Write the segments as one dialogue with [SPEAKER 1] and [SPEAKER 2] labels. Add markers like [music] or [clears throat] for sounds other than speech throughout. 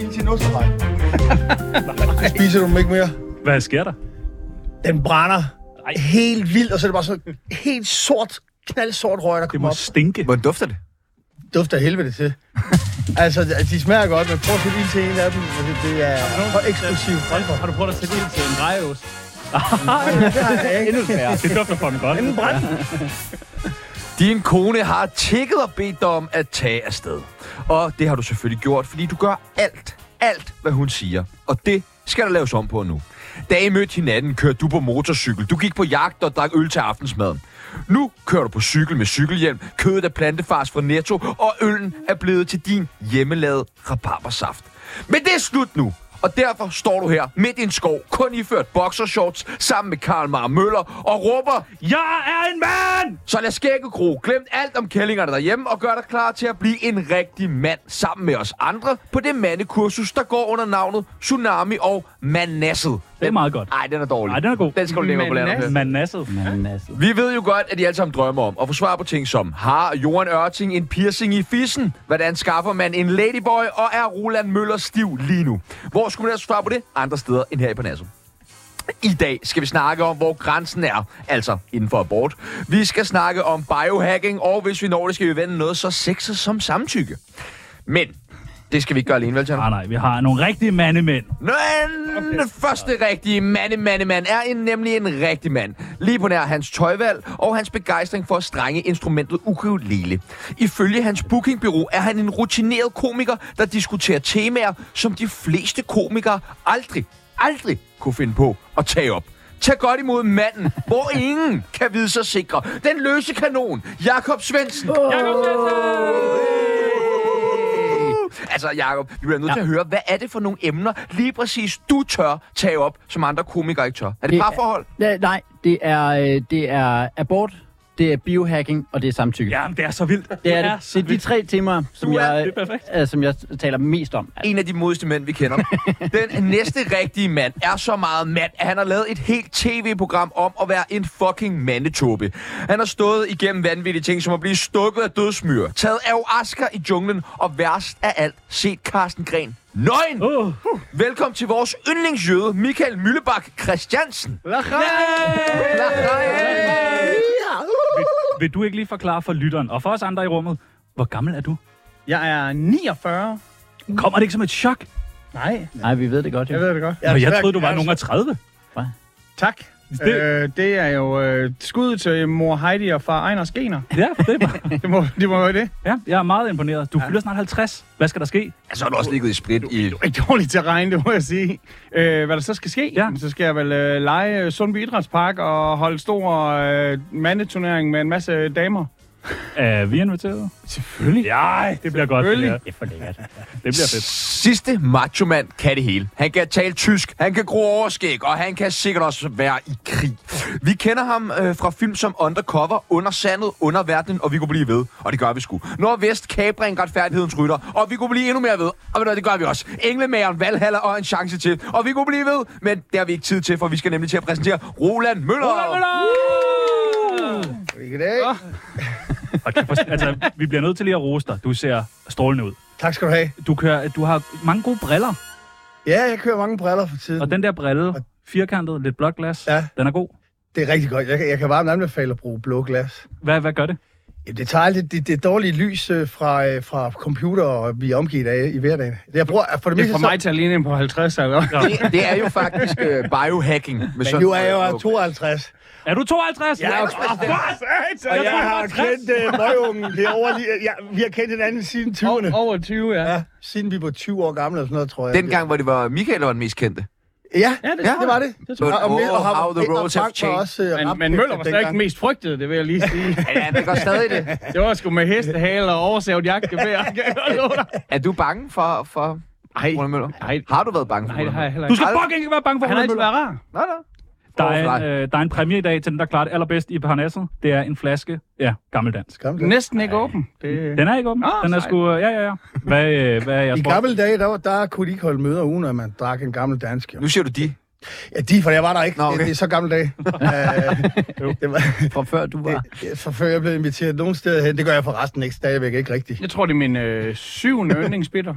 [SPEAKER 1] lige til en [laughs] osterrej. Nej. Spiser du dem ikke mere?
[SPEAKER 2] Hvad sker der?
[SPEAKER 1] Den brænder helt vildt, og så er det bare sådan helt sort, knaldsort røg, der
[SPEAKER 2] Det
[SPEAKER 1] kommer
[SPEAKER 2] må
[SPEAKER 1] op.
[SPEAKER 2] stinke.
[SPEAKER 3] Hvordan dufter det?
[SPEAKER 1] Dufter af helvede [laughs] til. altså, de smager godt, men prøv at sætte ild til en af dem, og det, det er for eksplosivt. Hold da op.
[SPEAKER 4] Har du prøvet at sætte ild til en
[SPEAKER 2] [laughs]
[SPEAKER 4] drejeost?
[SPEAKER 1] Det har jeg ikke.
[SPEAKER 4] Endnu færre.
[SPEAKER 2] Det dufter fucking godt.
[SPEAKER 1] Anden brand.
[SPEAKER 3] Din kone har tjekket og bedt dig om at tage afsted. Og det har du selvfølgelig gjort, fordi du gør alt, alt, hvad hun siger. Og det skal der laves om på nu. Da I mødte hinanden, kørte du på motorcykel. Du gik på jagt og drak øl til aftensmaden. Nu kører du på cykel med cykelhjelm, kødet af plantefars fra Netto, og øllen er blevet til din hjemmelavede rabarbersaft. Men det er slut nu, og derfor står du her midt i en skov, kun iført boxershorts, sammen med Karl Mar Møller, og råber
[SPEAKER 2] Jeg er en mand!
[SPEAKER 3] så lad skægge gro. Glem alt om kællingerne derhjemme og gør dig klar til at blive en rigtig mand sammen med os andre på det mandekursus, der går under navnet Tsunami og Manasset.
[SPEAKER 2] Det er meget godt.
[SPEAKER 3] Nej, den er dårlig.
[SPEAKER 2] Nej, den er god.
[SPEAKER 3] Den skal du længere på landet. med.
[SPEAKER 2] Manasset.
[SPEAKER 4] Manasset.
[SPEAKER 3] Vi ved jo godt, at I alle sammen drømmer om at få svar på ting som Har Johan Ørting en piercing i fissen? Hvordan skaffer man en ladyboy? Og er Roland Møller stiv lige nu? Hvor skulle man ellers få svar på det? Andre steder end her i Parnasset. I dag skal vi snakke om, hvor grænsen er, altså inden for abort. Vi skal snakke om biohacking, og hvis vi når det, skal vi vende noget så sexet som samtykke. Men det skal vi ikke gøre alene, vel, Tjerno?
[SPEAKER 2] Ah, Nej, nej, vi har nogle rigtige mandemænd.
[SPEAKER 3] Den okay. første rigtige mande, mande, mand er en, nemlig en rigtig mand. Lige på nær hans tøjvalg og hans begejstring for at strenge instrumentet ukulele. Ifølge hans bookingbureau er han en rutineret komiker, der diskuterer temaer, som de fleste komikere aldrig, aldrig kunne finde på at tage op. Tag godt imod manden, hvor ingen kan vide sig sikre. Den løse kanon, Jakob Svendsen. Altså, Jacob, vi bliver nødt ja. til at høre, hvad er det for nogle emner, lige præcis du tør tage op, som andre komikere ikke tør? Er det,
[SPEAKER 4] Det
[SPEAKER 3] det
[SPEAKER 4] er-
[SPEAKER 3] parforhold?
[SPEAKER 4] Nej, nej, det er, øh, det er abort, det er biohacking, og det er samtykke.
[SPEAKER 2] Jamen, det er så vildt.
[SPEAKER 4] Det er, det.
[SPEAKER 2] så
[SPEAKER 4] det er de
[SPEAKER 2] vildt.
[SPEAKER 4] tre temaer, som,
[SPEAKER 2] er-
[SPEAKER 4] jeg,
[SPEAKER 2] det er perfekt.
[SPEAKER 4] øh, som jeg taler mest om.
[SPEAKER 3] En af de modigste mænd, vi kender. Den næste rigtige mand er så meget mand, at han har lavet et helt tv-program om at være en fucking mandetåbe. Han har stået igennem vanvittige ting, som at blive stukket af dødsmyre, taget af Oscar i junglen, og værst af alt set Carsten Gren. Nøgen!
[SPEAKER 2] Åh,
[SPEAKER 3] Velkommen til vores yndlingsjøde, Michael Myllebak Christiansen.
[SPEAKER 2] vil du ikke lige forklare for lytteren og for os andre i rummet, hvor gammel er du?
[SPEAKER 5] Jeg er 49.
[SPEAKER 2] Kommer det ikke som et chok?
[SPEAKER 5] Nej,
[SPEAKER 4] Nej, vi ved det godt, jo.
[SPEAKER 5] jeg ved det godt.
[SPEAKER 1] er
[SPEAKER 2] Nå, jeg
[SPEAKER 1] svært
[SPEAKER 2] troede, du var
[SPEAKER 1] at-
[SPEAKER 2] nogen af 30.
[SPEAKER 5] Tak.
[SPEAKER 2] Det-
[SPEAKER 5] Det, øh, det er jo øh, skud til mor Heidi og far Ejners gener.
[SPEAKER 2] Ja, det er bare...
[SPEAKER 5] Det må, det må være det.
[SPEAKER 2] Ja, jeg er meget imponeret. Du fylder snart 50. Hvad skal der ske?
[SPEAKER 3] Så har du også ligget i sprit i
[SPEAKER 5] Ikke dårligt til at regne, det må jeg sige. Øh, hvad der så skal ske,
[SPEAKER 2] Ja.
[SPEAKER 5] ja. så skal jeg vel øh, lege øh, Sundby Idrætspark og holde stor øh, mandeturnering med en masse damer.
[SPEAKER 2] Er vi inviteret? Selvfølgelig. Ja, det bliver godt. Det,
[SPEAKER 5] Selvfølgelig.
[SPEAKER 2] her. det bliver fedt.
[SPEAKER 3] Sidste machomand kan det hele. Han kan tale tysk, han kan gro overskæg, og han kan sikkert også være i krig. Vi kender ham øh, fra film som Undercover, Under Sandet, Under Verdenen, og vi kunne blive ved. Og det gør vi sgu. Nordvest, Kabring, Retfærdighedens Rytter, og vi kunne blive endnu mere ved. Og ved du hvad, det gør vi også. Englemageren, Valhalla og en chance til. Og vi kunne blive ved, men det har vi ikke tid til, for vi skal nemlig til at præsentere Roland Møller. Roland
[SPEAKER 1] Goddag.
[SPEAKER 2] Og kan forst- altså, vi bliver nødt til lige at rose dig. Du ser strålende ud.
[SPEAKER 1] Tak skal du have.
[SPEAKER 2] Du, kører, du har mange gode briller,
[SPEAKER 1] Ja, jeg kører mange briller for tiden.
[SPEAKER 2] og den der brille, firkantet, lidt blåt glas,
[SPEAKER 1] Ja.
[SPEAKER 2] den er god.
[SPEAKER 1] Det er rigtig godt. Jeg, kan- jeg kan varmt anbefale at bruge blå glas.
[SPEAKER 2] Hvad, hvad gør det?
[SPEAKER 1] Jamen, det tager lidt det, det dårlige lys øh, fra, øh, fra computer og vi er omgivet af i hverdagen. Det, jeg bruger, for det,
[SPEAKER 5] Det er
[SPEAKER 1] meste
[SPEAKER 5] for mig til at ligne en på 50 eller [laughs] hvad?
[SPEAKER 3] Det, det er jo faktisk øh, biohacking. Med øh,
[SPEAKER 1] Så, men nu er jeg jo altså. 52.
[SPEAKER 2] Er du 52?
[SPEAKER 1] Jeg er
[SPEAKER 2] Ja,
[SPEAKER 5] Altså,
[SPEAKER 1] Og jeg, jeg har kendt øh, møgungen derovre lige. Jeg, vi har kendt hinanden siden 20'erne.
[SPEAKER 5] Over 20, ja.
[SPEAKER 1] Ja, siden vi var 20 år gamle eller sådan noget, tror jeg.
[SPEAKER 3] Den gang, hvor det var Michael, der var den mest kendte.
[SPEAKER 1] Ja, ja,
[SPEAKER 5] Ja,
[SPEAKER 1] det,
[SPEAKER 5] det-
[SPEAKER 1] ja, det var det.
[SPEAKER 5] det tror
[SPEAKER 1] Og,
[SPEAKER 3] jeg.
[SPEAKER 1] og, og, og,
[SPEAKER 3] Oh, how
[SPEAKER 1] og,
[SPEAKER 3] the roads have
[SPEAKER 1] Frank var
[SPEAKER 3] changed.
[SPEAKER 1] også, øh,
[SPEAKER 5] Men,
[SPEAKER 1] ramt
[SPEAKER 5] men Møller var
[SPEAKER 1] efter
[SPEAKER 5] stadig ikke
[SPEAKER 1] dengang.
[SPEAKER 5] mest frygtede, det vil jeg lige sige.
[SPEAKER 3] Ja, det gør stadig det.
[SPEAKER 5] Det var sgu med hestehale og oversævet jakke, det vil [laughs] jeg gerne love dig.
[SPEAKER 3] [laughs] Er du bange for, for
[SPEAKER 5] Ej,
[SPEAKER 3] Roland Møller?
[SPEAKER 5] nej,
[SPEAKER 3] Har du været bange for
[SPEAKER 5] nej, det
[SPEAKER 3] Roland
[SPEAKER 5] har
[SPEAKER 3] Møller?
[SPEAKER 5] jeg heller
[SPEAKER 2] Du
[SPEAKER 5] ikke.
[SPEAKER 2] skal fucking ikke være bange for
[SPEAKER 5] Han har
[SPEAKER 2] Roland
[SPEAKER 5] altid
[SPEAKER 2] Møller.
[SPEAKER 5] været rar.
[SPEAKER 3] Nej, nej.
[SPEAKER 2] Der
[SPEAKER 3] Hvorfor
[SPEAKER 2] er, en,
[SPEAKER 3] dig?
[SPEAKER 2] øh, der er en præmie i dag til den, der klarer det allerbedst i Parnasset. Det er en flaske, ja, gammeldansk.
[SPEAKER 1] Gamle dage.
[SPEAKER 5] Næsten ikke åben. Det...
[SPEAKER 2] Den er ikke åben.
[SPEAKER 5] Nå,
[SPEAKER 2] den er
[SPEAKER 5] sejt.
[SPEAKER 2] sgu... øh, Ja, ja, ja. Hvad, øh, hvad er jeg
[SPEAKER 1] I gamle dage, der, var- der kunne de ikke holde møder uden, at man drak en gammel dansk. Jo.
[SPEAKER 3] Nu siger du de.
[SPEAKER 1] Ja, de, for jeg var der ikke.
[SPEAKER 3] Nå,
[SPEAKER 1] Nå,
[SPEAKER 3] okay.
[SPEAKER 1] okay. det, det er så gamle [laughs] dage. Øh, det var,
[SPEAKER 4] Fra før du var...
[SPEAKER 1] det, for før jeg blev inviteret nogen steder hen, det gør jeg forresten ikke stadigvæk ikke rigtigt.
[SPEAKER 5] Jeg tror, det er min øh, syvende yndlingsbitter.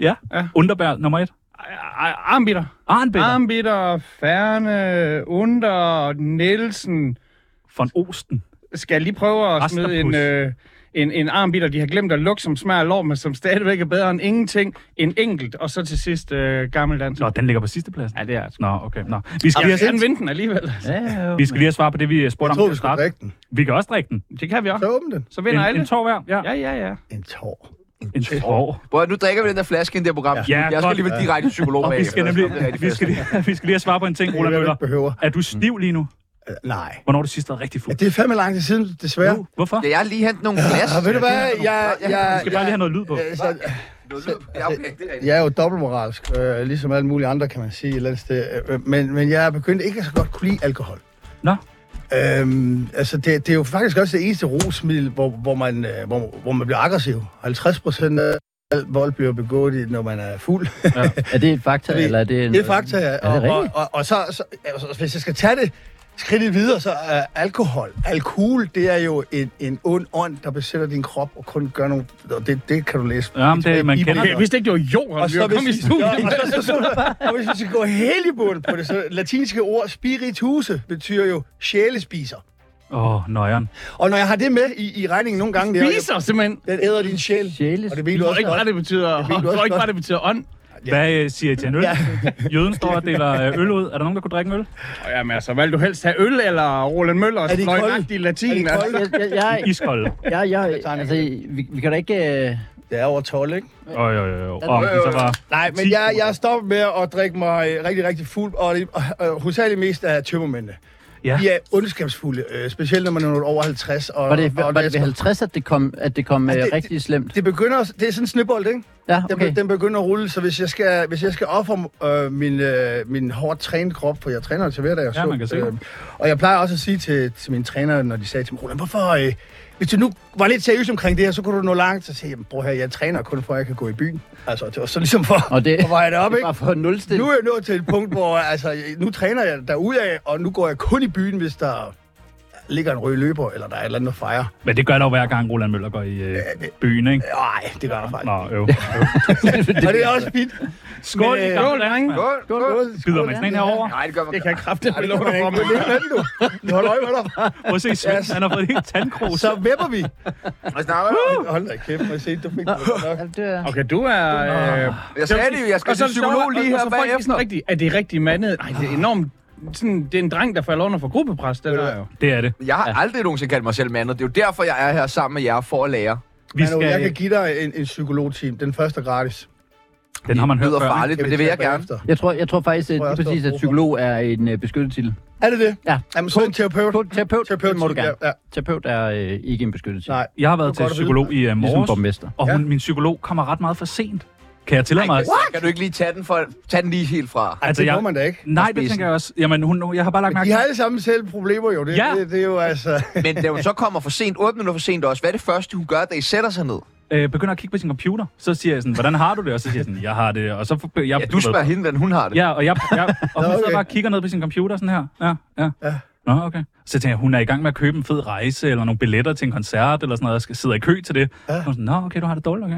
[SPEAKER 2] Ja.
[SPEAKER 5] Ja.
[SPEAKER 2] Underbær nummer et.
[SPEAKER 5] Armbitter.
[SPEAKER 2] Arnbitter. Arm.
[SPEAKER 5] Armbitter, Færne, Under, Nielsen.
[SPEAKER 2] Von Osten.
[SPEAKER 5] Skal jeg lige prøve at smide en,
[SPEAKER 2] Rastapus.
[SPEAKER 5] øh, en, en armbitter, de har glemt at lukke, som smager af lår, men som stadigvæk er bedre end ingenting. En enkelt, og så til sidst øh, gammeldans.
[SPEAKER 2] Nå, den ligger på sidste plads.
[SPEAKER 5] Ja, det er sgu.
[SPEAKER 2] Nå, okay. Nå. Vi, skal
[SPEAKER 5] Jeg
[SPEAKER 2] lige
[SPEAKER 5] har
[SPEAKER 2] have,
[SPEAKER 5] vinde den alligevel.
[SPEAKER 4] Ja,
[SPEAKER 2] vi skal lige have svar på det, vi øh, spurgte
[SPEAKER 1] Jeg
[SPEAKER 2] om.
[SPEAKER 1] troede,
[SPEAKER 2] til
[SPEAKER 1] vi
[SPEAKER 2] at
[SPEAKER 1] skulle
[SPEAKER 2] starte.
[SPEAKER 1] drikke den.
[SPEAKER 2] Vi kan også drikke den.
[SPEAKER 5] Det kan vi
[SPEAKER 1] Så
[SPEAKER 5] også.
[SPEAKER 1] åbn den.
[SPEAKER 5] Så
[SPEAKER 2] En,
[SPEAKER 5] vinder alle.
[SPEAKER 2] en tår hver. Ja,
[SPEAKER 5] Ja, ja, ja.
[SPEAKER 1] En tår.
[SPEAKER 2] en tår.
[SPEAKER 3] Bror, nu drikker vi den der flaske i det her program.
[SPEAKER 2] Ja,
[SPEAKER 3] jeg skal
[SPEAKER 2] godt.
[SPEAKER 3] lige være direkte til psykolog
[SPEAKER 2] Og vi
[SPEAKER 3] bagefter,
[SPEAKER 2] skal
[SPEAKER 3] så
[SPEAKER 2] nemlig
[SPEAKER 3] det er rigtig
[SPEAKER 2] vi skal,
[SPEAKER 3] fest.
[SPEAKER 2] lige, vi skal lige have svar på en ting,
[SPEAKER 1] Det
[SPEAKER 2] Ola
[SPEAKER 1] er det,
[SPEAKER 2] Møller.
[SPEAKER 1] man behøver.
[SPEAKER 2] Er du stiv lige nu?
[SPEAKER 1] Øh, Nej.
[SPEAKER 2] Hvornår har du sidst været rigtig
[SPEAKER 1] Ja,
[SPEAKER 2] fuld?
[SPEAKER 1] det er fandme lang tid siden, desværre.
[SPEAKER 2] Jo, Hvorfor?
[SPEAKER 3] Skal jeg lige hente nogle glas?
[SPEAKER 1] Og ved du hvad? Jeg, jeg,
[SPEAKER 2] Vi skal bare lige have noget lyd på.
[SPEAKER 1] Øh, så-
[SPEAKER 3] Noget lyd? Ja, okay, det er rigtigt.
[SPEAKER 1] Jeg er jo dobbeltmoralsk, øh, ligesom alle mulige andre, kan man sige et eller andet sted. Øh, Men, men jeg er begyndt ikke at så godt kunne lide alkohol.
[SPEAKER 2] Nå,
[SPEAKER 1] Øhm, altså, det, det er jo faktisk også det eneste rusmiddel, hvor, hvor, man, øh, hvor, hvor man bliver aggressiv. 50 procent af al vold bliver begået, i, når man er fuld. [laughs]
[SPEAKER 4] Er det et fakta, eller er det en... øh,
[SPEAKER 1] Det er fakta, ja.
[SPEAKER 4] Er det
[SPEAKER 1] Og, og,
[SPEAKER 4] rigtigt?
[SPEAKER 1] og, og så, så altså, hvis jeg skal tage det skridtet videre, så er alkohol. Alkohol, det er jo en, en ond ånd, der besætter din krop og kun gør nogle... Og det, det kan du læse.
[SPEAKER 2] Ja, men det- man
[SPEAKER 1] I- i-
[SPEAKER 2] kender
[SPEAKER 1] i-
[SPEAKER 2] det.
[SPEAKER 5] Jeg vidste ikke, det var jord,
[SPEAKER 1] Og
[SPEAKER 5] vi
[SPEAKER 1] så,
[SPEAKER 5] var
[SPEAKER 1] hvis
[SPEAKER 5] kommet i
[SPEAKER 1] vi,
[SPEAKER 5] studiet.
[SPEAKER 1] ja, og, så, så, og hvis vi skal gå helt i bunden på det, så latinske ord spirituse betyder jo sjælespiser.
[SPEAKER 2] åh, oh, nøjeren.
[SPEAKER 1] Og når jeg har det med i, i regningen nogle gange, det er, jo-
[SPEAKER 5] Viser simpelthen.
[SPEAKER 1] den æder din sjæl.
[SPEAKER 4] Sjæles-
[SPEAKER 1] Og det
[SPEAKER 5] Jeg
[SPEAKER 1] ved du
[SPEAKER 5] tror
[SPEAKER 1] også
[SPEAKER 5] ikke bare,
[SPEAKER 1] godt.
[SPEAKER 5] det betyder, jeg
[SPEAKER 1] ved du også
[SPEAKER 5] tror ikke bare,
[SPEAKER 1] godt.
[SPEAKER 5] det betyder ånd.
[SPEAKER 2] Hvad øh, siger I til en øl?
[SPEAKER 1] Ja.
[SPEAKER 2] Jøden står og deler øh, øl ud. Er der nogen, der kunne drikke en øl?
[SPEAKER 5] Og jamen altså, hvad vil du helst have? Øl eller Roland Møller?
[SPEAKER 1] Er de kolde?
[SPEAKER 5] i latin.
[SPEAKER 1] Er de
[SPEAKER 5] altså.
[SPEAKER 1] kolde?
[SPEAKER 4] Jeg, jeg, jeg,
[SPEAKER 2] Iskold.
[SPEAKER 4] jeg, jeg,
[SPEAKER 1] tager en
[SPEAKER 4] altså, vi, vi kan da ikke... Øh,
[SPEAKER 1] Det er over 12, ikke?
[SPEAKER 2] Øj, øj, øj. Om den så var...
[SPEAKER 1] Nej, men
[SPEAKER 2] Ti
[SPEAKER 1] jeg,
[SPEAKER 2] kroner.
[SPEAKER 1] jeg stopper med at drikke mig øh, rigtig, rigtig fuld, og det- og- og hovedsageligt mest af tømmermændene.
[SPEAKER 2] Ja.
[SPEAKER 1] De er ondskabsfulde, øh, specielt når man er nået over 50. Og,
[SPEAKER 4] var det, var,
[SPEAKER 1] og,
[SPEAKER 4] var det ved 50, at det kom, at det kom
[SPEAKER 1] Altså,
[SPEAKER 4] altså,
[SPEAKER 1] det-
[SPEAKER 4] det, rigtig slemt?
[SPEAKER 1] det begynder, også- det er sådan en snebold, ikke?
[SPEAKER 4] Ja,
[SPEAKER 1] Den,
[SPEAKER 4] okay.
[SPEAKER 1] den begynder at rulle, så hvis jeg skal, hvis jeg skal ofre øh, min, øh, min hårdt trænede krop, for jeg træner jo til hverdag, og øh,
[SPEAKER 2] Ja, man kan se det.
[SPEAKER 1] og jeg plejer også at sige til, til mine trænere, når de sagde til mig, Roland, hvorfor, øh, hvis du nu var lidt seriøs omkring det her, så kunne du nå langt, så siger jeg, "Jamen, bror her, jeg træner kun for, at jeg kan gå i byen. Altså, det var så ligesom for,
[SPEAKER 4] Og det- [laughs]
[SPEAKER 1] for at veje det op,
[SPEAKER 4] Det
[SPEAKER 1] ikke?
[SPEAKER 4] var for nulstil.
[SPEAKER 1] Nu er jeg nået til et punkt, hvor altså, nu træner jeg derudad, og nu går jeg kun i byen, hvis der ligger en rød løber, eller der er et eller andet at fejre.
[SPEAKER 2] Men det gør der jo hver gang, Roland Møller går i øh, byen, ikke?
[SPEAKER 1] Nej, det gør jeg faktisk.
[SPEAKER 2] Nå, øv.
[SPEAKER 1] Og det er også fint.
[SPEAKER 2] Skål,
[SPEAKER 1] Men, øh,
[SPEAKER 2] skål,
[SPEAKER 5] skål,
[SPEAKER 2] drenge.
[SPEAKER 5] drenge.
[SPEAKER 3] Skål, skål.
[SPEAKER 2] Skyder man sådan en herovre?
[SPEAKER 3] Nej, det gør man
[SPEAKER 5] Det kan jeg kraftigt
[SPEAKER 1] Ej, det
[SPEAKER 5] belåne
[SPEAKER 1] kan
[SPEAKER 5] for
[SPEAKER 1] man ikke.
[SPEAKER 5] mig.
[SPEAKER 1] Det er lidt du. [laughs] Vi holder øje med dig.
[SPEAKER 2] Prøv at se, Svend, han har fået et helt tandkrog.
[SPEAKER 1] Så vepper vi.
[SPEAKER 3] Jeg snakker om-
[SPEAKER 1] Hold da kæft, må jeg se, du fik det godt nok.
[SPEAKER 4] Det er-
[SPEAKER 5] Okay, du er... Øh,
[SPEAKER 3] Jeg sagde det jo, jeg skal
[SPEAKER 5] og
[SPEAKER 3] til
[SPEAKER 5] så er det
[SPEAKER 3] psykolog
[SPEAKER 5] sjovt,
[SPEAKER 3] lige
[SPEAKER 5] og-
[SPEAKER 3] her
[SPEAKER 5] og så folk er
[SPEAKER 3] bagefter.
[SPEAKER 5] sådan rigtig, er det rigtig mandet? Nej, det er enormt... Sådan, det er en dreng, der falder under for gruppepres, det der jo.
[SPEAKER 2] Det er det.
[SPEAKER 3] Jeg har aldrig nogensinde kaldt mig selv mandet. Det er jo derfor, jeg er her sammen med jer for at lære.
[SPEAKER 2] Vi
[SPEAKER 1] Manu, jeg kan
[SPEAKER 2] skal,
[SPEAKER 1] give dig en, en psykologteam. Den første er gratis. Kan
[SPEAKER 2] den har man
[SPEAKER 3] Det
[SPEAKER 2] hørt
[SPEAKER 3] lyder
[SPEAKER 2] før. ikke?
[SPEAKER 3] farligt, men
[SPEAKER 1] vi
[SPEAKER 3] det vil
[SPEAKER 1] tage
[SPEAKER 3] jeg gerne.
[SPEAKER 1] bagefter.
[SPEAKER 4] Jeg tror, jeg tror faktisk, at
[SPEAKER 1] Tror jeg
[SPEAKER 4] lige
[SPEAKER 1] også,
[SPEAKER 4] præcis,
[SPEAKER 1] der er
[SPEAKER 4] at
[SPEAKER 1] brug for.
[SPEAKER 4] psykolog er en øh, beskyttelsestitel.
[SPEAKER 1] Er det det?
[SPEAKER 4] Ja.
[SPEAKER 1] Jamen, så er det en terapeut.
[SPEAKER 4] På
[SPEAKER 1] Terapeut,
[SPEAKER 4] terapeut, terapeut må du gerne.
[SPEAKER 1] ja, ja.
[SPEAKER 4] Terapeut er øh, ikke en beskyttelsestitel.
[SPEAKER 1] Nej.
[SPEAKER 2] Jeg har været
[SPEAKER 1] Det
[SPEAKER 2] til
[SPEAKER 1] var godt at vide.
[SPEAKER 2] psykolog i øh,
[SPEAKER 4] Ligesom
[SPEAKER 2] morges,
[SPEAKER 4] borgmester.
[SPEAKER 2] og hun, min psykolog kommer ret meget for sent. Kan jeg tillade mig? at-
[SPEAKER 3] Ej, kan du ikke lige tage den, for, tage den lige helt fra?
[SPEAKER 1] Ej,
[SPEAKER 2] Altså,
[SPEAKER 1] det
[SPEAKER 2] jeg-
[SPEAKER 1] må man da ikke.
[SPEAKER 2] Nej, det
[SPEAKER 3] spidsen.
[SPEAKER 2] tænker jeg også. Jamen, hun, jeg har bare lagt mærke
[SPEAKER 1] De
[SPEAKER 2] til...
[SPEAKER 1] har alle sammen selv problemer, jo. Det,
[SPEAKER 2] Ja.
[SPEAKER 1] det, det er jo altså...
[SPEAKER 3] [laughs] Men da hun så kommer for sent, 8 minutter for sent også, hvad er det første, hun gør, da I sætter sig ned?
[SPEAKER 2] øh, begynder at kigge på sin computer. Så siger jeg sådan, hvordan har du det? Og så siger jeg sådan, jeg har det. Og så for, jeg,
[SPEAKER 3] Ja, du spørger hende, hvordan hun har det.
[SPEAKER 2] Ja, og, jeg,
[SPEAKER 1] [laughs]
[SPEAKER 2] jeg,
[SPEAKER 1] Nå,
[SPEAKER 2] og hun okay.
[SPEAKER 1] okay.
[SPEAKER 2] så bare kigger ned på sin computer sådan her. Ja, ja.
[SPEAKER 1] Ja.
[SPEAKER 2] Nå, okay. Så tænker jeg, hun er i gang med at købe en fed rejse, eller nogle billetter til en koncert, eller sådan noget, og skal sidde i kø til det. Ja. Og sådan, Nå, okay, du har det dårligt, okay.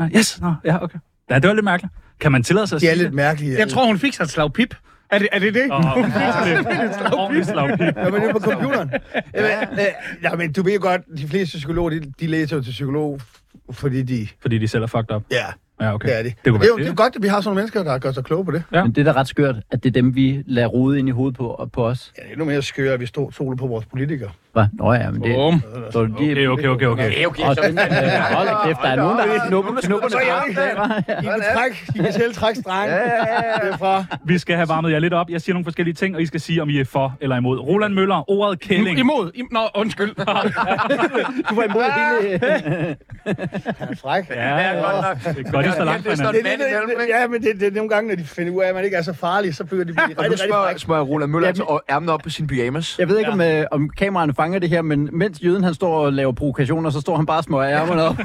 [SPEAKER 2] Ja. Ja, yes, nå, ja, okay. Ja, det var lidt mærkeligt. Kan man tillade sig at
[SPEAKER 1] De er
[SPEAKER 2] sige
[SPEAKER 1] lidt mærkelige.
[SPEAKER 5] Jeg tror, hun fik sig et slag pip. Er det er det? det?
[SPEAKER 2] Åh,
[SPEAKER 1] [laughs]
[SPEAKER 2] ordentligt slagpip.
[SPEAKER 1] Ja, men det er på computeren. Ja. Ja, øh, men du ved jo godt, de fleste psykologer, de, de læser jo til psykolog, fordi de...
[SPEAKER 2] Fordi de selv er fucked up.
[SPEAKER 1] Ja,
[SPEAKER 2] Ja, okay.
[SPEAKER 1] det er de.
[SPEAKER 2] Det
[SPEAKER 1] Det,
[SPEAKER 2] kunne
[SPEAKER 1] det, er, jo,
[SPEAKER 2] være
[SPEAKER 1] det er
[SPEAKER 2] det.
[SPEAKER 1] jo godt, at vi har sådan nogle mennesker, der gør sig kloge på det.
[SPEAKER 2] Ja.
[SPEAKER 4] Men det er da ret skørt, at det er dem, vi lader rode ind i hovedet på, på os.
[SPEAKER 1] Ja, det er endnu mere skøre, at vi stod soler på vores politikere.
[SPEAKER 4] Hva? Nå ja, men det...
[SPEAKER 5] Bum.
[SPEAKER 4] Så de,
[SPEAKER 2] Okay, okay, okay, okay.
[SPEAKER 3] Ja, okay,
[SPEAKER 4] Og,
[SPEAKER 3] så...
[SPEAKER 4] øh, [laughs] hold da kæft, der er nogen, der har knuppet knupperne.
[SPEAKER 1] Så jeg-
[SPEAKER 4] Ja.
[SPEAKER 1] De kan, trække, de kan selv trække stregen. Ja, ja, ja. Fra.
[SPEAKER 2] Vi skal have varmet jer lidt op. Jeg siger nogle forskellige ting, og I skal sige, om I er for eller imod. Roland Møller, ordet kælling.
[SPEAKER 5] Imod. Im- Nå,
[SPEAKER 4] [laughs]
[SPEAKER 5] undskyld.
[SPEAKER 4] Du var imod hele...
[SPEAKER 1] Han er fræk.
[SPEAKER 2] Ja, ja,
[SPEAKER 3] godt
[SPEAKER 2] ja.
[SPEAKER 3] nok.
[SPEAKER 2] Det er godt, I står langt fra
[SPEAKER 3] Det er
[SPEAKER 2] hinanden.
[SPEAKER 1] Det er det, det, det, ja, men det, det, er nogle gange, når de finder ud af, at man ikke er så farlig, så bliver de [laughs] ja, rigtig,
[SPEAKER 3] Og nu
[SPEAKER 1] rigtig
[SPEAKER 3] smører,
[SPEAKER 1] fræk.
[SPEAKER 3] smører Roland Møller altså og ærmen op på sin pyjamas.
[SPEAKER 4] Jeg ved ikke, om, øh, om kameraerne fanger det her, men mens jøden han står og laver provokationer, så står han bare og smøger ærmerne op.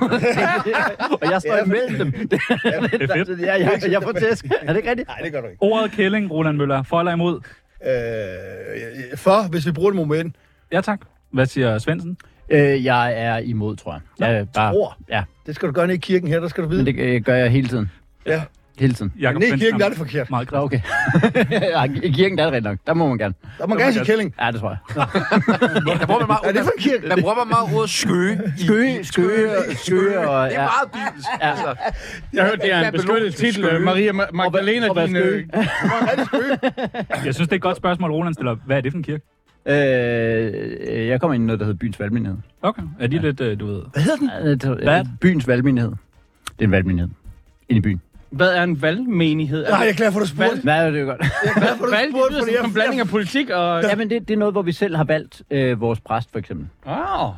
[SPEAKER 4] og jeg står
[SPEAKER 1] Ja, for-
[SPEAKER 4] imellem dem. Det er lidt-
[SPEAKER 2] fedt.
[SPEAKER 4] altså, [laughs] Ja, jeg, jeg får tæsk. Er det ikke rigtigt?
[SPEAKER 1] Nej, det gør du ikke.
[SPEAKER 2] Ordet kælling, Roland Møller. For eller imod?
[SPEAKER 1] Øh, for, hvis vi bruger det moment,
[SPEAKER 2] Ja, tak. Hvad siger Svendsen?
[SPEAKER 4] Øh, jeg er imod, tror jeg. jeg er bare,
[SPEAKER 1] tror.
[SPEAKER 4] Ja,
[SPEAKER 1] det skal du gøre ned i kirken her, der skal du vide.
[SPEAKER 4] men det øh, gør jeg hele tiden.
[SPEAKER 1] Ja.
[SPEAKER 4] Hele tiden.
[SPEAKER 2] Jakob
[SPEAKER 1] Nej, i kirken
[SPEAKER 2] Bendtner.
[SPEAKER 1] der er det forkert.
[SPEAKER 2] Meget
[SPEAKER 4] Nå, okay. [laughs] Ja, I kirken der er det rigtig nok. Der må man gerne.
[SPEAKER 1] Der må gerne sige kælling.
[SPEAKER 4] Ja, det tror jeg.
[SPEAKER 3] Der bruger man meget,
[SPEAKER 1] Er det for en kirke?
[SPEAKER 3] der bruger man meget ordet skøge. i-
[SPEAKER 4] Skøge,
[SPEAKER 3] i-
[SPEAKER 4] skøge, og- skøge og...
[SPEAKER 3] Det
[SPEAKER 4] Ja.
[SPEAKER 3] er meget bibelsk.
[SPEAKER 4] Ja.
[SPEAKER 3] Altså,
[SPEAKER 5] Jeg hørte, det er en
[SPEAKER 3] Babylon-
[SPEAKER 5] beskyttet titel. øh,
[SPEAKER 3] skøge.
[SPEAKER 5] Maria Ma- Magdalena,
[SPEAKER 4] og hvad
[SPEAKER 5] din...
[SPEAKER 4] skøge?
[SPEAKER 5] øh,
[SPEAKER 2] Jeg synes, det er et godt spørgsmål, Roland stiller. Hvad er det for en kirke?
[SPEAKER 4] Øh, jeg kommer ind i noget, der hedder Byens Valgmenighed.
[SPEAKER 2] Okay. Er de lidt, øh, du ved...
[SPEAKER 1] Hvad hedder den?
[SPEAKER 4] Ja, det tror jeg.
[SPEAKER 2] Hvad?
[SPEAKER 4] Byens Valgmenighed. Det er en valgmenighed. Inde i byen.
[SPEAKER 5] Hvad er en valgmenighed?
[SPEAKER 1] Nej, jeg er glad for, at du spurgte.
[SPEAKER 4] Nej, det er jo [laughs] godt.
[SPEAKER 1] Hvad for, at
[SPEAKER 5] Valg,
[SPEAKER 1] du
[SPEAKER 5] det
[SPEAKER 1] spurgte,
[SPEAKER 5] lyder
[SPEAKER 1] fordi
[SPEAKER 5] som en blanding
[SPEAKER 1] jeg...
[SPEAKER 5] af politik og... Ja.
[SPEAKER 4] Jamen, det, det er noget, hvor vi selv har valgt øh, vores præst, for eksempel.
[SPEAKER 5] Oh.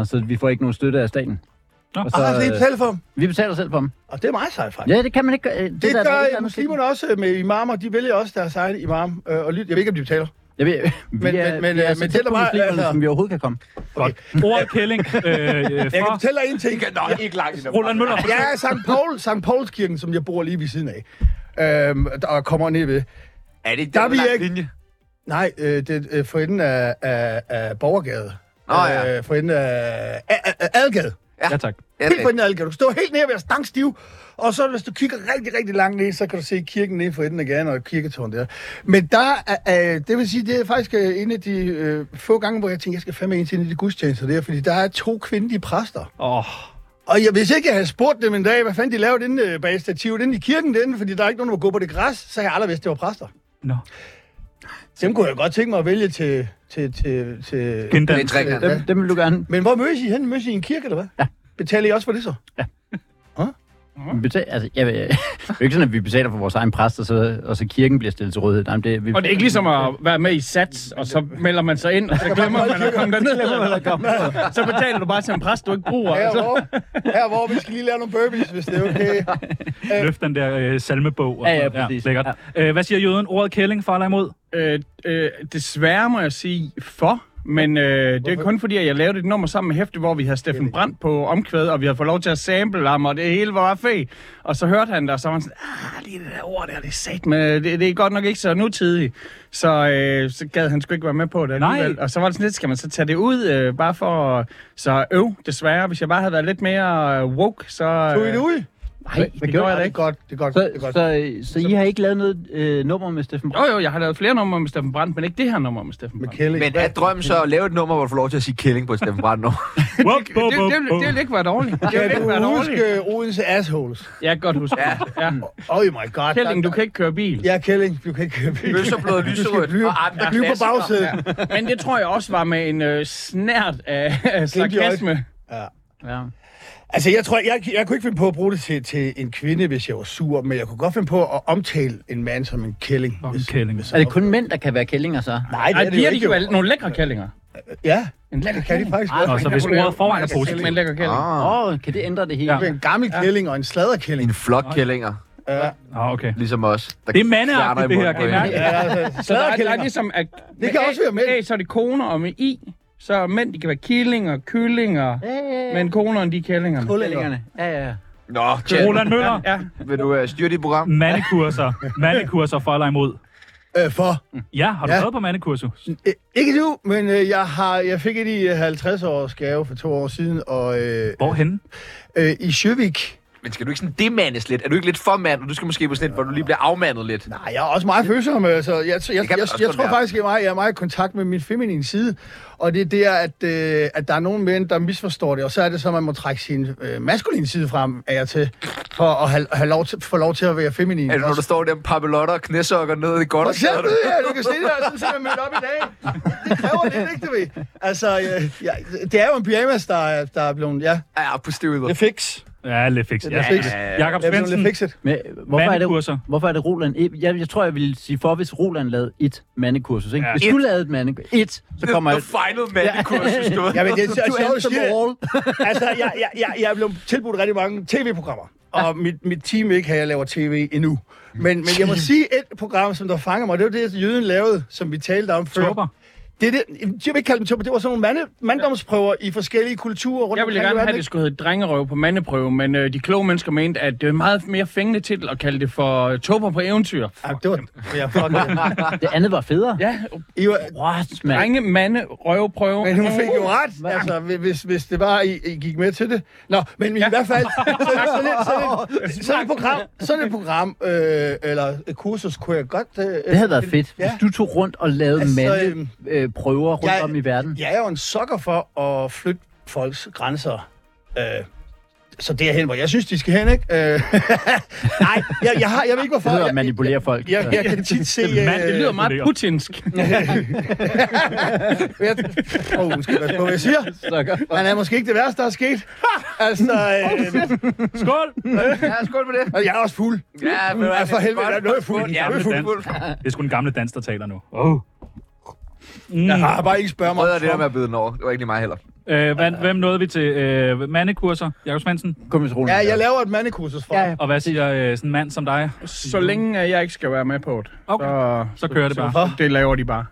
[SPEAKER 4] Ah, så vi får ikke nogen støtte af staten.
[SPEAKER 2] Nå.
[SPEAKER 4] Og
[SPEAKER 1] Og har sådan en
[SPEAKER 4] øh,
[SPEAKER 1] tal for ham.
[SPEAKER 4] vi betaler selv for dem.
[SPEAKER 1] Og det er meget sejt, faktisk.
[SPEAKER 4] Ja, det kan man ikke gøre. øh,
[SPEAKER 1] Det,
[SPEAKER 4] der
[SPEAKER 1] det
[SPEAKER 4] er et
[SPEAKER 1] gør
[SPEAKER 4] andet
[SPEAKER 1] muslimerne også øh, med imamer. De vælger også deres egen imam. Øh, og lyt. Jeg ved ikke, om de betaler.
[SPEAKER 4] system. Jeg ved,
[SPEAKER 1] Men-
[SPEAKER 4] vi er,
[SPEAKER 1] men- men,
[SPEAKER 4] vi er
[SPEAKER 1] øh,
[SPEAKER 4] så
[SPEAKER 1] men
[SPEAKER 4] tæt
[SPEAKER 1] det er
[SPEAKER 4] på
[SPEAKER 1] bare-
[SPEAKER 4] muslimerne,
[SPEAKER 1] altså-
[SPEAKER 4] som vi overhovedet kan komme.
[SPEAKER 2] Godt. Ordet kælling øh, øh,
[SPEAKER 1] Jeg kan
[SPEAKER 2] fra
[SPEAKER 1] fortælle dig en ting.
[SPEAKER 3] ikke, nå, ikke langt.
[SPEAKER 2] Roland Møller.
[SPEAKER 1] Ja, St. Paul, St. Pauls kirken, som jeg bor lige ved siden af. Øhm, der kommer ned ved.
[SPEAKER 3] Er det ikke
[SPEAKER 1] Der
[SPEAKER 3] der,
[SPEAKER 1] er vi
[SPEAKER 3] der er
[SPEAKER 1] ikke.
[SPEAKER 3] linje?
[SPEAKER 1] Nej, øh, det er øh, for enden af, af, af Borgergade.
[SPEAKER 3] Nå, ja.
[SPEAKER 1] Øh, for enden af, af, af, af Adgade.
[SPEAKER 2] Ja, tak.
[SPEAKER 3] Ja,
[SPEAKER 1] Helt for
[SPEAKER 3] det-
[SPEAKER 1] enden af Adgade. Du kan stå helt nede og være stangstiv. Og så, hvis du kigger rigtig, rigtig langt ned, så kan du se kirken nede for enden af gaden og kirketårnet der. Men der er, øh, det vil sige, det er faktisk øh, en af de øh, få gange, hvor jeg tænker, jeg skal fandme ind til en af de gudstjenester der, fordi der er to kvindelige præster.
[SPEAKER 2] Åh,
[SPEAKER 1] Og jeg, hvis ikke jeg havde spurgt dem en dag, hvad fanden de lavede inde øh, bag stativet inde i kirken derinde, fordi der er ikke nogen, der må gå på det græs, så havde jeg aldrig vidst, det var præster.
[SPEAKER 2] nå.
[SPEAKER 1] Dem kunne jeg godt tænke mig at vælge til... til, til, til
[SPEAKER 2] Gendan.
[SPEAKER 3] Det er trick, altså.
[SPEAKER 1] Ja.
[SPEAKER 4] Dem, dem vil du gerne
[SPEAKER 1] Men hvor mødes I hen? Mødes I i en kirke, eller hvad? Ja. Betaler I også for det så?
[SPEAKER 4] betale. Altså, jeg, ved- [laughs] det er jo ikke sådan, at vi betaler for vores egen præst, og så, og så kirken bliver stillet til rådighed. Nej, men det, vi,
[SPEAKER 5] Og det er ikke ligesom at være med i sats, og så melder man sig [laughs] ind, og så glemmer man at komme derned. Så betaler du bare til en præst, du ikke bruger.
[SPEAKER 1] Her
[SPEAKER 5] Altså.
[SPEAKER 1] hvor, her hvor vi skal lige lave nogle burpees, hvis det er [laughs] okay.
[SPEAKER 2] Løft den der øh, salmebog. Og
[SPEAKER 4] Ja, ja,
[SPEAKER 2] sådan.
[SPEAKER 4] præcis.
[SPEAKER 2] lækkert. Øh, hvad siger jøden? Ordet kælling for
[SPEAKER 1] [laughs]
[SPEAKER 2] eller imod?
[SPEAKER 5] Øh, øh, desværre må jeg sige for, men øh, det er kun fordi, at jeg lavede et nummer sammen med Hæfte, hvor vi havde Steffen Brandt på omkvædet, og vi havde fået lov til at sample ham, og det hele var bare fed. Og så hørte han det, og så var han sådan, ah, lige det der ord der, det er sat, men det, det er godt nok ikke så nutidigt. Så, øh, så gad han sgu ikke være med på det
[SPEAKER 2] Nej.
[SPEAKER 5] alligevel. Og så var det sådan lidt, skal man så tage det ud, øh, bare for... Så øv, desværre, hvis jeg bare havde været lidt mere øh, woke, så... Øh,
[SPEAKER 1] Tog I det ud?
[SPEAKER 4] Nej,
[SPEAKER 5] det gjorde jeg da
[SPEAKER 1] det
[SPEAKER 5] ikke.
[SPEAKER 1] er godt, det er godt.
[SPEAKER 4] Så,
[SPEAKER 1] Det er godt.
[SPEAKER 4] så, så, I har ikke lavet noget øh, nummer med Steffen Brandt?
[SPEAKER 5] Jo, jo, jeg har lavet flere numre med Steffen Brandt, men ikke det her nummer med Steffen
[SPEAKER 1] Med
[SPEAKER 5] Brandt.
[SPEAKER 1] Kelly.
[SPEAKER 3] Men er drømmen så at lave et nummer, hvor du får lov til at sige kælling på et Steffen Brandt
[SPEAKER 1] [laughs]
[SPEAKER 3] nummer?
[SPEAKER 2] Wup,
[SPEAKER 5] Det,
[SPEAKER 2] wup,
[SPEAKER 5] det,
[SPEAKER 2] wup,
[SPEAKER 5] det, vil- det
[SPEAKER 2] wup.
[SPEAKER 5] vil ikke være dårligt. Det vil
[SPEAKER 1] Kan
[SPEAKER 5] ikke
[SPEAKER 1] du
[SPEAKER 5] være dårligt.
[SPEAKER 1] huske Odense Assholes?
[SPEAKER 5] Jeg kan godt huske ja. ja.
[SPEAKER 1] Oh my god.
[SPEAKER 5] Kælling,
[SPEAKER 1] der-
[SPEAKER 5] du kan ikke køre bil.
[SPEAKER 1] Ja, Kælling, du kan ikke købe bil.
[SPEAKER 3] Bøsserblod, lyserødt
[SPEAKER 1] Flyve,
[SPEAKER 3] og andre
[SPEAKER 1] flyve på
[SPEAKER 3] klassikere.
[SPEAKER 1] bagsædet.
[SPEAKER 5] Men det tror jeg også var med en øh, snært af, af
[SPEAKER 1] Glimt i øjet.
[SPEAKER 5] sarkasme.
[SPEAKER 4] Ja.
[SPEAKER 1] Altså, jeg tror, jeg, jeg kunne ikke finde på at bruge det til, til en kvinde, hvis jeg var sur, men jeg kunne godt finde på at omtale en mand som en kælling.
[SPEAKER 2] Fucking
[SPEAKER 1] hvis-
[SPEAKER 2] kælling.
[SPEAKER 1] hvis-
[SPEAKER 4] Er det kun mænd, der kan være kællinger så?
[SPEAKER 1] Nej, det
[SPEAKER 5] Ej,
[SPEAKER 1] er det jo
[SPEAKER 5] bliver de
[SPEAKER 1] ikke.
[SPEAKER 5] jo
[SPEAKER 1] jo.
[SPEAKER 5] al- nogle lækre kællinger.
[SPEAKER 1] Ja,
[SPEAKER 5] En lækker
[SPEAKER 1] det kan de faktisk
[SPEAKER 2] Nå,
[SPEAKER 1] godt.
[SPEAKER 2] så hvis ordet foran er
[SPEAKER 5] Positivt. En
[SPEAKER 2] positivt.
[SPEAKER 5] lækker kælling.
[SPEAKER 3] Ah,
[SPEAKER 4] Åh, oh, kan det ændre det hele?
[SPEAKER 2] Ja.
[SPEAKER 1] Det er en gammel kælling og en sladderkælling.
[SPEAKER 3] en flok kællinger,
[SPEAKER 1] Ja,
[SPEAKER 2] Ah, okay.
[SPEAKER 3] ligesom os. Der
[SPEAKER 2] Det er mandeagtigt,
[SPEAKER 3] fjerner i
[SPEAKER 2] det her. Kan I
[SPEAKER 3] munden på
[SPEAKER 2] mærke?
[SPEAKER 3] hinanden.
[SPEAKER 1] ja altså,
[SPEAKER 5] Så der er, der er
[SPEAKER 1] sladderkællinger.
[SPEAKER 5] ligesom... At,
[SPEAKER 1] Det kan
[SPEAKER 5] A-
[SPEAKER 1] også være mænd.
[SPEAKER 5] A, så er det koner, og med I, så er mænd, de kan være killinger, kyllinger. Men konerne, de er kællingerne.
[SPEAKER 4] Kællingerne. Ja, ja, ja.
[SPEAKER 3] Nå, Jan,
[SPEAKER 2] Roland Møller,
[SPEAKER 5] Ja,
[SPEAKER 3] vil du øh, styre dit program?
[SPEAKER 2] mandekurser. Mandekurser for eller imod?
[SPEAKER 1] Øh, for.
[SPEAKER 2] Ja, har du
[SPEAKER 1] Ja.
[SPEAKER 2] været på mandekursus?
[SPEAKER 1] Øh, Ikke nu, men øh, jeg, har, jeg fik et i 50-års gave for to år siden, og øh,
[SPEAKER 2] Hvorhenne?
[SPEAKER 1] øh, i Sjøvik.
[SPEAKER 3] Men skal du ikke sådan demandes lidt? Er du ikke lidt for mand, og du skal måske på sådan et, hvor du lige bliver afmandet lidt?
[SPEAKER 1] Nej, jeg er også meget følsom, øh, så jeg, jeg, jeg,
[SPEAKER 3] man
[SPEAKER 1] jeg,
[SPEAKER 3] også
[SPEAKER 1] jeg
[SPEAKER 3] godt
[SPEAKER 1] tror
[SPEAKER 3] være.
[SPEAKER 1] faktisk, at jeg er meget- jeg er meget i kontakt med min feminine side, og det er der, at, øh, at der er nogen mænd, der misforstår det, og så er det så, at man må trække sin øh, maskuline side frem af jer til, for at have, have lov til, få lov til at være feminin.
[SPEAKER 3] Er det, når
[SPEAKER 1] også.
[SPEAKER 3] du står der med papillotter og knæsokker ned i godt?
[SPEAKER 1] For eksempel, ja, du kan se det, og sådan ser jeg mødt op i dag. Det kræver lidt, ikke du ved? Altså, øh, ja, det er jo en pyjamas, der, er- der er blevet, ja.
[SPEAKER 3] Ja, på stivet.
[SPEAKER 1] Det fix.
[SPEAKER 2] Ja, lidt fix.
[SPEAKER 1] Det
[SPEAKER 2] Ja,
[SPEAKER 1] er fix.
[SPEAKER 2] Jakob
[SPEAKER 1] Jeg er blevet
[SPEAKER 2] Svendsen,
[SPEAKER 1] lidt fixet.
[SPEAKER 4] Men øh, hvorfor er,
[SPEAKER 2] Mandekurser.
[SPEAKER 4] det, hvorfor er det Roland? Jeg, jeg tror, jeg ville sige for, hvis Roland lavede et mandekursus. Ikke?
[SPEAKER 2] Ja.
[SPEAKER 4] Ja. Hvis du lavede et mandekursus, et, så kommer
[SPEAKER 3] The
[SPEAKER 4] jeg...
[SPEAKER 3] final mandekursus, du ved.
[SPEAKER 1] Ja, [laughs] men det er
[SPEAKER 4] Du
[SPEAKER 1] så sjovt at
[SPEAKER 4] answer
[SPEAKER 1] sige
[SPEAKER 4] them
[SPEAKER 1] det.
[SPEAKER 4] all.
[SPEAKER 1] Altså, jeg, jeg, jeg, jeg er blevet tilbudt rigtig mange tv-programmer. Og mit, mit team ikke, at jeg laver tv endnu. Men, men jeg må sige et program, som der fanger mig. Det var det, jøden lavede, som vi talte om før.
[SPEAKER 2] Torber.
[SPEAKER 1] Det, er det, jeg vil ikke kalde dem tupper, det var sådan nogle mande, manddomsprøver i forskellige kulturer rundt
[SPEAKER 5] Jeg ville
[SPEAKER 1] omkring i
[SPEAKER 5] gerne have,
[SPEAKER 1] verden,
[SPEAKER 5] at det skulle hedde drengerøv på mandeprøve, men øh, de kloge mennesker mente, at det er en meget mere fængende titel at kalde det for tober på eventyr.
[SPEAKER 1] Ja, Ah, det var... Ja, fuck det.
[SPEAKER 4] Det andet var federe.
[SPEAKER 5] Ja,
[SPEAKER 1] I var,
[SPEAKER 4] What, mand?
[SPEAKER 5] drenge, mande, røveprøve.
[SPEAKER 1] men hun fik jo ret, altså, hvis, hvis det var, I, I gik med til det. Nå, men i hvert fald, så, sådan, et, sådan, et, sådan et program, sådan et program øh, eller et kursus, kunne jeg godt... Øh,
[SPEAKER 4] Det havde været fedt,
[SPEAKER 1] Ja.
[SPEAKER 4] hvis du tog rundt og lavede
[SPEAKER 1] Altså,
[SPEAKER 4] mande øh, prøver rundt
[SPEAKER 1] jeg-
[SPEAKER 4] om i verden.
[SPEAKER 1] Jeg er jo en sokker for at flytte folks grænser. Øh, så derhen, hvor jeg synes, de skal hen, ikke? Øh, nej, jeg, jeg, har, jeg ved ikke, hvorfor...
[SPEAKER 4] Det hedder
[SPEAKER 1] jeg,
[SPEAKER 4] at manipulere folk.
[SPEAKER 1] jeg, jeg, jeg kan tit se... Øh,
[SPEAKER 2] Mand,
[SPEAKER 5] Det lyder meget
[SPEAKER 2] [laughs]
[SPEAKER 5] putinsk.
[SPEAKER 1] Jeg, oh, nu skal jeg passe på, hvad jeg siger.
[SPEAKER 4] Sukker.
[SPEAKER 1] Han er måske ikke det værste, der er sket. altså, øh,
[SPEAKER 2] Skål!
[SPEAKER 3] Ja, skål med det.
[SPEAKER 1] og jeg er også fuld.
[SPEAKER 3] Ja, men altså,
[SPEAKER 1] Ja, for helvede, der er noget fuld.
[SPEAKER 3] Ja,
[SPEAKER 1] Ja,
[SPEAKER 3] du er
[SPEAKER 2] Gamle
[SPEAKER 3] fuld,
[SPEAKER 2] dans.
[SPEAKER 3] fuld.
[SPEAKER 2] Det er sgu den gamle dans, der taler nu. Oh. Mm.
[SPEAKER 1] Ah, bare ikke spørge mig.
[SPEAKER 3] Rød er
[SPEAKER 1] om
[SPEAKER 3] det der
[SPEAKER 1] Trump.
[SPEAKER 3] med at byde den over. Det var ikke lige mig heller.
[SPEAKER 2] Øh, hvad, hvem nåede vi til? Øh, mandekurser, Jakob Svendsen.
[SPEAKER 4] Kommissionen.
[SPEAKER 1] Ja, jeg laver et mandekursus for
[SPEAKER 4] Ja,
[SPEAKER 1] ja,
[SPEAKER 4] ja.
[SPEAKER 2] Og hvad siger øh, sådan en mand som dig?
[SPEAKER 5] Så længe at jeg ikke skal være med på det,
[SPEAKER 2] Okay.
[SPEAKER 5] så,
[SPEAKER 2] Så kører det bare.
[SPEAKER 5] så det laver de bare.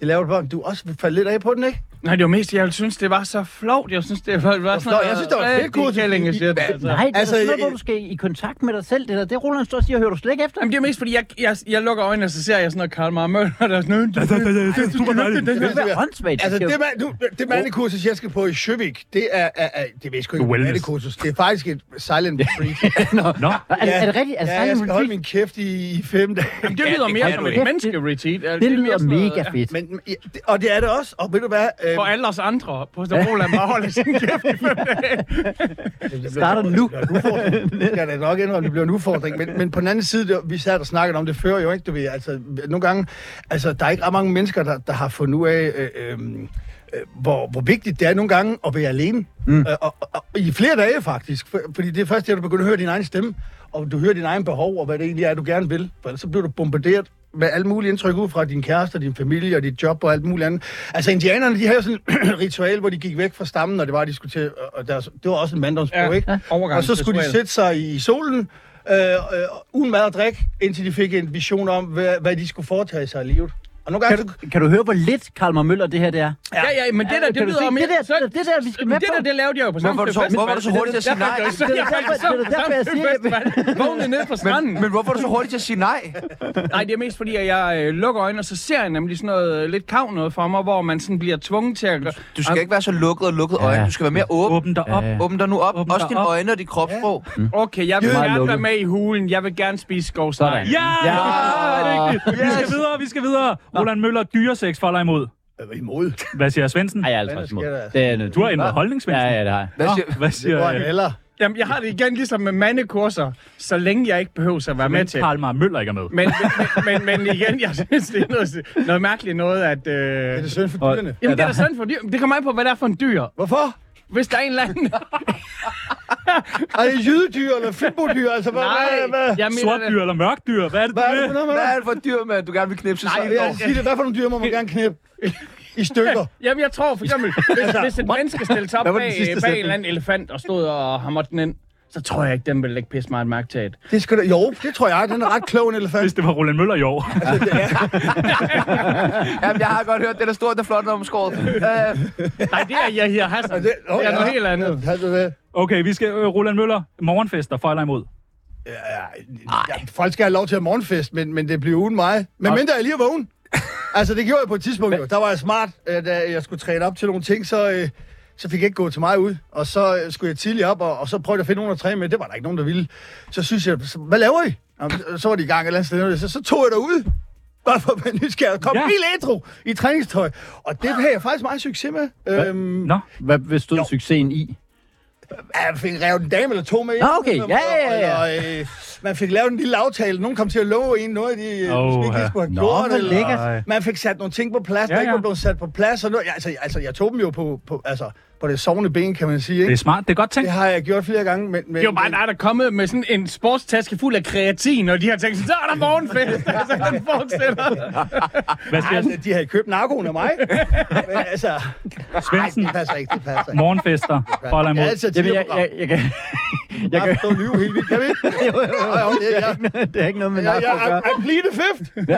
[SPEAKER 1] Det laver du bare. Du er også faldt lidt af på den, ikke?
[SPEAKER 5] Nej, det var mest, jeg synes, det var så flovt. Jeg synes, det var, var sådan
[SPEAKER 1] flot. Jeg synes, det var et fedt kursus.
[SPEAKER 5] Kællinge, siger det, altså.
[SPEAKER 4] Nej, det
[SPEAKER 1] Altså,
[SPEAKER 4] altså, er da sådan noget,
[SPEAKER 1] jeg-
[SPEAKER 4] hvor du skal i kontakt med dig selv. Det der, det Roland står og siger, hører du slet ikke efter?
[SPEAKER 5] Jamen, det er mest, fordi jeg, jeg, jeg lukker øjnene, og så ser jeg sådan noget Karl Marmøller, der er sådan noget. "Du skal lukke den her."
[SPEAKER 4] Det er håndsvagt.
[SPEAKER 1] Altså, det, man, du, det mandekursus, jeg skal på i Sjøvik, det er, er, er det ved jeg sgu ikke,
[SPEAKER 2] Wellness.
[SPEAKER 1] et mandekursus. Det er faktisk et silent retreat.
[SPEAKER 2] Nå,
[SPEAKER 4] [laughs] er, det- er det rigtigt? Altså,
[SPEAKER 1] ja,
[SPEAKER 4] ja,
[SPEAKER 1] jeg skal holde min kæft i, i fem dage.
[SPEAKER 5] Jamen, det lyder
[SPEAKER 3] det
[SPEAKER 5] mere
[SPEAKER 3] kan
[SPEAKER 5] som
[SPEAKER 3] du
[SPEAKER 5] et
[SPEAKER 3] ikke.
[SPEAKER 5] menneske-retreat. Altså,
[SPEAKER 4] det
[SPEAKER 5] er mere
[SPEAKER 4] lyder
[SPEAKER 5] sådan noget-
[SPEAKER 4] mega fedt.
[SPEAKER 1] Men, men- ja, det- og det er det også. Og ved du hvad? Øh,
[SPEAKER 5] For alle os andre på Roland bare
[SPEAKER 1] [laughs]
[SPEAKER 5] holder sin kæft i fem dage.
[SPEAKER 1] det
[SPEAKER 4] starter nu.
[SPEAKER 1] Det bliver en udfordring. Det skal jeg da nok indrømme, det bliver en udfordring. Men, men på den anden side, det, vi sad og snakkede om det før jo, ikke? Du ved, altså, nogle gange, altså, der er ikke ret mange mennesker, der, der har fundet ud af, øh, øh, øh, hvor, hvor vigtigt det er nogle gange at være alene. Mm. Øh, og, og, og, I flere dage faktisk. For, fordi det er først, at du begynder at høre din egen stemme, og du hører din egen behov, og hvad det egentlig er, du gerne vil. For ellers så bliver du bombarderet med alle mulige indtryk ud fra din kæreste, og din familie og dit job og alt muligt andet. Altså, indianerne, de havde jo sådan et [clears throat] ritual, hvor de gik væk fra stammen, og det var, de skulle til, og deres, det var også en manddomsprøve,
[SPEAKER 5] Ja.
[SPEAKER 1] ikke?
[SPEAKER 5] Overgangs-
[SPEAKER 1] Og så skulle de
[SPEAKER 5] ritual.
[SPEAKER 1] sætte sig i solen, øh, øh, uden mad og drik, indtil de fik en vision om, hvad, hvad de skulle foretage sig i livet. Og nogle gange...
[SPEAKER 4] Kan du, kan du høre, hvor lidt Karl Møller det her det er?
[SPEAKER 5] Ja, ja, men det der,
[SPEAKER 4] kan
[SPEAKER 5] det
[SPEAKER 4] du
[SPEAKER 5] lyder
[SPEAKER 4] se?
[SPEAKER 5] mere...
[SPEAKER 4] Det der- det der, vi skal med
[SPEAKER 5] Det der,
[SPEAKER 4] på.
[SPEAKER 5] det lavede jeg jo på samme
[SPEAKER 3] Hvorfor er du så- hvorfor er du så hurtig til at sige nej?
[SPEAKER 4] Det er derfor- det er derfor, jeg siger-
[SPEAKER 5] Vågnede ned på stranden.
[SPEAKER 3] Men hvorfor er du så hurtigt til at sige nej?
[SPEAKER 5] Nej, det er mest fordi, at jeg øh, lukker øjnene, og så ser jeg nemlig sådan noget øh, lidt kav noget for mig, hvor man sådan bliver tvunget til at...
[SPEAKER 3] Du skal ikke være så lukket og lukket øjne. Du skal være mere åben.
[SPEAKER 2] åbn dig op.
[SPEAKER 4] Ja.
[SPEAKER 3] Åbn dig nu op.
[SPEAKER 2] Åbn
[SPEAKER 3] Også
[SPEAKER 2] dig
[SPEAKER 3] dine
[SPEAKER 2] op.
[SPEAKER 3] øjne og dit kropssprog.
[SPEAKER 5] Okay, jeg vil
[SPEAKER 4] Mm. Meget
[SPEAKER 5] gerne være
[SPEAKER 4] lukket.
[SPEAKER 5] med i hulen. Jeg vil gerne spise skovsnegl.
[SPEAKER 4] Sådan.
[SPEAKER 2] Ja!
[SPEAKER 4] Ja!
[SPEAKER 2] ja! Det er rigtigt. Vi skal videre, vi skal videre. Roland Møller, dyresex for eller imod.
[SPEAKER 1] Øh, imod.
[SPEAKER 2] Hvad siger Svendsen?
[SPEAKER 4] Nej, jeg er altså
[SPEAKER 1] Hvad
[SPEAKER 4] også imod.
[SPEAKER 1] sker der?
[SPEAKER 4] Det er noget.
[SPEAKER 2] Du har ændret holdning,
[SPEAKER 4] Ja,
[SPEAKER 2] Svendsen.
[SPEAKER 4] ja, det har jeg.
[SPEAKER 3] Hvad siger...
[SPEAKER 2] Hvad
[SPEAKER 1] Det
[SPEAKER 2] siger
[SPEAKER 1] var en
[SPEAKER 2] øh,
[SPEAKER 1] eller.
[SPEAKER 5] Jamen, jeg har det igen ligesom med mandekurser, så længe jeg ikke behøver at være med til.
[SPEAKER 2] Karl Mar Møller ikke er med?
[SPEAKER 5] Men, men, men, men igen, jeg synes, det er noget, noget mærkeligt noget, at... Øh...
[SPEAKER 1] Det er
[SPEAKER 5] Jamen,
[SPEAKER 1] det synd for dyrene.
[SPEAKER 5] det er da sådan for dyr. Det kommer an på, hvad det er for en dyr.
[SPEAKER 1] Hvorfor?
[SPEAKER 5] Hvis der er en eller
[SPEAKER 4] [laughs]
[SPEAKER 5] anden...
[SPEAKER 1] Er det jydedyr eller fynbodyr? Altså, hvad, hvad, hvad,
[SPEAKER 5] jeg
[SPEAKER 2] Sort
[SPEAKER 5] mener,
[SPEAKER 2] dyr eller mørk dyr? Hvad er det,
[SPEAKER 1] hvad er det for
[SPEAKER 2] du vil?
[SPEAKER 1] noget med?
[SPEAKER 3] Hvad er det for et dyr, man, du gerne vil knipse sig?
[SPEAKER 1] Nej, det er, sige det. Hvad for nogle dyr må man gerne knippe? I stykker.
[SPEAKER 5] Jamen, jeg tror for eksempel, hvis, hvis et menneske stillede sig op
[SPEAKER 4] Hvad var den
[SPEAKER 5] bag,
[SPEAKER 4] sidste
[SPEAKER 5] bag en
[SPEAKER 4] sætning?
[SPEAKER 5] eller anden elefant og stod og hamrede den ind, så tror jeg ikke, den ville lægge pisse meget mærke til det.
[SPEAKER 1] Det skal da, jo, det tror jeg. Den er ret klog, en elefant.
[SPEAKER 2] Hvis det var Roland Møller [laughs] i år.
[SPEAKER 3] Jamen, jeg har godt hørt, den er stort og flot om skåret. Øh,
[SPEAKER 5] Nej, det er Yahya Hassan.
[SPEAKER 1] Det, oh,
[SPEAKER 5] Det er noget helt andet.
[SPEAKER 1] Ja, det, det.
[SPEAKER 2] Okay, vi skal... Øh, Roland Møller, morgenfester for eller imod?
[SPEAKER 1] Ja, ja, folk skal have lov til at morgenfest, men, men det bliver uden mig. Men mindre jeg lige er
[SPEAKER 2] [laughs]
[SPEAKER 1] vågen. Altså, det gjorde jeg på et tidspunkt jo. Der var jeg smart, øh, da jeg skulle træne op til nogle ting, så, øh, så fik jeg ikke gået til mig ud. Og så øh, skulle jeg tidligt op, og, og så prøvede jeg at finde nogen at træne med. Det var der ikke nogen, der ville. Så synes jeg, "Så hvad laver I? Jamen, så- Så var de i gang et eller andet sted. Så, så tog jeg derud. Bare for at være nysgerrig. Kom
[SPEAKER 2] Ja.
[SPEAKER 1] ja. helt ædru i træningstøj. Og det havde jeg faktisk meget succes med. Øhm,
[SPEAKER 2] Nå,
[SPEAKER 4] Hvad bestod succesen i?
[SPEAKER 1] Ja, man fik revet en dame eller to med. ind.
[SPEAKER 4] Nå, okay. Ja, ja, ja,
[SPEAKER 1] Eller, øh, man fik lavet en lille aftale. Nogen kom til at love en noget, de øh,
[SPEAKER 2] Åh,
[SPEAKER 1] oh, måske ikke
[SPEAKER 2] ja.
[SPEAKER 1] lige skulle have
[SPEAKER 4] Nå,
[SPEAKER 1] gjort.
[SPEAKER 4] hvor
[SPEAKER 1] eller-
[SPEAKER 4] lækkert.
[SPEAKER 2] Ej.
[SPEAKER 1] Man fik sat nogle ting på plads, ja,
[SPEAKER 2] Ja,
[SPEAKER 1] der ikke
[SPEAKER 2] ja.
[SPEAKER 1] var blevet sat på plads. Og noget. Ja, altså, altså, jeg tog dem jo på, på, altså, på det sovende ben, kan man sige.
[SPEAKER 2] det
[SPEAKER 1] Ikke?
[SPEAKER 2] er smart. Det er godt tænkt.
[SPEAKER 1] Det har jeg gjort flere gange. Men, men,
[SPEAKER 5] Det er jo bare dig, der er kommet med sådan en sportstaske fuld af kreatin, og de har tænkt, så er der morgenfest, altså den fortsætter.
[SPEAKER 2] Hvad
[SPEAKER 1] men,
[SPEAKER 2] siger
[SPEAKER 1] altså, de havde købt narkoen af mig.
[SPEAKER 2] [laughs]
[SPEAKER 1] men altså,
[SPEAKER 2] Svendsen?
[SPEAKER 1] det passer ikke, det passer ikke.
[SPEAKER 2] [laughs] Morgenfester for eller
[SPEAKER 1] Ja,
[SPEAKER 2] imod?
[SPEAKER 1] altså, det
[SPEAKER 4] Jamen,
[SPEAKER 1] er
[SPEAKER 4] jeg, jeg, jeg kan... Jeg
[SPEAKER 1] Jeg
[SPEAKER 4] kan...
[SPEAKER 1] kan stå og lyve helt vildt, kan
[SPEAKER 4] [laughs]
[SPEAKER 1] vi ikke? [laughs] Jo, jo, jo.
[SPEAKER 4] Det er ikke noget med
[SPEAKER 1] Jeg, jeg,
[SPEAKER 4] narko at
[SPEAKER 1] jeg,
[SPEAKER 4] gøre.
[SPEAKER 1] I, I plead the fifth.
[SPEAKER 4] [laughs]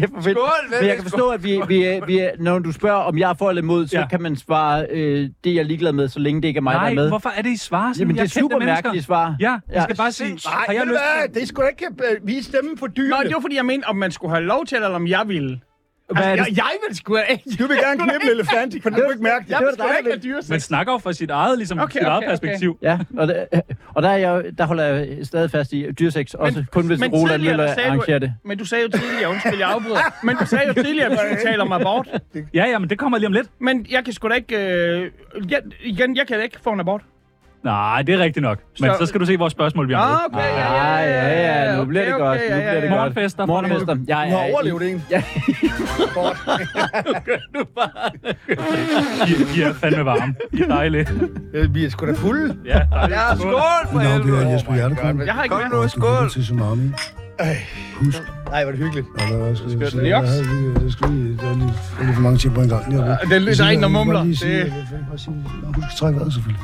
[SPEAKER 4] Kæft, hvor fedt.
[SPEAKER 3] Skål, ven.
[SPEAKER 4] Men jeg kan forstå, at vi, vi, er- vi, er- når du spørger, om jeg er for eller imod, så
[SPEAKER 2] Ja.
[SPEAKER 4] ja. kan man svare, øh, det er jeg ligeglad med, så længe det ikke er mig, der
[SPEAKER 2] Nej,
[SPEAKER 4] er med.
[SPEAKER 2] hvorfor er det, I svarer sådan?
[SPEAKER 4] Jamen, det
[SPEAKER 2] Jeg er
[SPEAKER 4] er
[SPEAKER 2] kendte
[SPEAKER 4] super mærkeligt
[SPEAKER 2] mennesker.
[SPEAKER 4] svar.
[SPEAKER 2] Ja, jeg skal
[SPEAKER 4] Ja.
[SPEAKER 2] bare sige,
[SPEAKER 1] Nej,
[SPEAKER 2] har jeg lyst til
[SPEAKER 1] det? Det skulle ikke øh, vise stemmen for dyrene.
[SPEAKER 5] Nå, det var fordi, jeg mente, om man skulle have lov til, eller om jeg ville.
[SPEAKER 2] Hvad er
[SPEAKER 5] Altså,
[SPEAKER 2] det?
[SPEAKER 5] jeg, jeg ville sgu ikke.
[SPEAKER 1] Du vil gerne knippe en elefant, for du kan ikke mærke det.
[SPEAKER 5] Jeg
[SPEAKER 4] var
[SPEAKER 5] ville sgu
[SPEAKER 4] dig,
[SPEAKER 5] da ikke
[SPEAKER 4] der
[SPEAKER 5] have dyresæk.
[SPEAKER 2] Man snakker jo fra sit eget, ligesom,
[SPEAKER 5] Okay,
[SPEAKER 2] sit
[SPEAKER 5] okay,
[SPEAKER 2] eget
[SPEAKER 5] okay.
[SPEAKER 2] perspektiv.
[SPEAKER 4] Ja, og, det, og der, er jeg, der holder jeg stadig fast i dyrseks, også kun hvis Roland
[SPEAKER 5] tidligere,
[SPEAKER 4] Møller
[SPEAKER 5] der sagde du-
[SPEAKER 4] arrangerer det.
[SPEAKER 5] Men du sagde jo tidligere, undskyld, jeg afbryder. Men du sagde jo tidligere, at vi skulle tale om abort.
[SPEAKER 2] Ja, ja, men det kommer lige om lidt.
[SPEAKER 5] Men jeg kan sgu da ikke... Øh, jeg, igen, jeg kan da ikke få en abort.
[SPEAKER 2] Nej, det er rigtigt nok. Men
[SPEAKER 5] Så-
[SPEAKER 2] så, skal du se vores spørgsmål, vi har med.
[SPEAKER 5] Ah, okay, ja, ja,
[SPEAKER 4] Ah,
[SPEAKER 5] ja,
[SPEAKER 4] ja, ja, nu bliver det
[SPEAKER 5] okay,
[SPEAKER 4] godt,
[SPEAKER 5] okay,
[SPEAKER 4] nu
[SPEAKER 5] ja,
[SPEAKER 4] bliver det
[SPEAKER 5] ja,
[SPEAKER 4] godt.
[SPEAKER 2] Morgenfester.
[SPEAKER 4] Morgenfester. Jeg
[SPEAKER 1] Du
[SPEAKER 4] er
[SPEAKER 1] har
[SPEAKER 4] i-
[SPEAKER 1] overlevet en.
[SPEAKER 4] Ja.
[SPEAKER 1] Godt.
[SPEAKER 2] I, I er fandme varme. I er dejlige.
[SPEAKER 1] Øh, Vi er sgu da fulde.
[SPEAKER 2] Ja, dejligt.
[SPEAKER 3] Ja, skål for
[SPEAKER 6] Mit navn det
[SPEAKER 3] helvede.
[SPEAKER 6] er Jesper Hjertekron.
[SPEAKER 5] Jeg har ikke
[SPEAKER 3] Kom
[SPEAKER 5] mere.
[SPEAKER 3] nu,
[SPEAKER 6] Og du
[SPEAKER 3] skål.
[SPEAKER 6] lytter til Tsunami. Husk,
[SPEAKER 1] Nej, hvor er det hyggeligt.
[SPEAKER 6] og der er også...
[SPEAKER 5] Skal den
[SPEAKER 6] så jeg
[SPEAKER 5] joks?
[SPEAKER 6] havde lige- Der skal lige... Der er lige, der er lige for mange ting på en gang. Ja,
[SPEAKER 5] der er en, der mumler. Det-
[SPEAKER 6] Det... Husk at trække vejret, selvfølgelig.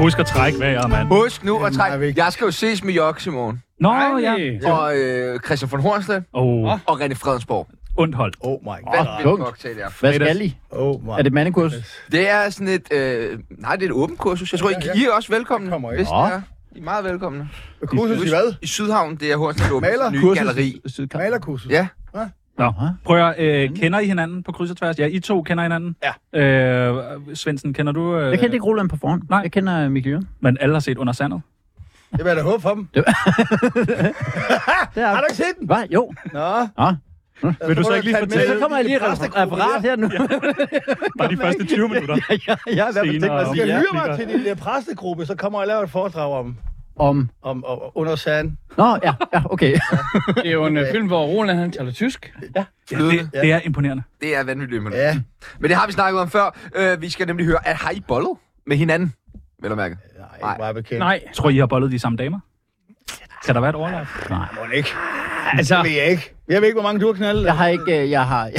[SPEAKER 2] Husk at trække vejret, mand.
[SPEAKER 3] Husk nu at
[SPEAKER 1] meget
[SPEAKER 3] trække.
[SPEAKER 1] vigtigt.
[SPEAKER 3] Jeg skal jo ses med Joks i morgen.
[SPEAKER 2] Nå,
[SPEAKER 5] Ej.
[SPEAKER 2] ja.
[SPEAKER 3] Og øh, Christian von Hornslet
[SPEAKER 2] Åh, oh,
[SPEAKER 3] og René Fredensborg.
[SPEAKER 2] ondt hold.
[SPEAKER 1] Oh my god.
[SPEAKER 3] Hvad oh,
[SPEAKER 4] tungt.
[SPEAKER 3] cocktail er.
[SPEAKER 4] Hvad skal I?
[SPEAKER 1] Oh my
[SPEAKER 4] Er det mandekursus?
[SPEAKER 3] Det er sådan et... Øh, nej, det er et åbent kursus. Jeg tror, I, I er også velkomne.
[SPEAKER 1] Kommer I.
[SPEAKER 3] Hvis det
[SPEAKER 4] Nå.
[SPEAKER 3] er. I er meget velkomne.
[SPEAKER 1] Kursus i hvad?
[SPEAKER 3] I Sydhavn, det er Hornslet åbent.
[SPEAKER 1] Maler?
[SPEAKER 3] Nye
[SPEAKER 4] Kursus?
[SPEAKER 3] galleri.
[SPEAKER 4] Sydkamp.
[SPEAKER 1] Malerkursus.
[SPEAKER 3] Ja.
[SPEAKER 2] Nå, prøv at høre, øh, kender I hinanden på kryds og tværs? Ja, I to kender hinanden. Ja. Øh, Svendsen, kender du? Øh,
[SPEAKER 4] Jeg kendte ikke Roland på forhånd.
[SPEAKER 2] Nej.
[SPEAKER 4] Jeg kender øh, Mikkel Jørgen.
[SPEAKER 2] Men alle har set Under Sandet.
[SPEAKER 1] Det vil jeg da håbe for dem.
[SPEAKER 4] Det er...
[SPEAKER 1] Har du ikke set den?
[SPEAKER 4] Hvad? Jo.
[SPEAKER 1] Nå. Altså,
[SPEAKER 4] Nå.
[SPEAKER 2] Vil du så ikke lige
[SPEAKER 1] Men
[SPEAKER 4] Men
[SPEAKER 2] fortælle
[SPEAKER 4] så kommer jeg lige
[SPEAKER 1] det er
[SPEAKER 4] et
[SPEAKER 1] præst, der
[SPEAKER 4] referat her nu. [laughs]
[SPEAKER 2] bare de første 20 minutter?
[SPEAKER 4] ja, ja, hvad
[SPEAKER 2] Senere.
[SPEAKER 4] tænker
[SPEAKER 1] Skal jeg
[SPEAKER 4] jeg?
[SPEAKER 1] hyre mig til din øh, præstegruppe, så kommer jeg og laver et foredrag om,
[SPEAKER 4] Om...
[SPEAKER 1] om, om under sand.
[SPEAKER 4] Nå, ja, ja, okay.
[SPEAKER 5] Det er jo en øh, film, hvor Roland han taler tysk.
[SPEAKER 2] Ja, det, det er imponerende.
[SPEAKER 3] Det er vanvittigt. Men,
[SPEAKER 1] Ja.
[SPEAKER 3] men det har vi snakket om før. Øh, vi skal nemlig høre, at har I bollet med hinanden? Vel at mærke.
[SPEAKER 1] Nej,
[SPEAKER 3] Nej.
[SPEAKER 1] ikke meget bekendt.
[SPEAKER 5] Nej,
[SPEAKER 2] Øh, Tror I, I har bollet de samme damer? Kan der være et overlap? Nej.
[SPEAKER 1] Må det ikke.
[SPEAKER 5] altså...
[SPEAKER 1] Det ved jeg ikke. Jeg ved ikke, hvor mange du har knaldet.
[SPEAKER 4] Jeg har ikke... øh, Jeg har... [laughs]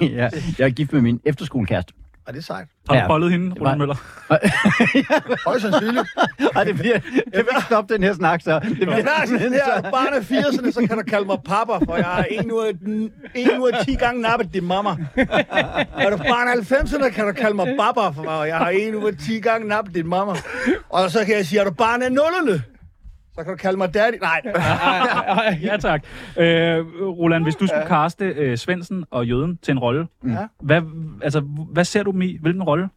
[SPEAKER 4] ja, jeg er gift med min efterskolekæreste.
[SPEAKER 1] Ej, det er sejt.
[SPEAKER 2] Har du
[SPEAKER 4] Ja.
[SPEAKER 2] bollet hende,
[SPEAKER 4] var-
[SPEAKER 2] Roland Møller?
[SPEAKER 1] Højst sandsynligt.
[SPEAKER 4] Nej, det bliver... Jeg vil ikke stoppe den her snak, så. Det bliver
[SPEAKER 1] Når jeg sådan [laughs] her barn af 80'erne, så kan du kalde mig papper, for jeg er en ud af, en ud af 10 gange nappet din mamma. Er du barn af 90'erne, kan du kalde mig babber, for jeg har en ud af 10 gange nappet din mamma. Og så kan jeg sige, er du barn af 0'erne? Så kan du kalde mig daddy. Nej,
[SPEAKER 2] Ja, tak. Øh, Roland, hvis du skulle kaste øh, Svendsen og Jøden til en rolle,
[SPEAKER 1] Ja.
[SPEAKER 2] hvad, altså, hvad ser du dem i? Hvilken rolle?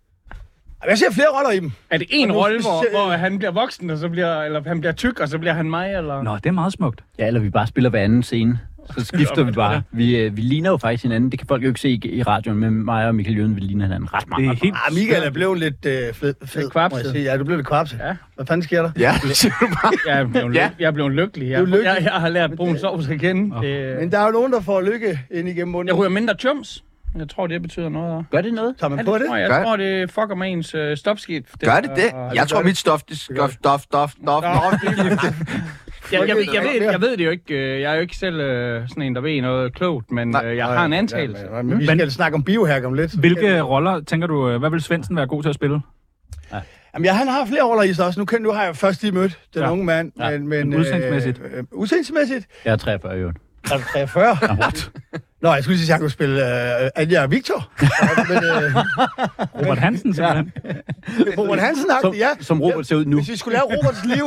[SPEAKER 1] jeg ser flere roller i dem.
[SPEAKER 5] [laughs] Er det en
[SPEAKER 1] Og nu-
[SPEAKER 5] rolle, hvor, hvor han bliver voksen, og så bliver, eller han bliver tyk, og så bliver han mig, eller...
[SPEAKER 2] Nå, det er meget smukt.
[SPEAKER 4] Ja, eller vi bare spiller hver anden scene. Så skifter vi bare. Vi, øh, vi ligner jo faktisk hinanden. Det kan folk jo ikke se i, i radioen, men mig og Michael Jøden, vi ligner hinanden ret
[SPEAKER 2] Det
[SPEAKER 4] meget.
[SPEAKER 2] er helt...
[SPEAKER 1] Ah, Michael er blevet lidt øh, fed. fed
[SPEAKER 5] Lidt kvapset.
[SPEAKER 1] må jeg sige. Ja, du blev lidt kvapset.
[SPEAKER 5] Ja.
[SPEAKER 1] Hvad fanden sker der?
[SPEAKER 3] Ja, det siger du bare.
[SPEAKER 5] Jeg er blevet,
[SPEAKER 3] Ja.
[SPEAKER 5] ja. jeg er blevet lykkelig. Jeg,
[SPEAKER 1] Du er lykkelig.
[SPEAKER 5] Jeg, jeg har lært brun sovs at kende. Det,
[SPEAKER 1] Men der er jo nogen, der får lykke ind igennem munden.
[SPEAKER 5] jeg ryger mindre tjums. Jeg tror, det betyder noget.
[SPEAKER 4] Gør det noget?
[SPEAKER 1] Tager man
[SPEAKER 5] Jeg
[SPEAKER 1] på det?
[SPEAKER 5] tror, jeg
[SPEAKER 3] Gør-
[SPEAKER 5] tror, det fucker med ens øh, stopskift.
[SPEAKER 3] [laughs] Gør det det?
[SPEAKER 5] og-
[SPEAKER 3] Jeg tror, mit stof, det stof, stof, stof, stof,
[SPEAKER 5] Jeg, jeg, ved- jeg, ved, jeg ved det jo ikke. øh, Jeg er jo ikke selv øh, sådan en, der ved noget klogt, men øh, jeg har en antagelse. Mm.
[SPEAKER 1] Ja, men, men, vi skal snakke om biohack om lidt.
[SPEAKER 2] Hvilke roller tænker du, øh, hvad vil Svendsen være god til at spille?
[SPEAKER 1] Jamen, ja, han har flere roller i sig også. Nu, kan, nu har jeg først lige mødt den
[SPEAKER 2] Ja.
[SPEAKER 1] ja. unge mand.
[SPEAKER 4] Ja.
[SPEAKER 1] Men, men,
[SPEAKER 2] Men udseendsmæssigt?
[SPEAKER 1] Øh, øh, udsendsmæssigt?
[SPEAKER 4] Jeg er 43 i øvrigt.
[SPEAKER 1] Er du 43? What? [laughs] Nå, jeg skulle sige, at jeg kunne spille øh, Anja og Victor. [laughs] men øh,
[SPEAKER 2] Robert Hansen, simpelthen.
[SPEAKER 1] Roman Hansen har det, ja.
[SPEAKER 4] Som Robert ser ud nu.
[SPEAKER 1] Hvis vi skulle lave Roberts liv,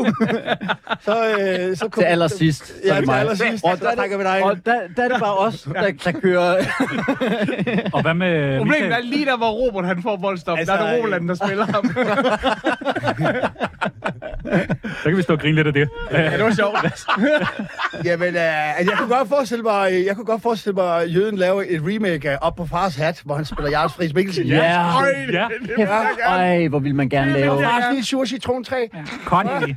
[SPEAKER 1] så... Øh, så
[SPEAKER 4] Til allersidst. så er
[SPEAKER 1] Ja,
[SPEAKER 4] det
[SPEAKER 1] til
[SPEAKER 4] mig.
[SPEAKER 1] allersidst.
[SPEAKER 4] Og
[SPEAKER 1] Så
[SPEAKER 4] der,
[SPEAKER 1] trækker vi dig
[SPEAKER 4] og
[SPEAKER 1] ind.
[SPEAKER 4] der, der er det bare os, der, der kører...
[SPEAKER 2] Og hvad med
[SPEAKER 5] [laughs] Problemet er
[SPEAKER 2] Michael?
[SPEAKER 5] lige der, hvor Robert han får boldstop. Altså,
[SPEAKER 1] Altså,
[SPEAKER 5] der er det
[SPEAKER 1] øh,
[SPEAKER 5] Roland, der spiller ham.
[SPEAKER 2] Så kan vi stå og grine lidt af det. Øh,
[SPEAKER 5] ja, det var sjovt.
[SPEAKER 1] Jamen, øh, altså, jeg kunne godt forestille mig, jeg kunne godt forestille mig, at Jøden laver et remake af Op på fars hat, hvor han spiller Jarls Friis Mikkelsen.
[SPEAKER 4] Ja.
[SPEAKER 2] Ja,
[SPEAKER 4] Kæft, Ej, hvor vil man gerne lave...
[SPEAKER 1] Fars lille sushi trontræ.
[SPEAKER 2] Connie.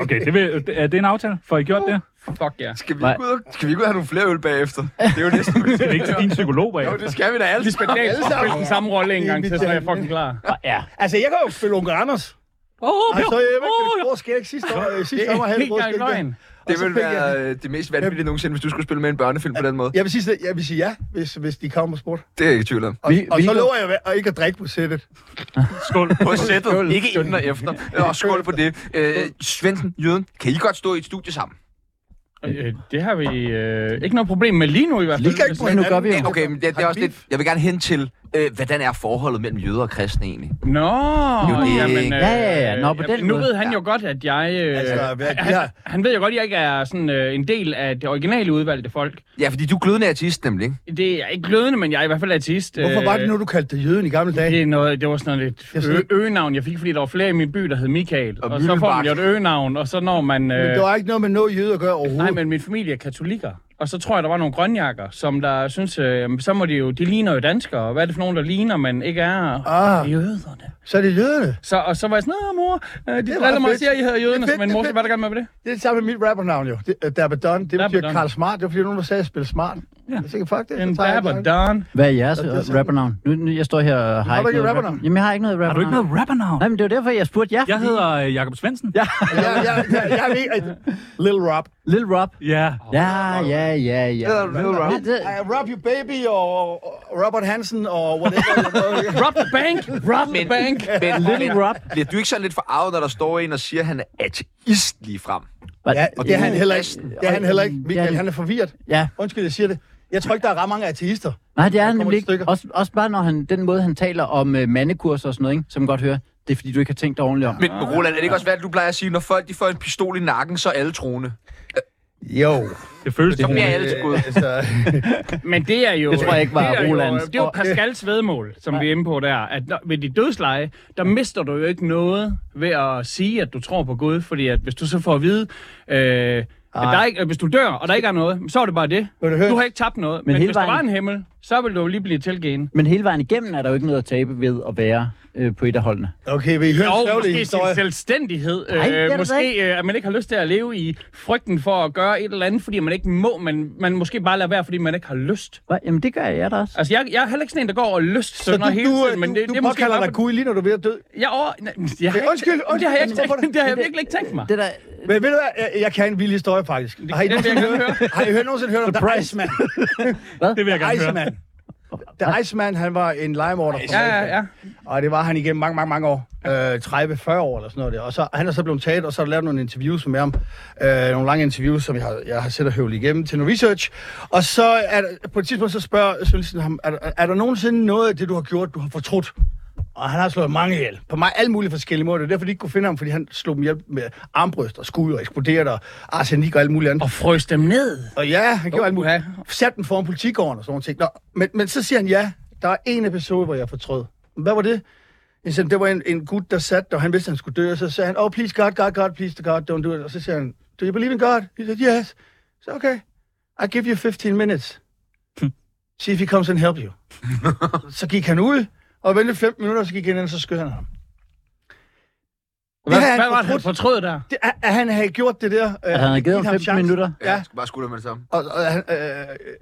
[SPEAKER 2] Okay, det, vil, det- er det en aftale? Får I gjort det?
[SPEAKER 5] Fuck ja.
[SPEAKER 3] Skal vi, ikke ud, og- skal vi ikke ud og have nogle flere øl bagefter? Det er jo [laughs] næsten...
[SPEAKER 2] Skal vi ikke til din psykolog bag?
[SPEAKER 3] Jo, det skal vi da alle.
[SPEAKER 5] Lisbeth Dahl skal spille den samme rolle en gang til, så er jeg fucking klar.
[SPEAKER 4] Ja,
[SPEAKER 1] Altså, jeg kan jo spille Onkel Anders.
[SPEAKER 2] Åh,
[SPEAKER 1] Ej, så er jeg ikke
[SPEAKER 2] åh,
[SPEAKER 1] det store skæg sidste år. øh, Sidste sommer havde jeg
[SPEAKER 5] Helt
[SPEAKER 1] et grå
[SPEAKER 5] gang i
[SPEAKER 1] skæg der.
[SPEAKER 5] løgn.
[SPEAKER 3] Det
[SPEAKER 1] Og så
[SPEAKER 3] ville
[SPEAKER 1] fik
[SPEAKER 3] være øh, det mest vanvittige nogensinde, hvis du skulle spille med i en børnefilm på den måde.
[SPEAKER 1] Jeg vil sige, jeg vil sige ja, hvis, hvis de kommer og spurgte.
[SPEAKER 3] Det er jeg ikke i tvivl [laughs] om.
[SPEAKER 1] Og,
[SPEAKER 4] Vi-
[SPEAKER 1] vi, og
[SPEAKER 4] vi-
[SPEAKER 1] så lover jeg at ikke at drikke på sættet.
[SPEAKER 2] skål.
[SPEAKER 3] På sættet, ikke inden og efter. Og skål på det. Øh, Svendsen, Jøden, kan I godt stå i et studie sammen?
[SPEAKER 5] Øh, det har vi øh, ikke noget problem med lige nu i hvert fald.
[SPEAKER 1] Ligger ikke på
[SPEAKER 5] Hvis-
[SPEAKER 4] Men nu gør vi jo.
[SPEAKER 3] Ja, okay, men det, det er også lidt... Jeg vil gerne hen til, øh, hvordan er forholdet mellem jøder og kristne egentlig?
[SPEAKER 5] Nå,
[SPEAKER 3] Jo, det-
[SPEAKER 5] jamen, øh,
[SPEAKER 4] Ja, ja, ja. Nå, på
[SPEAKER 5] jamen,
[SPEAKER 4] den
[SPEAKER 5] nu
[SPEAKER 4] måde.
[SPEAKER 5] ved han jo godt, at jeg... Øh,
[SPEAKER 1] Altså,
[SPEAKER 5] altså,
[SPEAKER 1] hvad-
[SPEAKER 5] han,
[SPEAKER 1] ja.
[SPEAKER 5] han ved jo godt, at jeg ikke er sådan, øh, en del af det originale udvalgte folk.
[SPEAKER 3] Ja, fordi du er glødende artist nemlig, ikke?
[SPEAKER 5] Det er ikke glødende, men jeg er i hvert fald ateist.
[SPEAKER 1] Hvorfor var
[SPEAKER 5] øh,
[SPEAKER 1] det nu, du kaldte dig jøden i gamle dage?
[SPEAKER 5] Det, er noget, det var sådan noget
[SPEAKER 1] Jeg
[SPEAKER 5] et
[SPEAKER 1] synes-
[SPEAKER 5] ø- øgenavn, jeg fik, fordi der var flere i min by, der hed Michael.
[SPEAKER 3] Og
[SPEAKER 5] Og, og så får
[SPEAKER 3] Mylbak.
[SPEAKER 5] man jo et øgenavn, og så når man...
[SPEAKER 1] Men
[SPEAKER 5] Øh,
[SPEAKER 1] det var ikke noget med noget jøde at gøre
[SPEAKER 5] Nej,
[SPEAKER 1] overhovedet.
[SPEAKER 5] men min familie er katolikker. Og så tror jeg, der var nogle grønjakker, som der synes, øh, jamen, så må de jo, de ligner jo danskere. og Hvad er det for nogen, der ligner, men ikke er?
[SPEAKER 1] Ah.
[SPEAKER 5] Jøderne.
[SPEAKER 1] Så er det jøderne.
[SPEAKER 5] Så, og så var jeg sådan, "Nå, mor, øh, de
[SPEAKER 1] var
[SPEAKER 5] driller mig og
[SPEAKER 1] fedt.
[SPEAKER 5] siger, at I hedder
[SPEAKER 1] Det
[SPEAKER 5] jøderne,
[SPEAKER 1] er fedt,
[SPEAKER 5] men
[SPEAKER 1] det er
[SPEAKER 5] mor, hvad
[SPEAKER 1] fedt.
[SPEAKER 5] er der gør med det?
[SPEAKER 1] Det er det samme med mit rappernavn jo. Det, uh, Dabadon, det betyder
[SPEAKER 5] Dabadon.
[SPEAKER 1] Karl Smart. Det var fordi, nogen der sagde, at jeg spillede smart. Ja. Jeg tænkte, fuck det.
[SPEAKER 5] En
[SPEAKER 1] så tager jeg
[SPEAKER 5] dab
[SPEAKER 1] det.
[SPEAKER 5] og don.
[SPEAKER 4] Hvad er jeres øh,
[SPEAKER 1] det er sådan-
[SPEAKER 4] rappernavn? Nu, nu, jeg står her og har
[SPEAKER 1] Har du ikke et
[SPEAKER 4] noget
[SPEAKER 1] rappernavn?
[SPEAKER 4] rap- Jamen, jeg har ikke noget rappernavn.
[SPEAKER 2] Har du ikke noget rappernavn?
[SPEAKER 4] Nej, men det var derfor, jeg spurgte jer.
[SPEAKER 2] Jeg
[SPEAKER 4] fordi-
[SPEAKER 2] hedder øh, Jakob Svendsen. Ja.
[SPEAKER 1] Ja, ja, ja, jeg ved, at- Lil Rob.
[SPEAKER 4] Lil Rob.
[SPEAKER 2] ja.
[SPEAKER 4] Ja, ja, ja, ja.
[SPEAKER 3] Lil Rob.
[SPEAKER 4] Det- det-
[SPEAKER 1] I Rob You Baby og og Robert Hansen og whatever.
[SPEAKER 5] Rob the bank! Rob the bank!
[SPEAKER 3] [laughs] Men,
[SPEAKER 4] Lil Rob.
[SPEAKER 3] Bliver du ikke sådan lidt forarvet, når der står en og siger, at han er ateist lige frem?
[SPEAKER 1] ja,
[SPEAKER 3] Og
[SPEAKER 1] det er
[SPEAKER 3] du-
[SPEAKER 1] han heller ikke. Det er han heller ikke. Michael,
[SPEAKER 4] Ja.
[SPEAKER 1] han er forvirret.
[SPEAKER 4] Ja,
[SPEAKER 1] Undskyld, jeg siger det. Jeg tror ikke, der er ret mange ateister.
[SPEAKER 4] nej, det er han
[SPEAKER 1] kommer
[SPEAKER 4] nemlig
[SPEAKER 1] et
[SPEAKER 4] ikke.
[SPEAKER 1] stykke.
[SPEAKER 4] Også, også bare når han, den måde, han taler om øh, mandekurser og sådan noget, ikke? som man godt hører, det er fordi, du ikke har tænkt dig ordentligt om.
[SPEAKER 3] Men Roland, er det ikke også værd, at du plejer at sige, når folk de får en pistol i nakken, så er alle troende?
[SPEAKER 1] Jo.
[SPEAKER 2] Det føles
[SPEAKER 3] Så
[SPEAKER 2] det.
[SPEAKER 3] bliver alle til Gud.
[SPEAKER 1] Altså,
[SPEAKER 5] Men det er jo...
[SPEAKER 4] Det tror jeg ikke var
[SPEAKER 5] det er
[SPEAKER 4] Rolands.
[SPEAKER 5] Jo, øh, det er jo Pascals vedmål, som vi er inde på der. At når, ved dit dødsleje, der mister du jo ikke noget ved at sige, at du tror på Gud. Fordi at hvis du så får at vide... Øh, at der er ikke, at hvis du dør, og der ikke er noget, så er det bare det.
[SPEAKER 1] Vil du høre?
[SPEAKER 5] Du har ikke tabt noget. Men,
[SPEAKER 4] hele
[SPEAKER 5] men hvis der var
[SPEAKER 4] vejen-
[SPEAKER 5] en himmel, så ville du jo lige blive tilgivet.
[SPEAKER 4] Men hele vejen igennem er der jo ikke noget at tabe ved at være øh, på et af holdene.
[SPEAKER 1] okay, vil I høre en
[SPEAKER 5] Og
[SPEAKER 1] sørgelig
[SPEAKER 5] måske sin
[SPEAKER 1] historie?
[SPEAKER 5] selvstændighed.
[SPEAKER 4] Nej, det er
[SPEAKER 5] øh,
[SPEAKER 4] det da
[SPEAKER 5] måske, øh, at man ikke har lyst til at leve i frygten for at gøre et eller andet, fordi man ikke må. Man, man måske bare lader være, fordi man ikke har lyst.
[SPEAKER 4] Hva? Jamen, det gør jeg da også.
[SPEAKER 5] Altså, jeg, jeg er heller ikke sådan en, der går og lyst
[SPEAKER 1] Så du,
[SPEAKER 5] hele
[SPEAKER 1] du, øh,
[SPEAKER 5] tiden, men det,
[SPEAKER 1] du,
[SPEAKER 5] det
[SPEAKER 1] du
[SPEAKER 5] er måske
[SPEAKER 1] påkalder
[SPEAKER 5] bare-
[SPEAKER 1] dig Gud lige når du er ved at dø.
[SPEAKER 5] Jeg over... Nej, men jeg har
[SPEAKER 1] Ja,
[SPEAKER 5] ikke,
[SPEAKER 1] undskyld,
[SPEAKER 5] det har jeg, ikke
[SPEAKER 1] undskyld.
[SPEAKER 5] tænkt, det har jeg virkelig ikke tænkt mig.
[SPEAKER 4] Det der, øh,
[SPEAKER 1] Men ved du hvad, jeg, jeg kan en vild historie faktisk. Har I
[SPEAKER 5] det vil jeg
[SPEAKER 1] nogensinde
[SPEAKER 5] gerne høre.
[SPEAKER 1] hørt, har I hørt, nogensinde hørt om The Iceman?
[SPEAKER 2] Det vil jeg gerne høre.
[SPEAKER 1] Iceman. The Iceman, han var en legemorder. fra
[SPEAKER 5] Ja, ja,
[SPEAKER 1] Malta.
[SPEAKER 5] ja.
[SPEAKER 1] Og det var han igennem mange, mange, mange år. Øh, 30-40 år eller sådan noget der. Og så, han er så blevet taget, og så har jeg lavet nogle interviews med ham. Øh, nogle lange interviews, som jeg har, jeg har siddet og høvlet igennem til noget research. Og så er der, på et tidspunkt, så spørger journalisten ham, er, der- er der nogensinde noget af det, du har gjort, du har fortrudt? Og han har slået mange ihjel. På mig alle mulige forskellige måder. Det er derfor, de ikke kunne finde ham, fordi han slog dem ihjel med armbryst og skud og eksploderede og arsenik og alt muligt andet.
[SPEAKER 5] Og frøs dem ned.
[SPEAKER 1] Og ja, han gjorde alt muligt.
[SPEAKER 5] Uha.
[SPEAKER 1] Sat den foran politigården og sådan nogle ting. Nå, men, men så siger han, ja, der er en episode, hvor jeg fortrød. Hvad var det? Jeg sagde, det var en, en gut, der sat, og han vidste, han skulle dø. Og så sagde han, oh, please God, God, God, please God, don't do it. Og så siger han, do you believe in God? He said, yes. Så okay, I'll give you 15 minutes.
[SPEAKER 4] Hm.
[SPEAKER 1] See if he comes and
[SPEAKER 4] [laughs]
[SPEAKER 1] help you. så gik han ud, og ventede 15 minutter, og så gik han ind, og så skød han ham.
[SPEAKER 5] Hvad,
[SPEAKER 1] har han
[SPEAKER 5] hvad var det, han
[SPEAKER 1] fortrudt.
[SPEAKER 5] fortrød der?
[SPEAKER 1] Det, at, at han havde gjort det der. øh,
[SPEAKER 4] at han har givet ham 15 minutter.
[SPEAKER 3] Ja,
[SPEAKER 1] Ja.
[SPEAKER 3] jeg skal bare skulle med det samme.
[SPEAKER 1] Og, og, han, øh,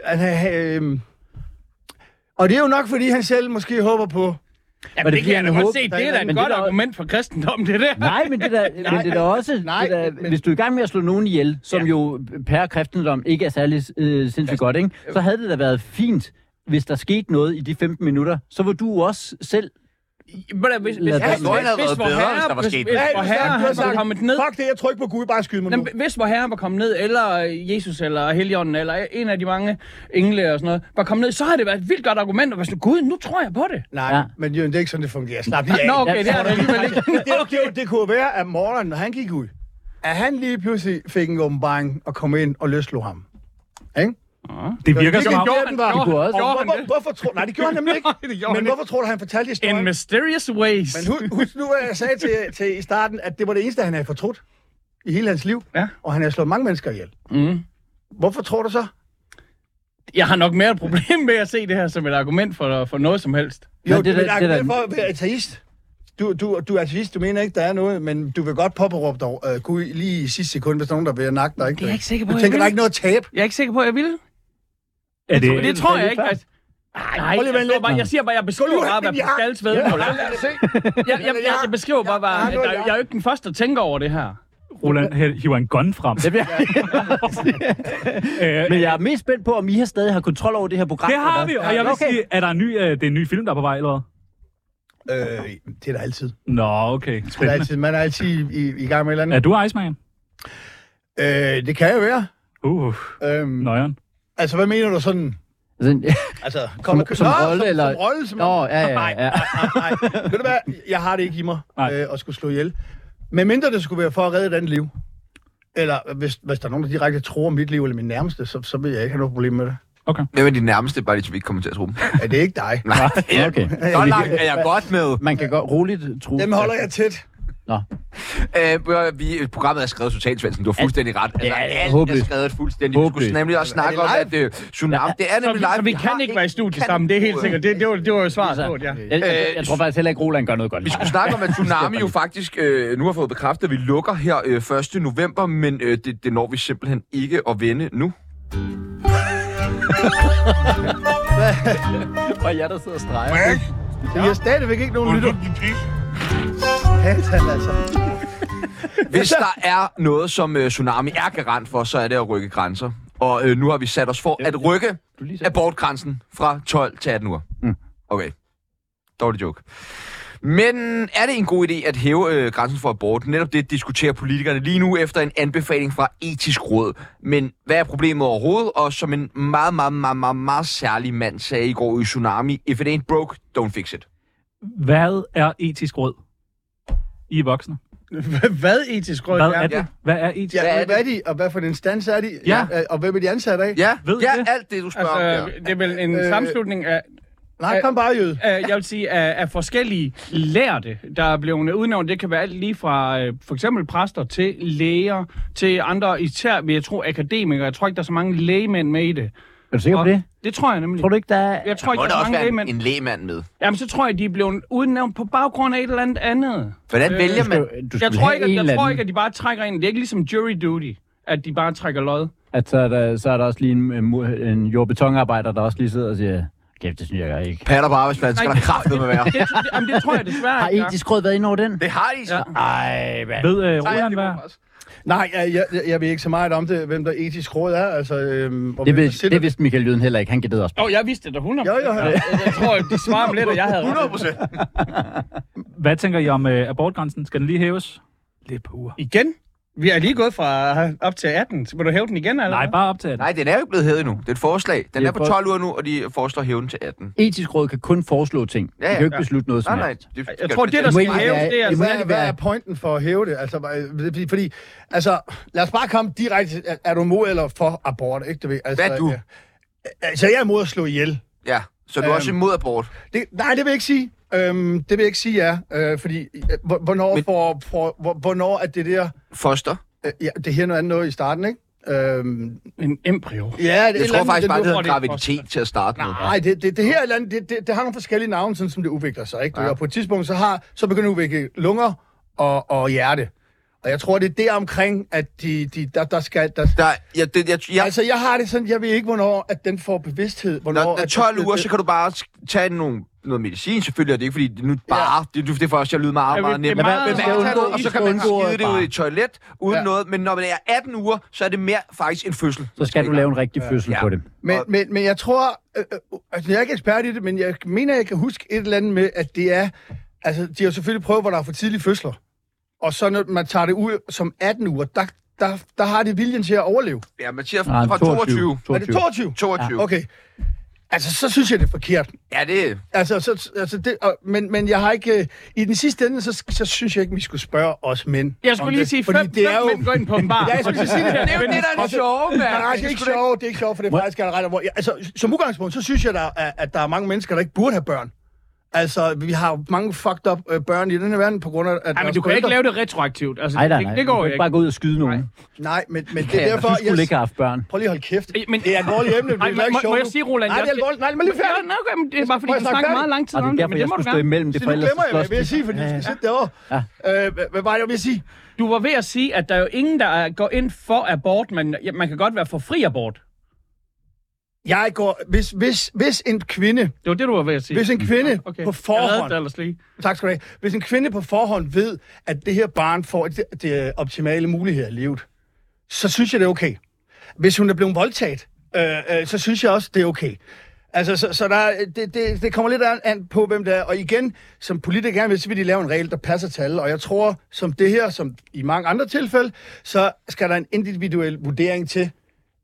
[SPEAKER 1] han, øh, og det er jo nok, fordi han selv måske håber på...
[SPEAKER 5] Jamen,
[SPEAKER 4] Var
[SPEAKER 5] det,
[SPEAKER 4] det
[SPEAKER 5] det
[SPEAKER 4] fordi,
[SPEAKER 5] kan jeg da
[SPEAKER 4] han
[SPEAKER 5] godt
[SPEAKER 4] håbede-
[SPEAKER 5] se. Det er da
[SPEAKER 4] Men det
[SPEAKER 5] et godt
[SPEAKER 4] der-
[SPEAKER 5] argument for kristendommen, det der.
[SPEAKER 4] [laughs]
[SPEAKER 5] [laughs]
[SPEAKER 4] Nej, men det der, men det der også,
[SPEAKER 1] nej,
[SPEAKER 4] det der,
[SPEAKER 1] men-
[SPEAKER 4] hvis du er i gang med at slå nogen ihjel, som ja. jo per kristendom ikke er særlig øh, sindssygt godt, ikke? så havde det da været fint, hvis der skete noget i de 15 minutter, så var du også selv...
[SPEAKER 5] Men da, hvis, hvis,
[SPEAKER 4] Lad
[SPEAKER 5] hvis,
[SPEAKER 4] det.
[SPEAKER 3] Historien havde
[SPEAKER 5] hvis
[SPEAKER 3] været
[SPEAKER 5] vor
[SPEAKER 3] bedre,
[SPEAKER 5] herre,
[SPEAKER 3] hvis der var
[SPEAKER 5] hvis,
[SPEAKER 3] sket
[SPEAKER 5] hvis
[SPEAKER 3] noget.
[SPEAKER 5] vor
[SPEAKER 1] du har
[SPEAKER 5] herre
[SPEAKER 1] sagt, du har
[SPEAKER 5] var
[SPEAKER 1] sagt,
[SPEAKER 5] kommet ned...
[SPEAKER 1] Fuck det, jeg tryk på Gud, bare skyd mig nu.
[SPEAKER 5] Jamen, hvis vor herre var kommet ned, eller Jesus, eller Helligånden, eller en af de mange engle og sådan noget, var kommet ned, så har det været et vildt godt argument, og var sådan, gud, nu tror jeg på det.
[SPEAKER 1] Nej,
[SPEAKER 4] Ja.
[SPEAKER 1] men Jørgen, det er ikke sådan, det fungerer. Slap lige af.
[SPEAKER 5] Nå, okay, det er det alligevel
[SPEAKER 1] [laughs]
[SPEAKER 5] ikke.
[SPEAKER 1] det, det, det, det kunne være, at Morten, når han gik ud, at han lige pludselig fik en åbenbaring og kom ind og løslog ham. Ikke?
[SPEAKER 2] Det virker som om...
[SPEAKER 1] gjorde den var.
[SPEAKER 5] Gjorde han-
[SPEAKER 1] Og
[SPEAKER 5] gjorde han
[SPEAKER 1] hvorfor,
[SPEAKER 5] det?
[SPEAKER 1] hvorfor tror, nej, det gjorde han nemlig ikke.
[SPEAKER 5] Nej, [laughs] det gjorde han
[SPEAKER 1] men
[SPEAKER 5] ikke.
[SPEAKER 1] hvorfor tror du, han fortalte historien?
[SPEAKER 5] In mysterious ways.
[SPEAKER 1] Men husk, husk nu, hvad jeg sagde til, til i starten, at det var det eneste, han havde fortrudt i hele hans liv.
[SPEAKER 5] Ja.
[SPEAKER 1] Og han havde slået mange mennesker ihjel.
[SPEAKER 5] Mm.
[SPEAKER 1] Hvorfor tror du så?
[SPEAKER 5] Jeg har nok mere et problem med at se det her som et argument for, for noget som helst.
[SPEAKER 1] Jo,
[SPEAKER 4] det
[SPEAKER 1] det,
[SPEAKER 4] er
[SPEAKER 1] du
[SPEAKER 4] da-
[SPEAKER 1] vil
[SPEAKER 4] det er da-
[SPEAKER 1] argumentere for at være ateist. Du, du, du er ateist, du mener ikke, der er noget, men du vil godt påberåbe dig øh, Gud lige i sidste sekund, hvis nogen der vil nakke dig. Ikke?
[SPEAKER 5] Det er jeg ikke sikker på,
[SPEAKER 1] Du
[SPEAKER 5] jeg
[SPEAKER 1] tænker,
[SPEAKER 5] vil.
[SPEAKER 1] der er ikke noget at tabe.
[SPEAKER 5] Jeg er ikke sikker på, at jeg ville.
[SPEAKER 2] Er det,
[SPEAKER 5] Det, det tror jeg ikke. Altså, Nej,
[SPEAKER 1] prøv lige at
[SPEAKER 5] jeg,
[SPEAKER 1] vente
[SPEAKER 5] står
[SPEAKER 1] lidt,
[SPEAKER 5] bare, jeg siger bare, jeg beskriver
[SPEAKER 1] Skal du
[SPEAKER 5] bare,
[SPEAKER 1] have
[SPEAKER 5] hvad
[SPEAKER 1] min jakke?
[SPEAKER 5] Pascals vedmål er. Jeg, jeg, jeg, jeg beskriver bare,
[SPEAKER 1] jeg har
[SPEAKER 5] hvad,
[SPEAKER 1] noget
[SPEAKER 5] der, jeg er jo ikke den første, der tænker over det her.
[SPEAKER 2] Roland hæ- hiver en gun frem. Øh,
[SPEAKER 4] Det bliver... [laughs] men jeg er mest spændt på, om I har stadig har kontrol over det her program.
[SPEAKER 2] Det har
[SPEAKER 4] eller
[SPEAKER 2] vi,
[SPEAKER 4] hvad?
[SPEAKER 2] og jeg vil
[SPEAKER 4] Okay.
[SPEAKER 2] sige, er der en ny, øh, det er en ny film, der er på vej, eller hvad?
[SPEAKER 1] Øh, det er der altid. Det
[SPEAKER 2] Nå, okay.
[SPEAKER 1] er der
[SPEAKER 2] Spændende.
[SPEAKER 1] altid. Man er altid i, i gang med et eller
[SPEAKER 2] Er du Iceman?
[SPEAKER 1] andet. Øh, det kan jo være.
[SPEAKER 2] Uh,
[SPEAKER 1] Øhm,
[SPEAKER 2] nøjeren.
[SPEAKER 1] altså, hvad mener du sådan?
[SPEAKER 4] Altså, [laughs]
[SPEAKER 1] Altså, kommer
[SPEAKER 4] som rolle,
[SPEAKER 1] som,
[SPEAKER 4] eller-
[SPEAKER 1] Som rolle, som...
[SPEAKER 4] Nå, ja, ja,
[SPEAKER 1] Nej,
[SPEAKER 4] ja.
[SPEAKER 1] nej, nej, nej. Ved du hvad? Jeg har det ikke i mig
[SPEAKER 2] Nej.
[SPEAKER 1] øh, at skulle slå ihjel. Men mindre det skulle være for at redde et andet liv. Eller hvis, hvis der er nogen, der direkte tror mit liv eller min nærmeste, så, så vil jeg ikke have noget problem med det.
[SPEAKER 3] Hvem er de nærmeste, bare lige så vi ikke kommer til at tro dem?
[SPEAKER 1] Er det ikke dig?
[SPEAKER 3] Nej,
[SPEAKER 4] okay.
[SPEAKER 3] så langt er jeg godt med.
[SPEAKER 4] Man kan godt roligt tro.
[SPEAKER 1] Dem holder jeg tæt.
[SPEAKER 3] Øh, prøv at høre, vi, programmet er skrevet totalt, Svendsen. Du har fuldstændig ret. Altså,
[SPEAKER 4] Ja,
[SPEAKER 3] alt er
[SPEAKER 4] håbløst.
[SPEAKER 3] skrevet fuldstændig. Vi skulle
[SPEAKER 4] Håbløst.
[SPEAKER 3] nemlig også snakke om,
[SPEAKER 1] det
[SPEAKER 3] at øh, Tsunami, det er
[SPEAKER 5] Så vi,
[SPEAKER 3] nemlig live.
[SPEAKER 5] så vi
[SPEAKER 3] har
[SPEAKER 5] kan ikke være i studiet sammen, det er helt sikkert. Det, det, var, det var jo svaret på det, ja.
[SPEAKER 4] Jeg, jeg, jeg tror faktisk heller ikke, Roland gør noget godt.
[SPEAKER 3] Vi skulle snakke om, at Tsunami jo faktisk øh, nu har fået bekræftet, at vi lukker her øh, 1. november, men øh, det, det når vi simpelthen ikke at vende nu.
[SPEAKER 4] Og jeg, der sidder og streger.
[SPEAKER 1] Vi har stadigvæk ikke nogen lytter. Satan, altså.
[SPEAKER 3] Hvis der er noget, som øh, Tsunami er garant for, så er det at rykke grænser. Og øh, nu har vi sat os for at rykke
[SPEAKER 4] Du lige sagde.
[SPEAKER 3] abortgrænsen fra 12 til 18 uger. Okay. Dårlig joke. Men er det en god idé at hæve øh, grænsen for abort? Netop det diskuterer politikerne lige nu efter en anbefaling fra etisk råd. Men hvad er problemet overhovedet? Og som en meget, meget, meget, meget, meget særlig mand sagde i går i Tsunami, if it ain't broke, don't fix it.
[SPEAKER 2] Hvad er etisk råd? I er voksne.
[SPEAKER 5] Hvad etisk råd
[SPEAKER 2] Hvad er
[SPEAKER 5] er?
[SPEAKER 2] det? Hvad er etisk
[SPEAKER 1] Ja,
[SPEAKER 3] Hvad er
[SPEAKER 1] hvad, er de, og hvad for en instans er de?
[SPEAKER 2] Ja.
[SPEAKER 1] Øh, Og hvem er de ansat af?
[SPEAKER 3] Ja,
[SPEAKER 2] Ved I
[SPEAKER 3] ja
[SPEAKER 2] det?
[SPEAKER 3] alt det, du spørger altså, om.
[SPEAKER 5] Altså,
[SPEAKER 3] Der.
[SPEAKER 5] det er vel en
[SPEAKER 1] Øh,
[SPEAKER 5] sammenslutning af
[SPEAKER 1] Nej, kom bare, Jød.
[SPEAKER 5] Øh, jeg vil sige, af, af forskellige lærte, der er blevet udnævnt. Det kan være alt lige fra øh, for eksempel præster til læger, til andre, især vil jeg tro akademikere. Jeg tror ikke, der er så mange lægemænd med i det.
[SPEAKER 4] Er du sikker på
[SPEAKER 5] Og-
[SPEAKER 4] det?
[SPEAKER 5] Det tror jeg nemlig.
[SPEAKER 4] Tror du ikke, der er...
[SPEAKER 5] Jeg tror ikke,
[SPEAKER 3] Må der
[SPEAKER 5] der er
[SPEAKER 3] også
[SPEAKER 5] mange
[SPEAKER 3] være en,
[SPEAKER 5] lægemænd.
[SPEAKER 3] en lægmand med?
[SPEAKER 5] Jamen, så tror jeg, de er blevet udnævnt på baggrund af et eller andet andet.
[SPEAKER 3] Hvordan
[SPEAKER 5] Øh,
[SPEAKER 3] vælger man?
[SPEAKER 4] Du skal
[SPEAKER 5] Jeg tror,
[SPEAKER 4] have
[SPEAKER 5] ikke,
[SPEAKER 4] en
[SPEAKER 5] at,
[SPEAKER 4] eller
[SPEAKER 5] jeg tror
[SPEAKER 4] anden.
[SPEAKER 5] ikke, at de bare trækker ind. Det er ikke ligesom jury duty, at de bare trækker lod.
[SPEAKER 4] At så er der, så er der også lige en, en, mur- en jordbetonarbejder, der også lige sidder og siger, kæft, det synes jeg ikke.
[SPEAKER 3] Patter på arbejdspladsen skal
[SPEAKER 5] Nej.
[SPEAKER 3] der kraftedeme med
[SPEAKER 5] [laughs]
[SPEAKER 3] være.
[SPEAKER 5] Det, det, jamen, det tror jeg
[SPEAKER 4] Har
[SPEAKER 5] desværre ikke.
[SPEAKER 4] etisk råd været ind over den?
[SPEAKER 3] Det har de så.
[SPEAKER 5] Ja.
[SPEAKER 4] Nej, hvad?
[SPEAKER 2] Ved øh,
[SPEAKER 3] Nej,
[SPEAKER 2] Roland,
[SPEAKER 3] det
[SPEAKER 2] hvad?
[SPEAKER 3] må faktisk-
[SPEAKER 1] Nej, jeg, jeg, jeg ved ikke så meget om det, hvem der etisk råd er. Altså, øhm, og
[SPEAKER 4] Det,
[SPEAKER 1] hvem der
[SPEAKER 4] vidste,
[SPEAKER 1] sidder-
[SPEAKER 4] det vidste Michael Jøden heller ikke. Han gættede også.
[SPEAKER 5] Åh, oh, jeg vidste det da 100%.
[SPEAKER 1] Jo, jo, jo.
[SPEAKER 5] Jeg, jeg tror, de svarer om lidt, og jeg havde ret.
[SPEAKER 3] 100 procent.
[SPEAKER 2] Hvad tænker I om øh, abortgrænsen? Skal den lige hæves? Lidt på uger.
[SPEAKER 5] Igen? Vi er lige gået fra op til 18. Så må du hæve den igen, eller
[SPEAKER 2] Nej,
[SPEAKER 5] hvad?
[SPEAKER 2] bare op til at...
[SPEAKER 3] Nej, den er jo ikke blevet hævet endnu. Det er et forslag. Den
[SPEAKER 4] er
[SPEAKER 3] er på
[SPEAKER 4] for-
[SPEAKER 3] 12 uger nu, og de foreslår hæven til 18.
[SPEAKER 4] Etisk råd kan kun foreslå ting.
[SPEAKER 3] Ja,
[SPEAKER 4] Ja, ja, de kan
[SPEAKER 3] ja.
[SPEAKER 4] jo ikke beslutte noget
[SPEAKER 3] Nej,
[SPEAKER 4] som
[SPEAKER 3] nej.
[SPEAKER 4] helst.
[SPEAKER 3] Det,
[SPEAKER 5] Jeg tror, det, der
[SPEAKER 4] Det må
[SPEAKER 5] skal
[SPEAKER 4] egentlig
[SPEAKER 5] hæves,
[SPEAKER 4] være-
[SPEAKER 5] det er... altså-
[SPEAKER 4] det må
[SPEAKER 1] Hvad,
[SPEAKER 4] egentlig
[SPEAKER 1] hvad er
[SPEAKER 4] være-
[SPEAKER 1] pointen for at hæve det? Altså, hvad- fordi- fordi, altså, lad os bare komme direkte. til, Er, er du imod eller for abort? Ikke, du ved? Altså,
[SPEAKER 3] Hvad er du?
[SPEAKER 1] ja. Altså, jeg er imod at slå ihjel.
[SPEAKER 3] Ja, så du er også
[SPEAKER 1] Øhm,
[SPEAKER 3] imod abort.
[SPEAKER 1] Det, nej, det vil jeg ikke sige. Øhm, det vil jeg ikke sige, ja. Øh, fordi, øh, hvor- hvornår,
[SPEAKER 3] Men-
[SPEAKER 1] Men... for, for, hvor- hvornår er det der...
[SPEAKER 3] Foster.
[SPEAKER 1] Øh, ja, det her er noget andet noget i starten, ikke? Øhm,
[SPEAKER 5] En embryo.
[SPEAKER 1] ja, det er et
[SPEAKER 3] Jeg
[SPEAKER 1] eller
[SPEAKER 3] tror
[SPEAKER 1] andet,
[SPEAKER 3] faktisk bare, det
[SPEAKER 5] hvorfor
[SPEAKER 3] hedder
[SPEAKER 5] er det et
[SPEAKER 3] graviditet til at starte med.
[SPEAKER 1] Nej, det, det, det her eller andet, det, det, det har nogle forskellige navne, sådan som det udvikler sig. Ikke?
[SPEAKER 3] Ja.
[SPEAKER 1] Ja. Og på et tidspunkt, så, har, så begynder det at udvikle lunger og, og hjerte. Og jeg tror, det er der omkring, at de, de, der, der skal... Der,
[SPEAKER 3] Der, ja, det, jeg,
[SPEAKER 1] ja.
[SPEAKER 3] jeg,
[SPEAKER 1] Altså, jeg har det sådan, jeg ved ikke, hvornår at den får bevidsthed. Hvornår,
[SPEAKER 3] når, når
[SPEAKER 1] at-
[SPEAKER 3] 12 uger, så kan du bare sk- tage nogle, noget medicin, selvfølgelig, og det er ikke fordi, det nu bare, det, det, det får også til at lyde meget,
[SPEAKER 5] Ja,
[SPEAKER 3] meget
[SPEAKER 5] det er
[SPEAKER 3] nemt. Men
[SPEAKER 5] meget-
[SPEAKER 3] man
[SPEAKER 5] det
[SPEAKER 3] kan
[SPEAKER 5] skal
[SPEAKER 3] tage noget,
[SPEAKER 4] undgå-
[SPEAKER 3] og så
[SPEAKER 4] I
[SPEAKER 3] kan
[SPEAKER 4] skal
[SPEAKER 3] man
[SPEAKER 4] undgå
[SPEAKER 3] skide det ud i
[SPEAKER 4] bare.
[SPEAKER 3] et toilet uden
[SPEAKER 1] Ja.
[SPEAKER 3] noget, men når man er 18 uger, så er det mere faktisk en fødsel.
[SPEAKER 4] Så skal du lave en rigtig fødsel
[SPEAKER 3] Ja.
[SPEAKER 4] på det.
[SPEAKER 1] Men,
[SPEAKER 3] Og-
[SPEAKER 1] men, men jeg tror, øh, øh, altså jeg er ikke ekspert i det, men jeg mener, jeg kan huske et eller andet med, at det er, altså de har jo selvfølgelig prøvet, hvor der er for tidlige fødsler. Og så når man tager det ud som 18 uger, der, der, der har det viljen til at overleve.
[SPEAKER 3] Ja, man siger
[SPEAKER 4] Nej,
[SPEAKER 3] fra 22.
[SPEAKER 1] 22. Er det 22?
[SPEAKER 3] 22.
[SPEAKER 1] Okay. Altså, så synes jeg, det er forkert.
[SPEAKER 3] Ja, det,
[SPEAKER 1] Altså, så, altså det, og, men, men jeg har ikke... øh, I den sidste ende, så, så synes jeg ikke, vi skulle spørge os mænd
[SPEAKER 5] Jeg
[SPEAKER 1] om
[SPEAKER 5] skulle lige
[SPEAKER 1] det,
[SPEAKER 5] sige,
[SPEAKER 1] fordi
[SPEAKER 5] fem,
[SPEAKER 1] det er jo...
[SPEAKER 5] mænd går ind på en bar.
[SPEAKER 1] [laughs] Ja, jeg skulle
[SPEAKER 5] Og så [laughs]
[SPEAKER 1] sige det.
[SPEAKER 5] siger
[SPEAKER 1] Det er jo
[SPEAKER 5] de,
[SPEAKER 1] det, der
[SPEAKER 3] er det sjove, mand.
[SPEAKER 1] Nej, nej, det er ikke sjovt, det er ikke sjovt, for det er faktisk er ret alvorligt. Altså, som udgangspunkt, så synes jeg, der er, at der er mange mennesker, der ikke burde have børn. Altså, vi har jo mange fucked up øh, børn i den her verden, på grund af... At
[SPEAKER 5] Ej, men
[SPEAKER 1] vores
[SPEAKER 5] du kan ikke
[SPEAKER 1] forældre-
[SPEAKER 5] lave det retroaktivt. Altså,
[SPEAKER 4] Nej, nej,
[SPEAKER 5] det-
[SPEAKER 4] nej.
[SPEAKER 5] Det går
[SPEAKER 4] du
[SPEAKER 5] jo
[SPEAKER 4] kan
[SPEAKER 5] ikke.
[SPEAKER 4] bare gå ud og skyde nogen.
[SPEAKER 1] Nej, men, men det
[SPEAKER 4] Ja,
[SPEAKER 1] er
[SPEAKER 4] derfor, du
[SPEAKER 1] derfor...
[SPEAKER 4] skulle ikke have haft børn.
[SPEAKER 1] Prøv lige at holde kæft.
[SPEAKER 5] Ej, men-
[SPEAKER 1] det er et alvorligt emne, det
[SPEAKER 5] Ej,
[SPEAKER 1] er
[SPEAKER 5] må,
[SPEAKER 1] ikke
[SPEAKER 5] må,
[SPEAKER 1] sjovt.
[SPEAKER 5] må jeg
[SPEAKER 1] nu.
[SPEAKER 5] sige, Roland?
[SPEAKER 1] Nej, det er
[SPEAKER 5] jeg-
[SPEAKER 1] alvorligt. Nej, men lige
[SPEAKER 5] Ja,
[SPEAKER 1] færdig.
[SPEAKER 5] nej, okay, men det er bare fordi,
[SPEAKER 1] Må
[SPEAKER 5] vi
[SPEAKER 1] jeg snakke
[SPEAKER 5] snakker meget
[SPEAKER 1] færdig?
[SPEAKER 5] lang tid
[SPEAKER 4] Og det
[SPEAKER 5] om
[SPEAKER 4] er
[SPEAKER 5] det,
[SPEAKER 4] derfor,
[SPEAKER 5] men
[SPEAKER 4] jeg
[SPEAKER 5] det må
[SPEAKER 4] skulle
[SPEAKER 5] du
[SPEAKER 4] stå
[SPEAKER 5] gerne.
[SPEAKER 4] imellem det,
[SPEAKER 1] Så
[SPEAKER 4] for
[SPEAKER 1] nu
[SPEAKER 4] ellers
[SPEAKER 1] glemmer
[SPEAKER 4] så
[SPEAKER 1] jeg,
[SPEAKER 4] slås
[SPEAKER 1] hvad jeg vil
[SPEAKER 4] de.
[SPEAKER 1] sige, fordi du skal sidde derovre. Øh, hvad- Hvad var det, jeg ville sige?
[SPEAKER 5] Du var ved at sige, at der er jo ingen, der er- går ind for abort, men ja, man kan godt være for fri abort.
[SPEAKER 1] Jeg går... Hvis, hvis, hvis en kvinde,
[SPEAKER 5] Det var det, du var ved at sige.
[SPEAKER 1] hvis en kvinde
[SPEAKER 5] Okay.
[SPEAKER 1] på
[SPEAKER 5] Jeg reddede
[SPEAKER 1] forhånd
[SPEAKER 5] dig ellers lige.
[SPEAKER 1] Tak skal du have. Hvis en kvinde på forhånd ved, at det her barn får det, det optimale muligheder i livet, så synes jeg, det er okay. Hvis hun er blevet voldtaget, øh, øh, så synes jeg også, det er okay. Altså, så, så der, er- det, det, det kommer lidt an- an på, hvem det er. Og igen, som politikere gerne vil, så vil de lave en regel, der passer til alle. Og jeg tror, som det her, som i mange andre tilfælde, så skal der en individuel vurdering til.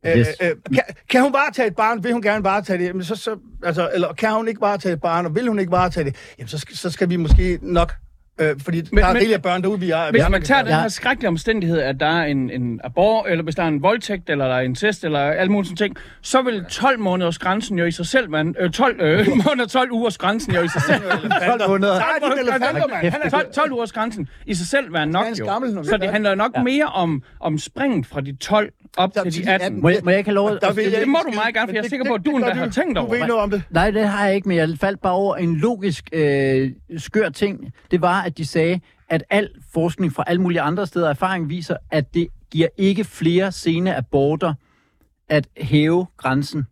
[SPEAKER 1] Øh,
[SPEAKER 4] Yes.
[SPEAKER 1] øh, kan, kan hun bare tage et barn? Vil hun gerne bare tage det? Jamen, så, så, altså, eller kan hun ikke bare tage et barn? Og vil hun ikke bare tage det? Jamen, så, skal- så skal vi måske nok... Øh, fordi men, der er
[SPEAKER 5] men-
[SPEAKER 1] rigeligt af børn derude, vi er...
[SPEAKER 5] Hvis
[SPEAKER 1] vi
[SPEAKER 5] man tager den
[SPEAKER 4] Ja.
[SPEAKER 5] her skrækkelige omstændighed, at der er en, en abort, eller hvis der er en voldtægt, eller der er incest, eller alle mulige sådan ting, så vil 12 måneders grænsen jo i sig selv, man, øh, 12 øh, [laughs] måneder, 12 ugers grænsen jo i sig
[SPEAKER 1] [laughs]
[SPEAKER 5] selv.
[SPEAKER 1] 12 måneder. Nej, de elefanter, mand.
[SPEAKER 5] Han er 12, 12 ugers grænsen i sig selv være nok
[SPEAKER 1] Han er en skammel, når
[SPEAKER 5] jo.
[SPEAKER 1] vi
[SPEAKER 5] Så
[SPEAKER 1] gør
[SPEAKER 5] det
[SPEAKER 1] det.
[SPEAKER 5] handler jo nok mere om, om springet fra de 12 op
[SPEAKER 1] Der-
[SPEAKER 5] til de 18.
[SPEAKER 4] Må jeg, må jeg ikke have lov? at-
[SPEAKER 1] Der vil jeg
[SPEAKER 5] det
[SPEAKER 1] ikke
[SPEAKER 5] må du
[SPEAKER 1] skide,
[SPEAKER 5] meget gerne, for
[SPEAKER 1] men
[SPEAKER 5] jeg er
[SPEAKER 1] det-
[SPEAKER 5] sikker
[SPEAKER 1] det-
[SPEAKER 5] på, at du
[SPEAKER 1] det
[SPEAKER 5] endda
[SPEAKER 1] gør
[SPEAKER 5] har tænkt over
[SPEAKER 1] Du ved
[SPEAKER 5] det.
[SPEAKER 1] noget om det.
[SPEAKER 4] Nej, det har jeg ikke, men jeg faldt bare over en logisk øh, skør ting. Det var, at de sagde, at al forskning fra alle mulige andre steder og erfaring viser, at det giver ikke flere sene aborter at hæve grænsen.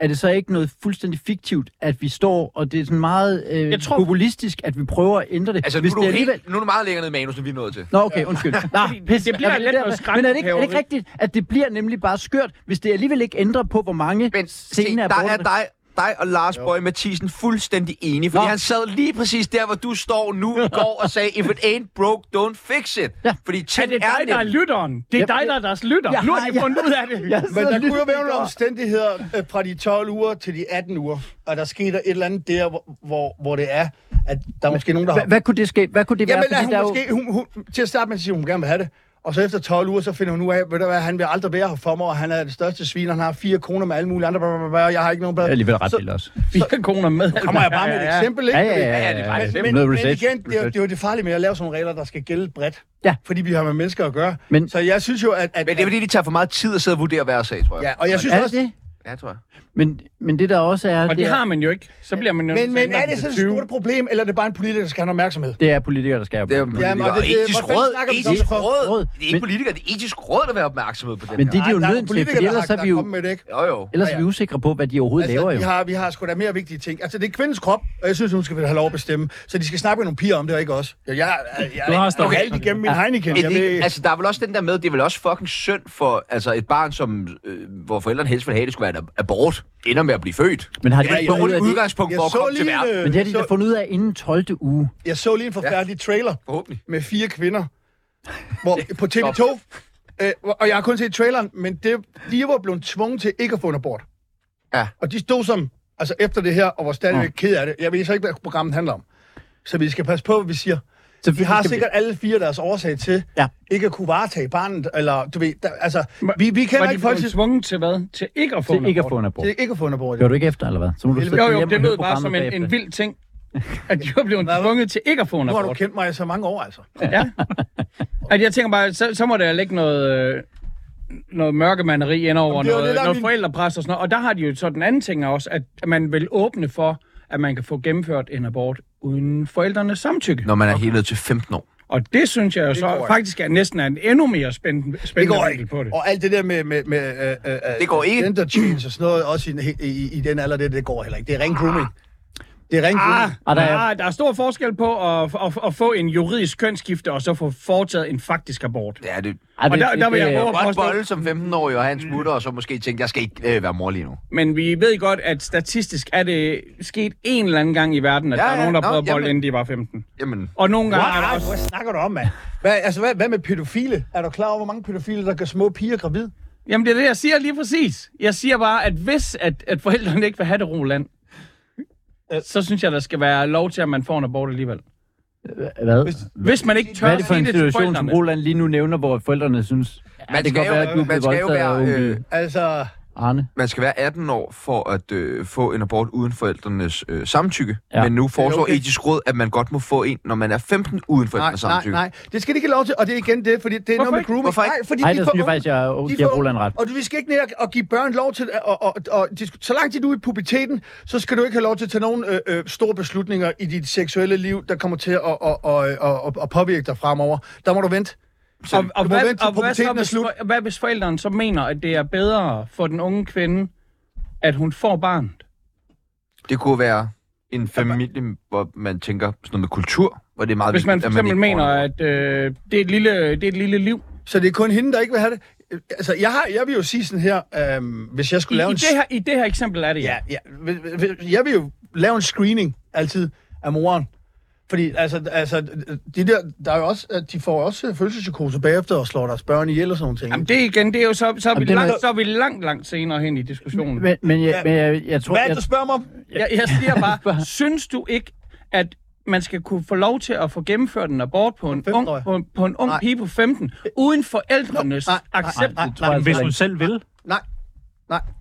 [SPEAKER 4] Er det så ikke noget fuldstændig fiktivt, at vi står, og det er sådan meget øh,
[SPEAKER 5] Jeg tror-
[SPEAKER 4] populistisk, at vi prøver at ændre det?
[SPEAKER 3] Altså, nu, er du
[SPEAKER 4] det
[SPEAKER 3] helt, nu er du meget længere ned i manus, end vi er nået til.
[SPEAKER 4] Nå, okay, undskyld. Nå, pis,
[SPEAKER 5] det bliver
[SPEAKER 4] Jeg vil
[SPEAKER 5] lidt
[SPEAKER 4] der-
[SPEAKER 5] noget
[SPEAKER 4] Men er det, ikke, er det ikke
[SPEAKER 5] skrækpæveri.
[SPEAKER 4] rigtigt, at det bliver nemlig bare skørt, hvis det alligevel ikke ændrer på, hvor mange
[SPEAKER 3] Men se,
[SPEAKER 4] sene
[SPEAKER 3] der
[SPEAKER 4] aborter...
[SPEAKER 3] er dig, dig og Lars Bøge Mathisen fuldstændig enige, fordi
[SPEAKER 4] Nå.
[SPEAKER 3] han sad lige præcis der, hvor du står nu i går og sagde, if it ain't broke, don't fix it.
[SPEAKER 4] Ja.
[SPEAKER 3] Fordi
[SPEAKER 5] Er
[SPEAKER 3] ting
[SPEAKER 5] det dig, der er
[SPEAKER 3] nemt.
[SPEAKER 5] lytteren? Det er
[SPEAKER 4] Jamen,
[SPEAKER 5] dig, der er deres lytter.
[SPEAKER 4] jeg
[SPEAKER 5] Nu har
[SPEAKER 4] har-
[SPEAKER 5] de fundet ud af
[SPEAKER 4] Jeg
[SPEAKER 5] det.
[SPEAKER 1] Men
[SPEAKER 4] sidder
[SPEAKER 1] der
[SPEAKER 4] lidt
[SPEAKER 1] kunne jo være
[SPEAKER 4] i
[SPEAKER 1] nogle
[SPEAKER 4] går.
[SPEAKER 1] omstændigheder øh, fra de 12 uger til de 18 uger, og der skete der et eller andet der, hvor, hvor, hvor det er, at der er måske nogen, der har...
[SPEAKER 4] Hva- Hvad kunne det ske? Hvad kunne det være?
[SPEAKER 1] Jamen, er hun
[SPEAKER 4] der er jo-
[SPEAKER 1] måske, hun, hun, til at starte med siger hun, hun gerne vil have det. Og så efter 12 uger, så finder hun ud af, ved du hvad, han vil aldrig være her for mig, og han er det største svin, og han har fire kroner med alle mulige andre, bla, bla, bla, bla, og jeg har ikke nogen... Bla.
[SPEAKER 4] Jeg er alligevel ret
[SPEAKER 1] Så-
[SPEAKER 4] vild også.
[SPEAKER 5] Fire koner med.
[SPEAKER 1] Kommer jeg bare med et eksempel, ikke?
[SPEAKER 4] Ja, ja, ja.
[SPEAKER 3] Ja, det er bare
[SPEAKER 1] Men,
[SPEAKER 4] ja.
[SPEAKER 1] men,
[SPEAKER 4] Noget
[SPEAKER 1] men
[SPEAKER 4] research.
[SPEAKER 1] igen, det er, jo- det er jo det farlige med at lave sådan nogle regler, der skal gælde bredt.
[SPEAKER 4] Ja.
[SPEAKER 1] Fordi vi har med mennesker at gøre.
[SPEAKER 4] Men-
[SPEAKER 1] så jeg synes jo, at... at
[SPEAKER 3] Men det er fordi, det tager for meget tid at sidde og vurdere hver sag, tror jeg.
[SPEAKER 1] Ja, og jeg synes
[SPEAKER 4] Er
[SPEAKER 1] også,
[SPEAKER 4] det det?
[SPEAKER 3] Ja, tror jeg.
[SPEAKER 4] Men, men det der også er...
[SPEAKER 5] Og det
[SPEAKER 4] er,
[SPEAKER 5] har man jo ikke. Så bliver man jo...
[SPEAKER 1] Men, men er det
[SPEAKER 5] til
[SPEAKER 1] så et
[SPEAKER 5] 20.
[SPEAKER 1] stort problem, eller er det bare en politiker, der skal have noget opmærksomhed?
[SPEAKER 4] det er politikere, der skal have
[SPEAKER 3] Det er
[SPEAKER 4] opmærksomhed.
[SPEAKER 1] Jamen, og
[SPEAKER 3] politikere.
[SPEAKER 1] det- det-
[SPEAKER 3] etisk
[SPEAKER 1] hvordan
[SPEAKER 3] råd.
[SPEAKER 1] snakker vi så om
[SPEAKER 3] Etisk
[SPEAKER 1] det?
[SPEAKER 3] råd.
[SPEAKER 4] Råd.
[SPEAKER 3] Det er ikke
[SPEAKER 4] Men-
[SPEAKER 3] politikere, det er etisk råd, der vil være opmærksomhed på det
[SPEAKER 4] Men
[SPEAKER 3] her.
[SPEAKER 4] det er de jo
[SPEAKER 1] Nej, der
[SPEAKER 4] nødt til,
[SPEAKER 1] politikere,
[SPEAKER 4] for
[SPEAKER 1] der
[SPEAKER 4] ellers
[SPEAKER 1] har-
[SPEAKER 4] er vi
[SPEAKER 1] der
[SPEAKER 4] jo
[SPEAKER 1] kommet Med det, ikke?
[SPEAKER 3] Jo, jo.
[SPEAKER 4] ellers
[SPEAKER 1] Ja,
[SPEAKER 4] er
[SPEAKER 1] ja.
[SPEAKER 4] vi usikre på, hvad de overhovedet laver jo.
[SPEAKER 1] Altså, vi, har, vi har sgu da mere vigtige ting. Altså, det er kvindens krop, og jeg synes, hun skal have lov at bestemme. Så de skal snakke med nogle piger om det, og ikke os. Jeg, jeg, jeg, jeg
[SPEAKER 2] Du har stadig-
[SPEAKER 1] okay. alt igennem min Heineken.
[SPEAKER 3] Et,
[SPEAKER 1] Jeg
[SPEAKER 3] det,
[SPEAKER 1] ved,
[SPEAKER 3] altså, der er vel også den der med, det er vel også fucking synd for altså, et barn, som, øh, hvor forældrene helst vil have, det skulle være en abort, ender med at blive født.
[SPEAKER 4] Men har de
[SPEAKER 1] Ja, ja,
[SPEAKER 4] ikke fundet ud af
[SPEAKER 3] Dårligt
[SPEAKER 4] det?
[SPEAKER 3] udgangspunkt for at komme til
[SPEAKER 1] en,
[SPEAKER 3] verden.
[SPEAKER 1] øh,
[SPEAKER 4] Men det har de da
[SPEAKER 1] så,
[SPEAKER 4] fundet ud af inden 12. uge.
[SPEAKER 1] jeg så lige en forfærdelig trailer
[SPEAKER 3] Forhåbentlig.
[SPEAKER 1] med fire kvinder hvor, på TV2. Øh, og jeg har kun set traileren, men det, de var blevet tvunget til ikke at få en abort.
[SPEAKER 3] Ja.
[SPEAKER 1] Og de stod som, altså efter det her, og var stadigvæk ked af det. Jeg ved så ikke, hvad programmet handler om. Så vi skal passe på, hvad vi siger.
[SPEAKER 4] Så
[SPEAKER 1] Vi har sikkert alle fire deres årsag til
[SPEAKER 4] Ja.
[SPEAKER 1] ikke at kunne varetage barnet, eller du ved, der, altså,
[SPEAKER 5] Men-
[SPEAKER 1] vi, vi
[SPEAKER 5] Var
[SPEAKER 1] kender
[SPEAKER 5] de
[SPEAKER 1] ikke folk
[SPEAKER 5] blevet
[SPEAKER 1] til
[SPEAKER 5] tvunget til hvad? Til ikke at få en
[SPEAKER 4] Til ikke at
[SPEAKER 5] abort?
[SPEAKER 4] få en abort.
[SPEAKER 1] til ikke at få en abort.
[SPEAKER 4] Gør du ikke efter, eller hvad? Så må du
[SPEAKER 1] Jo,
[SPEAKER 4] sætte
[SPEAKER 5] Jo,
[SPEAKER 4] dig
[SPEAKER 5] jo,
[SPEAKER 4] hjem og
[SPEAKER 5] det
[SPEAKER 4] høre
[SPEAKER 5] lød bare
[SPEAKER 4] programmet
[SPEAKER 5] som en,
[SPEAKER 4] bagefter.
[SPEAKER 5] en vild ting, at de var blevet tvunget til ikke at få en
[SPEAKER 1] Nu har du
[SPEAKER 5] abort.
[SPEAKER 1] kendt mig i så mange år, altså.
[SPEAKER 5] Ja. At jeg tænker bare, så, så må der ligge noget, øh, noget mørkemanderi ind over
[SPEAKER 1] Jamen, det er jo
[SPEAKER 5] noget,
[SPEAKER 1] det, der er
[SPEAKER 5] noget
[SPEAKER 1] min-
[SPEAKER 5] forældrepres og sådan noget. Og der har de jo så den anden ting også, at man vil åbne for, at man kan få gennemført en abort uden forældrenes samtykke.
[SPEAKER 3] Når man er helt ned til 15 år.
[SPEAKER 5] Og det synes jeg jo så
[SPEAKER 1] går ikke.
[SPEAKER 5] faktisk er næsten er en endnu mere spændende,
[SPEAKER 1] Det
[SPEAKER 5] spændende
[SPEAKER 1] går
[SPEAKER 5] vinkel
[SPEAKER 1] ikke.
[SPEAKER 5] på det.
[SPEAKER 1] Og alt det der med, med, med øh, øh,
[SPEAKER 3] Det går ikke.
[SPEAKER 1] gender change og sådan noget, også i, i, i den alder, det, det går heller ikke. Det er ren grooming. Det er ren
[SPEAKER 5] Ah,
[SPEAKER 1] grooming.
[SPEAKER 4] Og der
[SPEAKER 5] der,
[SPEAKER 4] er-
[SPEAKER 5] er... der er stor forskel på at, at, at få en juridisk kønsskifte, og så få foretaget en faktisk abort.
[SPEAKER 3] Ja, det
[SPEAKER 4] Ej, det-
[SPEAKER 5] Og der-
[SPEAKER 4] det-
[SPEAKER 5] der vil jeg
[SPEAKER 4] det-
[SPEAKER 5] håbe-
[SPEAKER 3] godt bolle som 15-årig, og han smutter, og så måske tænke, jeg skal ikke øh, være mor lige nu.
[SPEAKER 5] Men vi ved godt, at statistisk er det sket en eller anden gang i verden, at
[SPEAKER 3] Ja,
[SPEAKER 5] ja, der er
[SPEAKER 3] ja,
[SPEAKER 5] nogen, der
[SPEAKER 3] nå,
[SPEAKER 5] har prøvet at bolle,
[SPEAKER 3] jamen.
[SPEAKER 5] inden de var 15.
[SPEAKER 3] Jamen,
[SPEAKER 5] Og nogle gange er der
[SPEAKER 1] What?
[SPEAKER 5] også...
[SPEAKER 1] Hvad snakker du om, mand? Hvad, altså, hvad, hvad med pædofile? Er du klar over, hvor mange pædofile, der gør små piger gravid?
[SPEAKER 5] Jamen, det er det, jeg siger lige præcis. Jeg siger bare, at hvis at, at forældrene ikke vil have det, Roland,
[SPEAKER 4] Øh.
[SPEAKER 5] så synes jeg, der skal være lov til, at man får en abort alligevel.
[SPEAKER 4] Hvad?
[SPEAKER 5] Hvis man ikke tør
[SPEAKER 4] Hvad er det for en
[SPEAKER 5] sige til
[SPEAKER 4] situation, som
[SPEAKER 5] forældrene.
[SPEAKER 4] Roland lige nu nævner, hvor forældrene synes, ja,
[SPEAKER 3] Man
[SPEAKER 4] det kan
[SPEAKER 3] skal
[SPEAKER 4] godt
[SPEAKER 3] jo-
[SPEAKER 4] være, at du
[SPEAKER 3] man
[SPEAKER 4] bliver
[SPEAKER 3] skal jo
[SPEAKER 4] voldtaget af
[SPEAKER 3] være, øh,
[SPEAKER 4] onkel
[SPEAKER 1] Altså,
[SPEAKER 4] Arne.
[SPEAKER 3] man skal være 18 år for at øh, få en abort uden forældrenes øh, samtykke. Ja.
[SPEAKER 4] Ja.
[SPEAKER 3] Men nu foreslår
[SPEAKER 1] okay.
[SPEAKER 3] okay. etisk råd, at man godt må få en, når man er 15 uden
[SPEAKER 1] nej,
[SPEAKER 3] forældrenes
[SPEAKER 1] nej,
[SPEAKER 3] samtykke.
[SPEAKER 1] nej. Det skal de ikke have lov til, og det er igen det, fordi det er
[SPEAKER 5] Hvorfor
[SPEAKER 1] noget med
[SPEAKER 5] ikke?
[SPEAKER 1] grooming.
[SPEAKER 3] Hvorfor ikke?
[SPEAKER 1] Nej, fordi
[SPEAKER 4] Nej,
[SPEAKER 1] de
[SPEAKER 4] der
[SPEAKER 1] får
[SPEAKER 4] synes jeg
[SPEAKER 1] unge.
[SPEAKER 4] faktisk, jeg
[SPEAKER 1] De
[SPEAKER 4] giver
[SPEAKER 1] får-
[SPEAKER 4] Roland ret.
[SPEAKER 1] Og du, vi skal ikke ned og, og give børn lov til, og, og, og de, så lang tid du er i puberteten, så skal du ikke have lov til at tage nogen øh, øh, store beslutninger i dit seksuelle liv, der kommer til at, og, og, og, og, og påvirke dig fremover. Der må du vente.
[SPEAKER 5] Og, og,
[SPEAKER 1] Du må
[SPEAKER 5] hvad,
[SPEAKER 1] vente til
[SPEAKER 5] og hvad, så,
[SPEAKER 1] puberteten er
[SPEAKER 5] hvis,
[SPEAKER 1] slut.
[SPEAKER 5] for- hvad hvis forældrene så mener, at det er bedre for den unge kvinde, at hun får barnet?
[SPEAKER 3] Det kunne være en familie, hvor man tænker sådan noget med kultur, hvor det er meget
[SPEAKER 5] Hvis man
[SPEAKER 3] vigtigt,
[SPEAKER 5] for
[SPEAKER 3] at
[SPEAKER 5] eksempel
[SPEAKER 3] ikke
[SPEAKER 5] mener,
[SPEAKER 3] får en
[SPEAKER 5] at øh, det, er et lille, det er et lille liv.
[SPEAKER 1] Så det er kun hende, der ikke vil have det. Øh, Altså, jeg, har, jeg vil jo sige sådan her, øh, hvis jeg
[SPEAKER 5] I,
[SPEAKER 1] skulle lave
[SPEAKER 5] i,
[SPEAKER 1] en...
[SPEAKER 5] det her, I det her eksempel er det, ja.
[SPEAKER 1] Ja, ja. Hvis- hvis- Jeg vil jo lave en screening altid af moren. Fordi altså, altså, de der, der er jo også, at de får også følelsespsykose bagefter og slår deres børn ihjel og sådan nogle ting.
[SPEAKER 5] Jamen, det igen, det er jo så, så, er vi
[SPEAKER 4] Jamen, det er
[SPEAKER 5] langt,
[SPEAKER 4] noget-
[SPEAKER 5] så er vi langt, langt senere hen i diskussionen.
[SPEAKER 4] Men, men, jeg, men jeg, jeg tror...
[SPEAKER 3] Hvad er det,
[SPEAKER 4] jeg,
[SPEAKER 3] du spørger mig om?
[SPEAKER 5] Jeg, jeg siger
[SPEAKER 1] [laughs]
[SPEAKER 5] bare, synes du ikke, at man skal kunne få lov til at få gennemført en abort på en ung,
[SPEAKER 1] 15-årig.
[SPEAKER 5] på, på en ung pige på 15, uden forældrenes
[SPEAKER 1] Nej, nej,
[SPEAKER 5] accept?
[SPEAKER 1] nej,
[SPEAKER 4] tror jeg
[SPEAKER 2] Hvis
[SPEAKER 4] altså
[SPEAKER 2] hun
[SPEAKER 4] ikke.
[SPEAKER 2] selv vil.
[SPEAKER 1] Nej.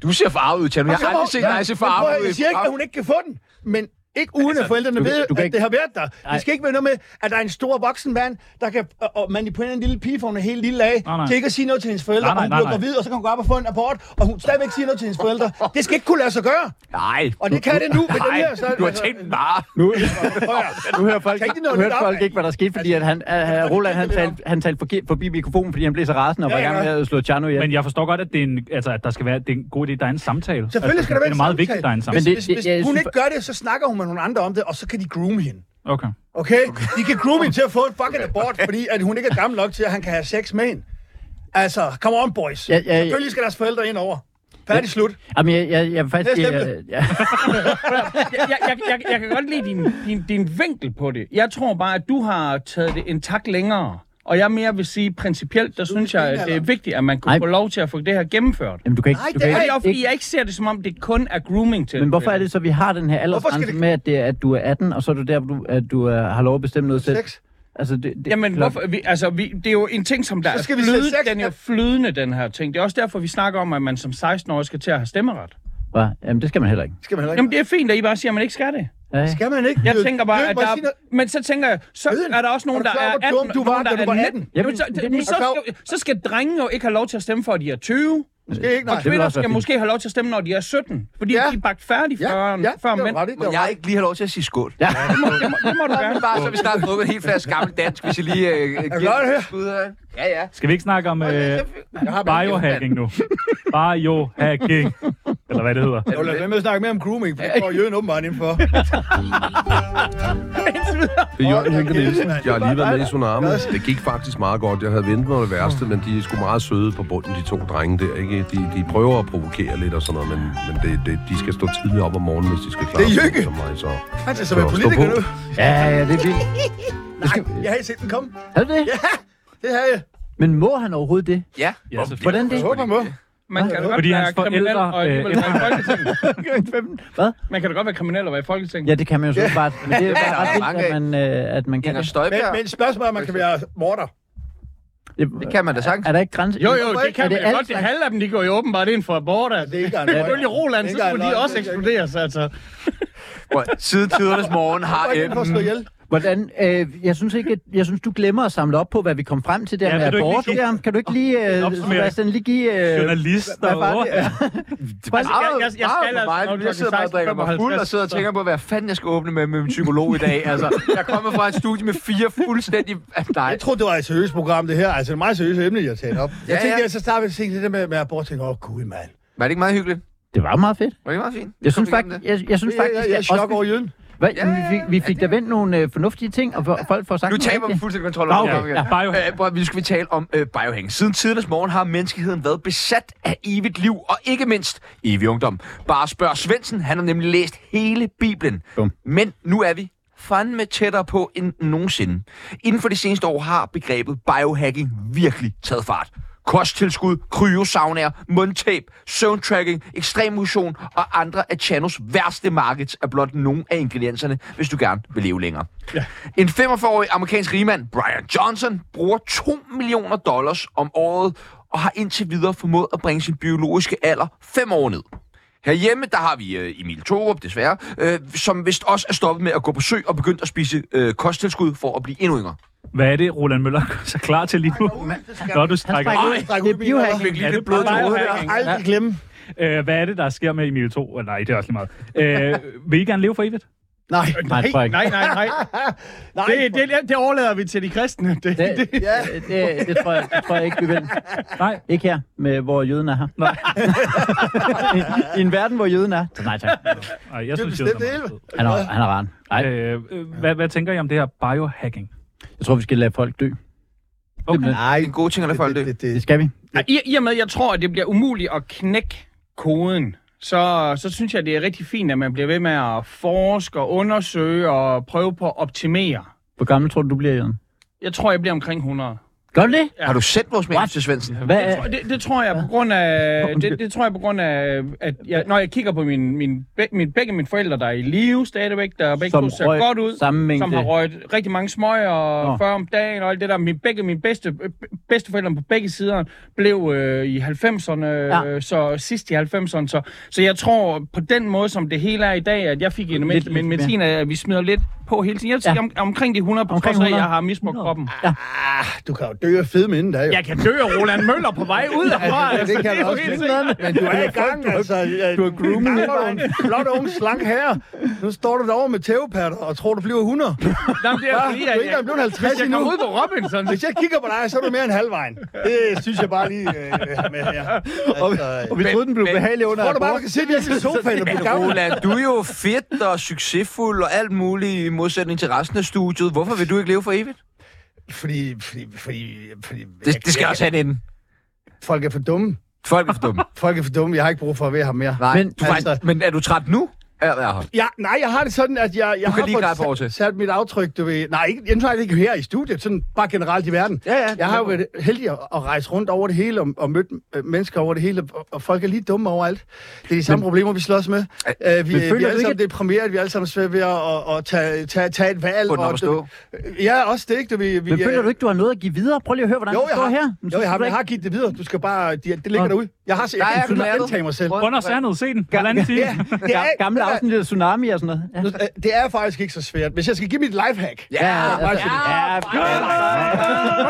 [SPEAKER 3] Du ser farvet ud, Tjerno. Jeg har aldrig set dig se
[SPEAKER 1] Men prøv at
[SPEAKER 3] farvet
[SPEAKER 1] høre,
[SPEAKER 3] ud.
[SPEAKER 1] Jeg siger ikke, at hun ikke kan få den, men ikke uden altså, at forældrene
[SPEAKER 4] du kan-
[SPEAKER 1] ved,
[SPEAKER 4] du kan
[SPEAKER 1] at
[SPEAKER 4] ikke-
[SPEAKER 1] det har været der.
[SPEAKER 4] Nej.
[SPEAKER 1] Det skal ikke være noget med, at der er en stor voksen mand, der kan og- og manipulere en lille pige, for hun er helt lille af,
[SPEAKER 2] Nej, nej.
[SPEAKER 1] til ikke at sige noget til hendes forældre,
[SPEAKER 2] Nej,
[SPEAKER 1] og
[SPEAKER 2] nej,
[SPEAKER 1] hun
[SPEAKER 2] nej,
[SPEAKER 1] bliver
[SPEAKER 2] nej.
[SPEAKER 1] gravid, og så kan hun gå op og få en abort, og hun stadigvæk siger noget til hendes forældre. Det skal ikke kunne lade sig gøre,
[SPEAKER 3] Nej,
[SPEAKER 1] og det kan det nu. Med den her, så, altså,
[SPEAKER 3] nej, du har tænkt meget.
[SPEAKER 4] nu,
[SPEAKER 1] [laughs] Prøv at høre.
[SPEAKER 4] nu hører folk,
[SPEAKER 1] Kan ikke
[SPEAKER 4] ikke,
[SPEAKER 1] det nå
[SPEAKER 4] nu
[SPEAKER 1] lidt
[SPEAKER 4] hørte
[SPEAKER 1] op,
[SPEAKER 4] folk
[SPEAKER 1] mand? Altså-
[SPEAKER 4] ikke, hvad der skete, fordi at han, at Roland han talte, han talte forkert forbi mikrofonen, fordi han blev så rasende og var i
[SPEAKER 1] Ja, ja.
[SPEAKER 4] gang med at slå Tjerno ihjel.
[SPEAKER 2] Men jeg forstår godt, at, det er en, altså, at der skal være, det er en god idé, der er en samtale.
[SPEAKER 1] Selvfølgelig skal der være
[SPEAKER 2] altså, Det
[SPEAKER 1] en
[SPEAKER 2] er meget
[SPEAKER 1] samtale.
[SPEAKER 2] vigtigt, der er en
[SPEAKER 1] Hvis,
[SPEAKER 2] samtale.
[SPEAKER 4] det-
[SPEAKER 1] hvis,
[SPEAKER 4] det-
[SPEAKER 1] hvis
[SPEAKER 4] jeg
[SPEAKER 1] hun
[SPEAKER 4] synes-
[SPEAKER 1] ikke gør det, så snakker hun med nogle andre om det, og så kan de groome hende.
[SPEAKER 2] Okay.
[SPEAKER 1] Okay? De kan groome hende til at få en fucking abort, fordi at hun ikke er gammel nok til, at han kan have sex med hende. Altså, come on, boys.
[SPEAKER 4] Ja, ja, ja.
[SPEAKER 1] Selvfølgelig skal deres forældre ind over. Færdig slut.
[SPEAKER 4] Jamen, jeg, jeg, jeg vil faktisk...
[SPEAKER 1] Næste
[SPEAKER 4] Jeg,
[SPEAKER 1] emne.
[SPEAKER 4] jeg,
[SPEAKER 5] jeg, jeg, jeg, jeg, jeg kan godt lide din, din, din vinkel på det. Jeg tror bare, at du har taget det en tak længere. Og jeg mere vil sige, principielt, der synes jeg, at det er vigtigt, at man kunne
[SPEAKER 4] Nej.
[SPEAKER 5] få lov til at få det her gennemført.
[SPEAKER 4] jamen, du kan ikke...
[SPEAKER 1] Nej,
[SPEAKER 4] du
[SPEAKER 1] det
[SPEAKER 4] kan
[SPEAKER 5] Det
[SPEAKER 1] er
[SPEAKER 5] er
[SPEAKER 4] ikke-
[SPEAKER 5] jo fordi, jeg ikke ser det som om, det kun er grooming til.
[SPEAKER 4] Men hvorfor er det så, at vi har den her aldersgrænse
[SPEAKER 1] det-
[SPEAKER 4] med, at, det er, at du er 18, og så er du der, hvor du, at du er, har lov at bestemme noget selv?
[SPEAKER 1] Sex.
[SPEAKER 4] Altså, det, det,
[SPEAKER 5] Jamen,
[SPEAKER 4] klok-
[SPEAKER 5] hvorfor, vi, altså, vi, det er jo en ting, som der
[SPEAKER 1] Så skal
[SPEAKER 5] er
[SPEAKER 1] vi sætte
[SPEAKER 5] flydende,
[SPEAKER 1] sex-
[SPEAKER 5] den er jo flydende, den her ting. Det er også derfor, vi snakker om, at man som 16-årig skal til at have stemmeret.
[SPEAKER 4] Hva? Jamen, det skal man heller ikke.
[SPEAKER 1] Skal man heller ikke.
[SPEAKER 5] Jamen, det er fint, at I bare siger, at man ikke skal det.
[SPEAKER 4] Ja, ikke?
[SPEAKER 1] Skal man ikke?
[SPEAKER 5] Jeg tænker bare, at
[SPEAKER 1] må jeg
[SPEAKER 5] der
[SPEAKER 1] sige noget?
[SPEAKER 5] er, men så tænker jeg, så
[SPEAKER 1] Øden,
[SPEAKER 5] er der også nogen,
[SPEAKER 1] er du
[SPEAKER 5] der
[SPEAKER 1] klar
[SPEAKER 5] er
[SPEAKER 1] over,
[SPEAKER 5] 18.
[SPEAKER 1] hvor dum du var,
[SPEAKER 5] nogen, der
[SPEAKER 1] da du
[SPEAKER 5] er
[SPEAKER 1] var
[SPEAKER 5] 19.
[SPEAKER 1] 18?
[SPEAKER 5] Jamen, så,
[SPEAKER 4] Jamen, det-
[SPEAKER 5] men så,
[SPEAKER 1] er du
[SPEAKER 5] skal, så skal drengene jo ikke have lov til at stemme for, at de er 20.
[SPEAKER 1] Måske ikke, nej.
[SPEAKER 5] Og kvinder
[SPEAKER 4] også være
[SPEAKER 5] skal
[SPEAKER 4] fint.
[SPEAKER 5] måske have lov til at stemme, når de er 17. Fordi
[SPEAKER 1] Ja.
[SPEAKER 5] de er bagt færdige
[SPEAKER 1] Ja,
[SPEAKER 5] før,
[SPEAKER 1] ja,
[SPEAKER 5] før
[SPEAKER 1] det var
[SPEAKER 5] mænd.
[SPEAKER 1] ret i, det
[SPEAKER 3] Men
[SPEAKER 1] var
[SPEAKER 3] jeg har
[SPEAKER 1] ret i.
[SPEAKER 3] ikke lige har lov til at sige skål.
[SPEAKER 4] Ja.
[SPEAKER 5] Det må, det må du gerne. [laughs]
[SPEAKER 3] Bare så vi snart drukket en hel flaske gammel dansk, hvis jeg lige øh,
[SPEAKER 1] godt høre.
[SPEAKER 3] giver skud af. Ja, ja.
[SPEAKER 2] Skal vi ikke snakke om øh,
[SPEAKER 1] Jeg har bare
[SPEAKER 2] biohacking nu? Biohacking. Eller hvad det hedder.
[SPEAKER 1] Jeg vil lade være med at snakke mere om grooming, for
[SPEAKER 5] [laughs]
[SPEAKER 1] det går jøden åbenbart indenfor.
[SPEAKER 7] Det er Jørgen Henke
[SPEAKER 1] kæft,
[SPEAKER 7] Nielsen.
[SPEAKER 1] mand.
[SPEAKER 7] Jeg har lige været med i Tsunami. Det gik faktisk meget godt. Jeg havde ventet mig det værste,
[SPEAKER 1] Mm.
[SPEAKER 7] men de er sgu meget søde på bunden, de to drenge der. Ikke? De, de prøver at provokere lidt og sådan noget, men, men det, det, de skal stå tidligt op om morgenen, hvis de skal klare
[SPEAKER 1] Det er
[SPEAKER 7] sig
[SPEAKER 1] Jykke!
[SPEAKER 7] som mig. Så.
[SPEAKER 1] Han skal så være Altså, politiker nu.
[SPEAKER 4] ja, ja, det er vildt.
[SPEAKER 1] Nej, jeg har ikke set den komme.
[SPEAKER 4] Er det det?
[SPEAKER 1] Det har jeg.
[SPEAKER 4] Men må han overhovedet det?
[SPEAKER 3] Ja.
[SPEAKER 2] Ja, selvfølgelig.
[SPEAKER 4] Hvordan det?
[SPEAKER 1] Jeg håber, må.
[SPEAKER 5] Man kan da godt
[SPEAKER 2] Fordi
[SPEAKER 5] være
[SPEAKER 2] hans forældre,
[SPEAKER 5] kriminel og
[SPEAKER 2] øh,
[SPEAKER 5] alligevel være i
[SPEAKER 2] [laughs]
[SPEAKER 1] [laughs]
[SPEAKER 5] Folketinget.
[SPEAKER 4] Hvad?
[SPEAKER 5] Man kan da godt være kriminel og være i Folketinget.
[SPEAKER 4] Ja, det kan man jo så bare. Men det er bare
[SPEAKER 3] der er
[SPEAKER 4] ret
[SPEAKER 3] mange
[SPEAKER 4] vildt, at man, øh, at man kan
[SPEAKER 3] Inger
[SPEAKER 4] det.
[SPEAKER 1] Men,
[SPEAKER 3] Støjberg.
[SPEAKER 1] men spørgsmålet er, om man kan være morder.
[SPEAKER 3] Det kan man da sagtens.
[SPEAKER 4] Er der ikke grænse?
[SPEAKER 5] Jo, jo, det
[SPEAKER 4] Er
[SPEAKER 5] kan man
[SPEAKER 4] alt
[SPEAKER 5] godt. Det
[SPEAKER 4] slags-
[SPEAKER 5] halve af dem, de går jo åbenbart ind for abort.
[SPEAKER 1] Det
[SPEAKER 5] altså.
[SPEAKER 1] er ikke engang
[SPEAKER 5] Selvfølgelig Roland, så
[SPEAKER 1] Ikke
[SPEAKER 5] skulle de
[SPEAKER 1] engang
[SPEAKER 5] også
[SPEAKER 1] løgn.
[SPEAKER 5] eksplodere sig. Altså.
[SPEAKER 3] Prøv at- Siden tidernes morgen har
[SPEAKER 1] Jeg kan slå
[SPEAKER 3] emnen.
[SPEAKER 1] ihjel.
[SPEAKER 4] Hvordan, øh, jeg synes ikke, at, jeg synes, du glemmer at samle op på, hvad vi kom frem til der
[SPEAKER 2] Ja,
[SPEAKER 4] ja,
[SPEAKER 2] vil
[SPEAKER 4] med
[SPEAKER 2] du ikke
[SPEAKER 4] abort.
[SPEAKER 2] lige give-
[SPEAKER 4] Der. Kan du ikke lige, øh,
[SPEAKER 2] opsummering.
[SPEAKER 4] Sebastian, lige give... Øh,
[SPEAKER 2] Journalist
[SPEAKER 4] hvad
[SPEAKER 2] og... [laughs]
[SPEAKER 4] var det?
[SPEAKER 3] Jeg,
[SPEAKER 5] jeg- jeg skal altså nok
[SPEAKER 3] mig.
[SPEAKER 5] klokken
[SPEAKER 3] Jeg sidder bare og drikker mig fuld og sidder og
[SPEAKER 5] 16.55,
[SPEAKER 3] tænker på, hvad fanden jeg skal åbne med med min psykolog i dag. Altså, jeg kommer fra et studie med fire fuldstændig... Nej,
[SPEAKER 1] Jeg troede, det var et seriøst program, det her. Altså, det er et meget seriøst emne, jeg tager op. Jeg
[SPEAKER 3] Ja,
[SPEAKER 1] tænkte,
[SPEAKER 3] ja.
[SPEAKER 1] jeg så starter med at tænke det der med, med abort. Jeg tænkte, åh, gud, mand.
[SPEAKER 3] var det ikke meget hyggeligt?
[SPEAKER 4] Det var meget fedt.
[SPEAKER 3] Var det ikke meget fint?
[SPEAKER 4] Jeg synes,
[SPEAKER 3] Kom igennem
[SPEAKER 4] faktisk, jeg, jeg synes
[SPEAKER 1] Jeg,
[SPEAKER 4] faktisk,
[SPEAKER 1] jeg, jeg er
[SPEAKER 4] at også
[SPEAKER 1] chok over jøden.
[SPEAKER 4] Hvad? Ja, vi, fik, vi fik da vendt nogle øh, fornuftige ting, og hvor- folk får sagt...
[SPEAKER 3] Nu
[SPEAKER 4] nogle
[SPEAKER 3] taber vi
[SPEAKER 4] rigtige-
[SPEAKER 3] fuldstændig kontrol
[SPEAKER 4] Nå,
[SPEAKER 3] over
[SPEAKER 4] okay.
[SPEAKER 3] okay.
[SPEAKER 2] Ja, biohacking.
[SPEAKER 3] Øh, prøv, at- nu skal vi tale om øh, biohacking. Siden tidernes morgen har menneskeheden været besat af evigt liv, og ikke mindst evig ungdom. Bare spørg Svendsen, han har nemlig læst hele Bibelen.
[SPEAKER 4] Bum.
[SPEAKER 3] Men nu er vi fandme tættere på end nogensinde. Inden for de seneste år har begrebet biohacking virkelig taget fart. Kosttilskud, kryosaunaer, mundtape, søvntracking, ekstrem motion og andre af Chanos værste markeds er blot nogle af ingredienserne, hvis du gerne vil leve længere. Ja. En 45-årig amerikansk rigmand, Brian Johnson, bruger 2 millioner dollars om året og har indtil videre formået at bringe sin biologiske alder 5 år ned. Herhjemme, der har vi øh, Emil Thorup, desværre, øh, som vist også er stoppet med at gå på sø og begyndt at spise øh, kosttilskud for at blive endnu yngre.
[SPEAKER 2] Hvad er det, Roland Møller er så klar til lige nu? Nå, du
[SPEAKER 4] Han
[SPEAKER 2] strækker
[SPEAKER 4] strækker
[SPEAKER 2] ud.
[SPEAKER 4] ud. Det er biohacking.
[SPEAKER 3] Virkelig
[SPEAKER 2] Ja, det
[SPEAKER 3] det bløde
[SPEAKER 2] plejer
[SPEAKER 3] til
[SPEAKER 2] jeg
[SPEAKER 3] hovedet
[SPEAKER 2] at
[SPEAKER 3] der.
[SPEAKER 2] have.
[SPEAKER 1] Aldrig glemme.
[SPEAKER 2] Øh, hvad er det, der sker med Emil 2? Nej, det er også lige meget. Øh, vil I gerne leve for evigt?
[SPEAKER 1] Nej.
[SPEAKER 4] Nej, det tror jeg ikke.
[SPEAKER 5] Øh, Nej, nej, [laughs] nej.
[SPEAKER 1] Nej,
[SPEAKER 5] Det, det, det overlader vi til de kristne. Det, det,
[SPEAKER 4] Det, det, det, det, tror jeg, det tror jeg ikke, vi vil.
[SPEAKER 2] Nej.
[SPEAKER 4] Ikke her, med, hvor jøden er her. Nej. [laughs] I, I en verden, hvor jøden er. Så nej, tak.
[SPEAKER 2] Nej, jeg
[SPEAKER 1] det er
[SPEAKER 2] synes, det er
[SPEAKER 1] bestemt det hele.
[SPEAKER 2] meget fed.
[SPEAKER 4] Han er, han er rar. Nej,
[SPEAKER 2] Øh, øh, hvad, hvad tænker I om det her biohacking?
[SPEAKER 4] jeg tror, vi skal lade folk dø. Okay.
[SPEAKER 3] Det er en god ting at lade folk dø.
[SPEAKER 4] Det skal vi.
[SPEAKER 5] I, I og med, jeg tror, at det bliver umuligt at knække koden så, så synes jeg, det er rigtig fint, at man bliver ved med at forske og undersøge og prøve på at optimere.
[SPEAKER 4] Hvor gammel tror du, du bliver, Jørgen?
[SPEAKER 5] Jeg tror, jeg bliver omkring 100.
[SPEAKER 4] Gør du det?
[SPEAKER 5] Ja.
[SPEAKER 3] Har du sendt vores mail til Svendsen?
[SPEAKER 4] Hvad
[SPEAKER 5] Jeg
[SPEAKER 4] er,
[SPEAKER 5] tror- Det, det tror jeg på grund af, det, det tror jeg på grund af, at jeg, når jeg kigger på min, min, be, min, begge mine forældre, der er i live stadigvæk, der begge
[SPEAKER 4] Som
[SPEAKER 5] to ser
[SPEAKER 4] røg
[SPEAKER 5] godt ud,
[SPEAKER 4] samme mængde.
[SPEAKER 5] som har røget rigtig mange smøger og
[SPEAKER 4] Nå.
[SPEAKER 5] 40 om dagen og alt det der. Min, begge mine bedste, øh, bedsteforældre på begge sider blev øh, i 90'erne,
[SPEAKER 4] Ja.
[SPEAKER 5] ja. så sidst i 90'erne. Så, så jeg tror på den måde, som det hele er i dag, at jeg fik en
[SPEAKER 4] Lidt-
[SPEAKER 5] med, med, med
[SPEAKER 4] lidt
[SPEAKER 5] tiden, at vi smider lidt på hele tiden. Jeg
[SPEAKER 4] Ja.
[SPEAKER 5] ja. om, omkring de 100 på
[SPEAKER 4] Omkring
[SPEAKER 5] trods af, at
[SPEAKER 4] 100.
[SPEAKER 5] jeg har misbrugt kroppen.
[SPEAKER 1] Ah, du kan jo dø af fedme inden da, jo.
[SPEAKER 5] Jeg kan dø af Roland Møller på vej ud af
[SPEAKER 1] Ja,
[SPEAKER 5] [laughs]
[SPEAKER 1] det, det kan jeg også
[SPEAKER 5] helt
[SPEAKER 1] lidt
[SPEAKER 5] sikkert.
[SPEAKER 1] noget, men du er i gang, altså. Ja, du er groomet lidt. en flot ung slank her. Nu står du derovre med tævepatter og tror, du bliver 100. Du
[SPEAKER 5] Nå, men det er fordi,
[SPEAKER 1] er
[SPEAKER 5] at
[SPEAKER 1] ikke engang
[SPEAKER 5] jeg,
[SPEAKER 1] blevet 50
[SPEAKER 5] hvis jeg kommer
[SPEAKER 1] endnu.
[SPEAKER 5] ud på Robinson,
[SPEAKER 1] Hvis jeg kigger på dig, så er du mere end halvvejen. Det synes jeg bare lige øh, med her.
[SPEAKER 3] øh,
[SPEAKER 1] Altså,
[SPEAKER 4] vi troede, den blev behagelig under
[SPEAKER 1] tror du bare, du kan sidde i
[SPEAKER 3] [laughs]
[SPEAKER 1] din sofa og blive gammel?
[SPEAKER 3] Roland, du er jo fedt og succesfuld og alt muligt i modsætning til resten af studiet. Hvorfor vil du ikke leve for evigt?
[SPEAKER 1] Fordi, fordi, fordi, fordi
[SPEAKER 3] Det, det skal også have en ende.
[SPEAKER 1] folk er for dumme.
[SPEAKER 3] Folk er for dumme.
[SPEAKER 1] Folk er for dumme. Jeg har ikke brug for at være her mere.
[SPEAKER 3] [laughs] Nej,
[SPEAKER 4] Men-
[SPEAKER 3] men, du, er faktisk,
[SPEAKER 1] Altså-
[SPEAKER 3] men er du træt nu? Ja, ja, ja.
[SPEAKER 1] Ja, nej, jeg har det sådan, at jeg, jeg
[SPEAKER 3] kan lige
[SPEAKER 1] har
[SPEAKER 3] græde på
[SPEAKER 1] fået
[SPEAKER 3] over
[SPEAKER 1] sat,
[SPEAKER 3] til.
[SPEAKER 1] sat mit aftryk, du ved. Nej, ikke, jeg tror ikke her i studiet, sådan bare generelt i verden.
[SPEAKER 3] Ja, ja, det
[SPEAKER 1] jeg har jo
[SPEAKER 3] er
[SPEAKER 1] været heldig at, at rejse rundt over det hele og, og mødt øh, mennesker over det hele, og, og folk er lige dumme overalt. Det er de samme men, problemer, vi slås med. Uh, vi, vi
[SPEAKER 4] føler
[SPEAKER 1] er
[SPEAKER 4] du
[SPEAKER 1] alle
[SPEAKER 4] ikke,
[SPEAKER 1] sammen
[SPEAKER 4] at-
[SPEAKER 1] deprimeret, vi er alle sammen svært ved at, at, at tage, tage, tage et valg.
[SPEAKER 3] Få den op at
[SPEAKER 1] du, Øh, ja, også det, ikke? Du, ved, vi,
[SPEAKER 4] men
[SPEAKER 1] øh,
[SPEAKER 4] føler du ikke, du har noget at give videre? Prøv lige at høre, hvordan
[SPEAKER 1] jo,
[SPEAKER 4] det
[SPEAKER 1] jeg
[SPEAKER 4] står
[SPEAKER 1] har,
[SPEAKER 4] her. Men
[SPEAKER 1] Jo,
[SPEAKER 4] synes
[SPEAKER 1] jeg har,
[SPEAKER 4] du
[SPEAKER 1] men jeg
[SPEAKER 4] ikke-
[SPEAKER 1] har givet det videre. Du skal bare... De, det ligger
[SPEAKER 4] Nå.
[SPEAKER 1] derude. Jeg har jeg
[SPEAKER 3] Der er
[SPEAKER 1] kan finde
[SPEAKER 3] kommet-
[SPEAKER 1] gentage mig selv.
[SPEAKER 2] Under sandet, se den. Halvanden time.
[SPEAKER 1] Ja, det er,
[SPEAKER 4] Gamle afsnit af Tsunami og sådan noget. Ja.
[SPEAKER 1] Nu, øh, Det er faktisk ikke så svært. Hvis jeg skal give mit lifehack...
[SPEAKER 4] Ja, ja,
[SPEAKER 1] altså,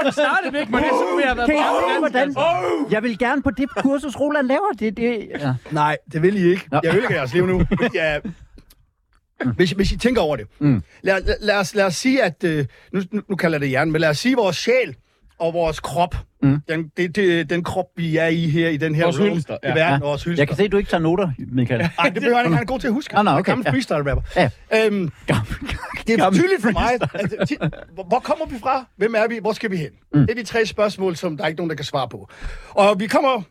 [SPEAKER 5] så startede vi ikke med det, så vi har været
[SPEAKER 4] Kan I
[SPEAKER 5] på
[SPEAKER 4] se,
[SPEAKER 5] afstand.
[SPEAKER 4] hvordan? Jeg vil gerne på det kursus, Roland laver. Det, det, ja.
[SPEAKER 1] Nej, det vil I ikke.
[SPEAKER 4] Nå.
[SPEAKER 1] Jeg vil ikke jeres liv
[SPEAKER 4] [laughs]
[SPEAKER 1] nu. Ja. Hvis, hvis I tænker over det. Mm. Lad, lad, lad, os, lad os sige, at... øh, Nu, nu- nu kalder jeg det hjernen, men lad os sige, at vores sjæl og vores krop, mm. den, det, det, den krop, vi er i her i den her
[SPEAKER 5] Vores
[SPEAKER 1] verden,
[SPEAKER 5] hylster,
[SPEAKER 1] i
[SPEAKER 5] ja.
[SPEAKER 1] verden,
[SPEAKER 4] Ja.
[SPEAKER 1] vores hylster.
[SPEAKER 4] Jeg kan se, at du ikke tager noter, Michael.
[SPEAKER 1] Ej, det behøver han ikke. Han er god til at huske.
[SPEAKER 4] Nå, nå, okay,
[SPEAKER 1] Gammel
[SPEAKER 4] ja.
[SPEAKER 1] freestyle-rapper.
[SPEAKER 4] Ja.
[SPEAKER 1] Øhm, det er
[SPEAKER 4] Gammel Mm.
[SPEAKER 1] tydeligt for mig, at, ti- hvor- hvor kommer vi fra? Hvem er vi? Hvor skal vi hen? Det er de tre spørgsmål, som der er ikke nogen, der kan svare på. Og vi kommer,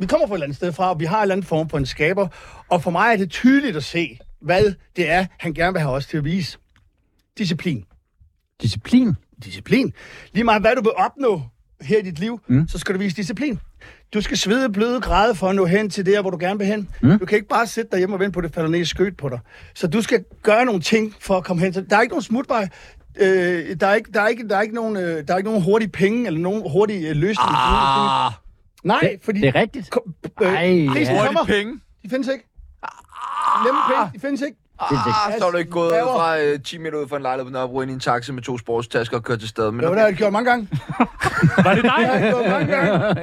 [SPEAKER 1] vi kommer fra et eller andet sted fra, og vi har en eller anden form for en skaber. Og for mig er det tydeligt at se, hvad det er, han gerne vil have os til at vise. Disciplin
[SPEAKER 4] Disciplin.
[SPEAKER 1] disciplin. Lige meget hvad du vil opnå her i dit liv, mm. så skal du vise disciplin. Du skal svede bløde græde for at nå hen til der, hvor du gerne vil hen. Mm. Du kan ikke bare sidde derhjemme og vente på, at det falder ned i skødt på dig. Så du skal gøre nogle ting for at komme hen til Der er ikke nogen smutvej. Øh, der, er ikke, der, er ikke, der, er ikke nogen, øh, der er ikke nogen hurtige penge eller nogen hurtige øh, løsninger.
[SPEAKER 3] Ah,
[SPEAKER 1] Nej, fordi...
[SPEAKER 4] Det er rigtigt.
[SPEAKER 1] Kom, øh,
[SPEAKER 4] Ej,
[SPEAKER 1] prisen
[SPEAKER 4] ja.
[SPEAKER 1] kommer.
[SPEAKER 3] hurtige penge.
[SPEAKER 1] De findes ikke. Nemme penge, de findes ikke.
[SPEAKER 3] Ah, så er du ikke gået
[SPEAKER 1] Laver.
[SPEAKER 3] fra øh, 10 minutter ud fra en lejlighed på Nørrebro ind i en taxa med to sportstasker og kørt til stedet. Men
[SPEAKER 1] Jo, det
[SPEAKER 3] okay.
[SPEAKER 1] har jeg gjort mange gange.
[SPEAKER 2] Var det dig?
[SPEAKER 1] Det har jeg gjort mange gange. Det har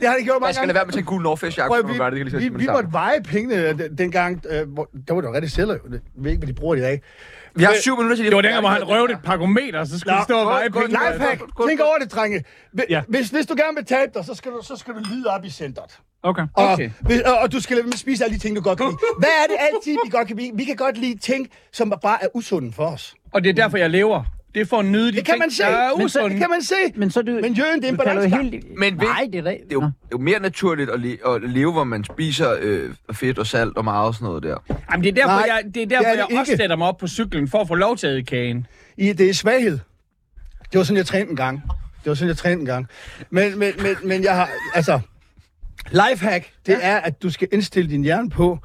[SPEAKER 1] jeg gjort
[SPEAKER 3] Jeg
[SPEAKER 1] mange
[SPEAKER 3] skal
[SPEAKER 1] gange.
[SPEAKER 3] lade være med at tage en gul Norfest jakke,
[SPEAKER 1] Prøv,
[SPEAKER 3] når
[SPEAKER 1] at-
[SPEAKER 3] du gør det. Det kan jeg
[SPEAKER 1] vi,
[SPEAKER 3] lige
[SPEAKER 1] vi, vi
[SPEAKER 3] så sige med det
[SPEAKER 1] måtte veje pengene øh, den- dengang. Øh, hvor, der var det jo rigtig celler. jo. Det- Jeg ved ikke, hvad de bruger det i dag.
[SPEAKER 3] samme. Vi har syv minutter til det.
[SPEAKER 5] Det var dengang, hvor han røvede et parkometer, så skulle
[SPEAKER 1] Nå,
[SPEAKER 5] vi stå og
[SPEAKER 3] godt,
[SPEAKER 5] veje
[SPEAKER 3] godt,
[SPEAKER 5] penge.
[SPEAKER 3] godt.
[SPEAKER 1] Lifehack.
[SPEAKER 3] godt.
[SPEAKER 1] Tænk over det, drenge. Hvi-
[SPEAKER 2] Ja.
[SPEAKER 1] Hvis, hvis du gerne vil tabe dig, så skal du, så skal du lide op i centret.
[SPEAKER 2] Okay.
[SPEAKER 1] Og,
[SPEAKER 5] Okay.
[SPEAKER 1] hvis, og, og du skal lade være med at spise alle de ting, du godt kan lide. Hvad er det altid, vi godt kan lide? Vi kan godt lide ting, som bare er usunde for os.
[SPEAKER 5] Og det er derfor, jeg lever. Det er for at nyde de
[SPEAKER 1] Det kan
[SPEAKER 5] ting,
[SPEAKER 1] man se.
[SPEAKER 5] der er
[SPEAKER 1] Men så- Det
[SPEAKER 5] usunde.
[SPEAKER 1] kan man se.
[SPEAKER 4] Men så er det,
[SPEAKER 1] Men Jørgen, det er en
[SPEAKER 4] du kalder jo
[SPEAKER 1] balancegang.
[SPEAKER 4] helt-
[SPEAKER 3] Men ved-
[SPEAKER 4] Nej, det er rigtigt.
[SPEAKER 3] Det er jo, det er jo mere naturligt at, le- at leve, hvor man spiser øh, fedt og salt og meget og sådan noget der.
[SPEAKER 5] Jamen, det er
[SPEAKER 1] Nej,
[SPEAKER 5] derfor, jeg, det er derfor,
[SPEAKER 1] det er
[SPEAKER 5] jeg
[SPEAKER 1] det
[SPEAKER 5] også
[SPEAKER 1] ikke.
[SPEAKER 5] sætter mig op på cyklen, for at få lov til at æde kagen.
[SPEAKER 1] I, det er svaghed. Det var sådan, jeg trænede en gang. Det var sådan, jeg trænede en gang. Men, men, men, men jeg har, altså... Lifehack, det ja. er, at du skal indstille din hjerne på...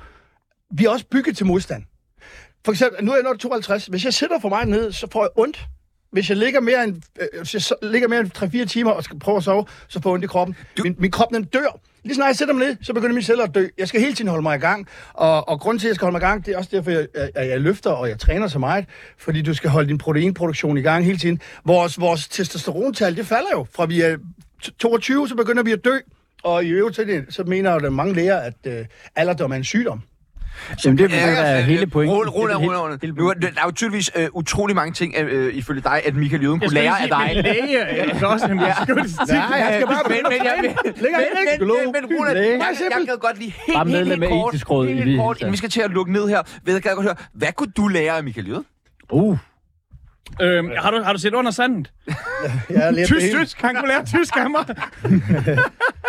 [SPEAKER 1] Vi er også bygget til modstand. For eksempel, nu er jeg nået 52. Hvis jeg sidder for meget ned, så får jeg ondt. Hvis jeg ligger mere end, øh, hvis jeg så- ligger mere end 3-4 timer og skal prøve at sove, så får jeg ondt i kroppen. Du... Min, min krop den dør. Lige snart jeg sætter mig ned, så begynder min celler at dø. Jeg skal hele tiden holde mig i gang. Og, og grunden til, at jeg skal holde mig i gang, det er også derfor, jeg, at jeg, jeg løfter og jeg træner så meget. Fordi du skal holde din proteinproduktion i gang hele tiden. Vores, vores testosterontal, det falder jo. Fra vi er t- 22, så begynder vi at dø. Og i øvrigt, så, er det, så mener der mange læger, at øh, alderdom er en sygdom.
[SPEAKER 4] Jamen, det vil
[SPEAKER 3] Ja,
[SPEAKER 4] ja, være
[SPEAKER 3] altså,
[SPEAKER 4] hele
[SPEAKER 3] øh,
[SPEAKER 4] pointen.
[SPEAKER 3] Rul, rul,
[SPEAKER 4] Det er
[SPEAKER 3] rul,
[SPEAKER 4] hele-
[SPEAKER 3] rul.
[SPEAKER 4] hele
[SPEAKER 3] Nu, er-
[SPEAKER 4] pointen.
[SPEAKER 3] der er jo tydeligvis øh, utrolig mange ting, øh, øh, ifølge dig, at Michael Jøden
[SPEAKER 5] Jeg
[SPEAKER 3] kunne
[SPEAKER 5] skulle
[SPEAKER 3] lære af
[SPEAKER 5] lige sige,
[SPEAKER 3] dig.
[SPEAKER 5] min [laughs] læge øh, er også en beskyttelsestil.
[SPEAKER 1] Nej, jeg skal bare...
[SPEAKER 3] Men, men, jeg, men, men,
[SPEAKER 1] Længere
[SPEAKER 3] men,
[SPEAKER 1] end ikke.
[SPEAKER 3] men, men Roland,
[SPEAKER 4] Læge.
[SPEAKER 3] jeg, jeg gad godt lige helt,
[SPEAKER 4] Bare
[SPEAKER 3] helt,
[SPEAKER 4] medlem
[SPEAKER 3] helt,
[SPEAKER 4] af
[SPEAKER 3] kort,
[SPEAKER 4] Etisk Råd i
[SPEAKER 3] helt,
[SPEAKER 4] det
[SPEAKER 3] helt
[SPEAKER 4] hele
[SPEAKER 3] kort,
[SPEAKER 4] taget.
[SPEAKER 3] inden vi skal til at lukke ned her, ved jeg gad godt høre, hvad kunne du lære af Michael Jøden?
[SPEAKER 4] Uh,
[SPEAKER 5] Øhm, har, du, har du set under sandet?
[SPEAKER 1] Jeg
[SPEAKER 5] [laughs]
[SPEAKER 1] er lidt
[SPEAKER 5] Tysk, tysk. Han kunne lære tysk af mig.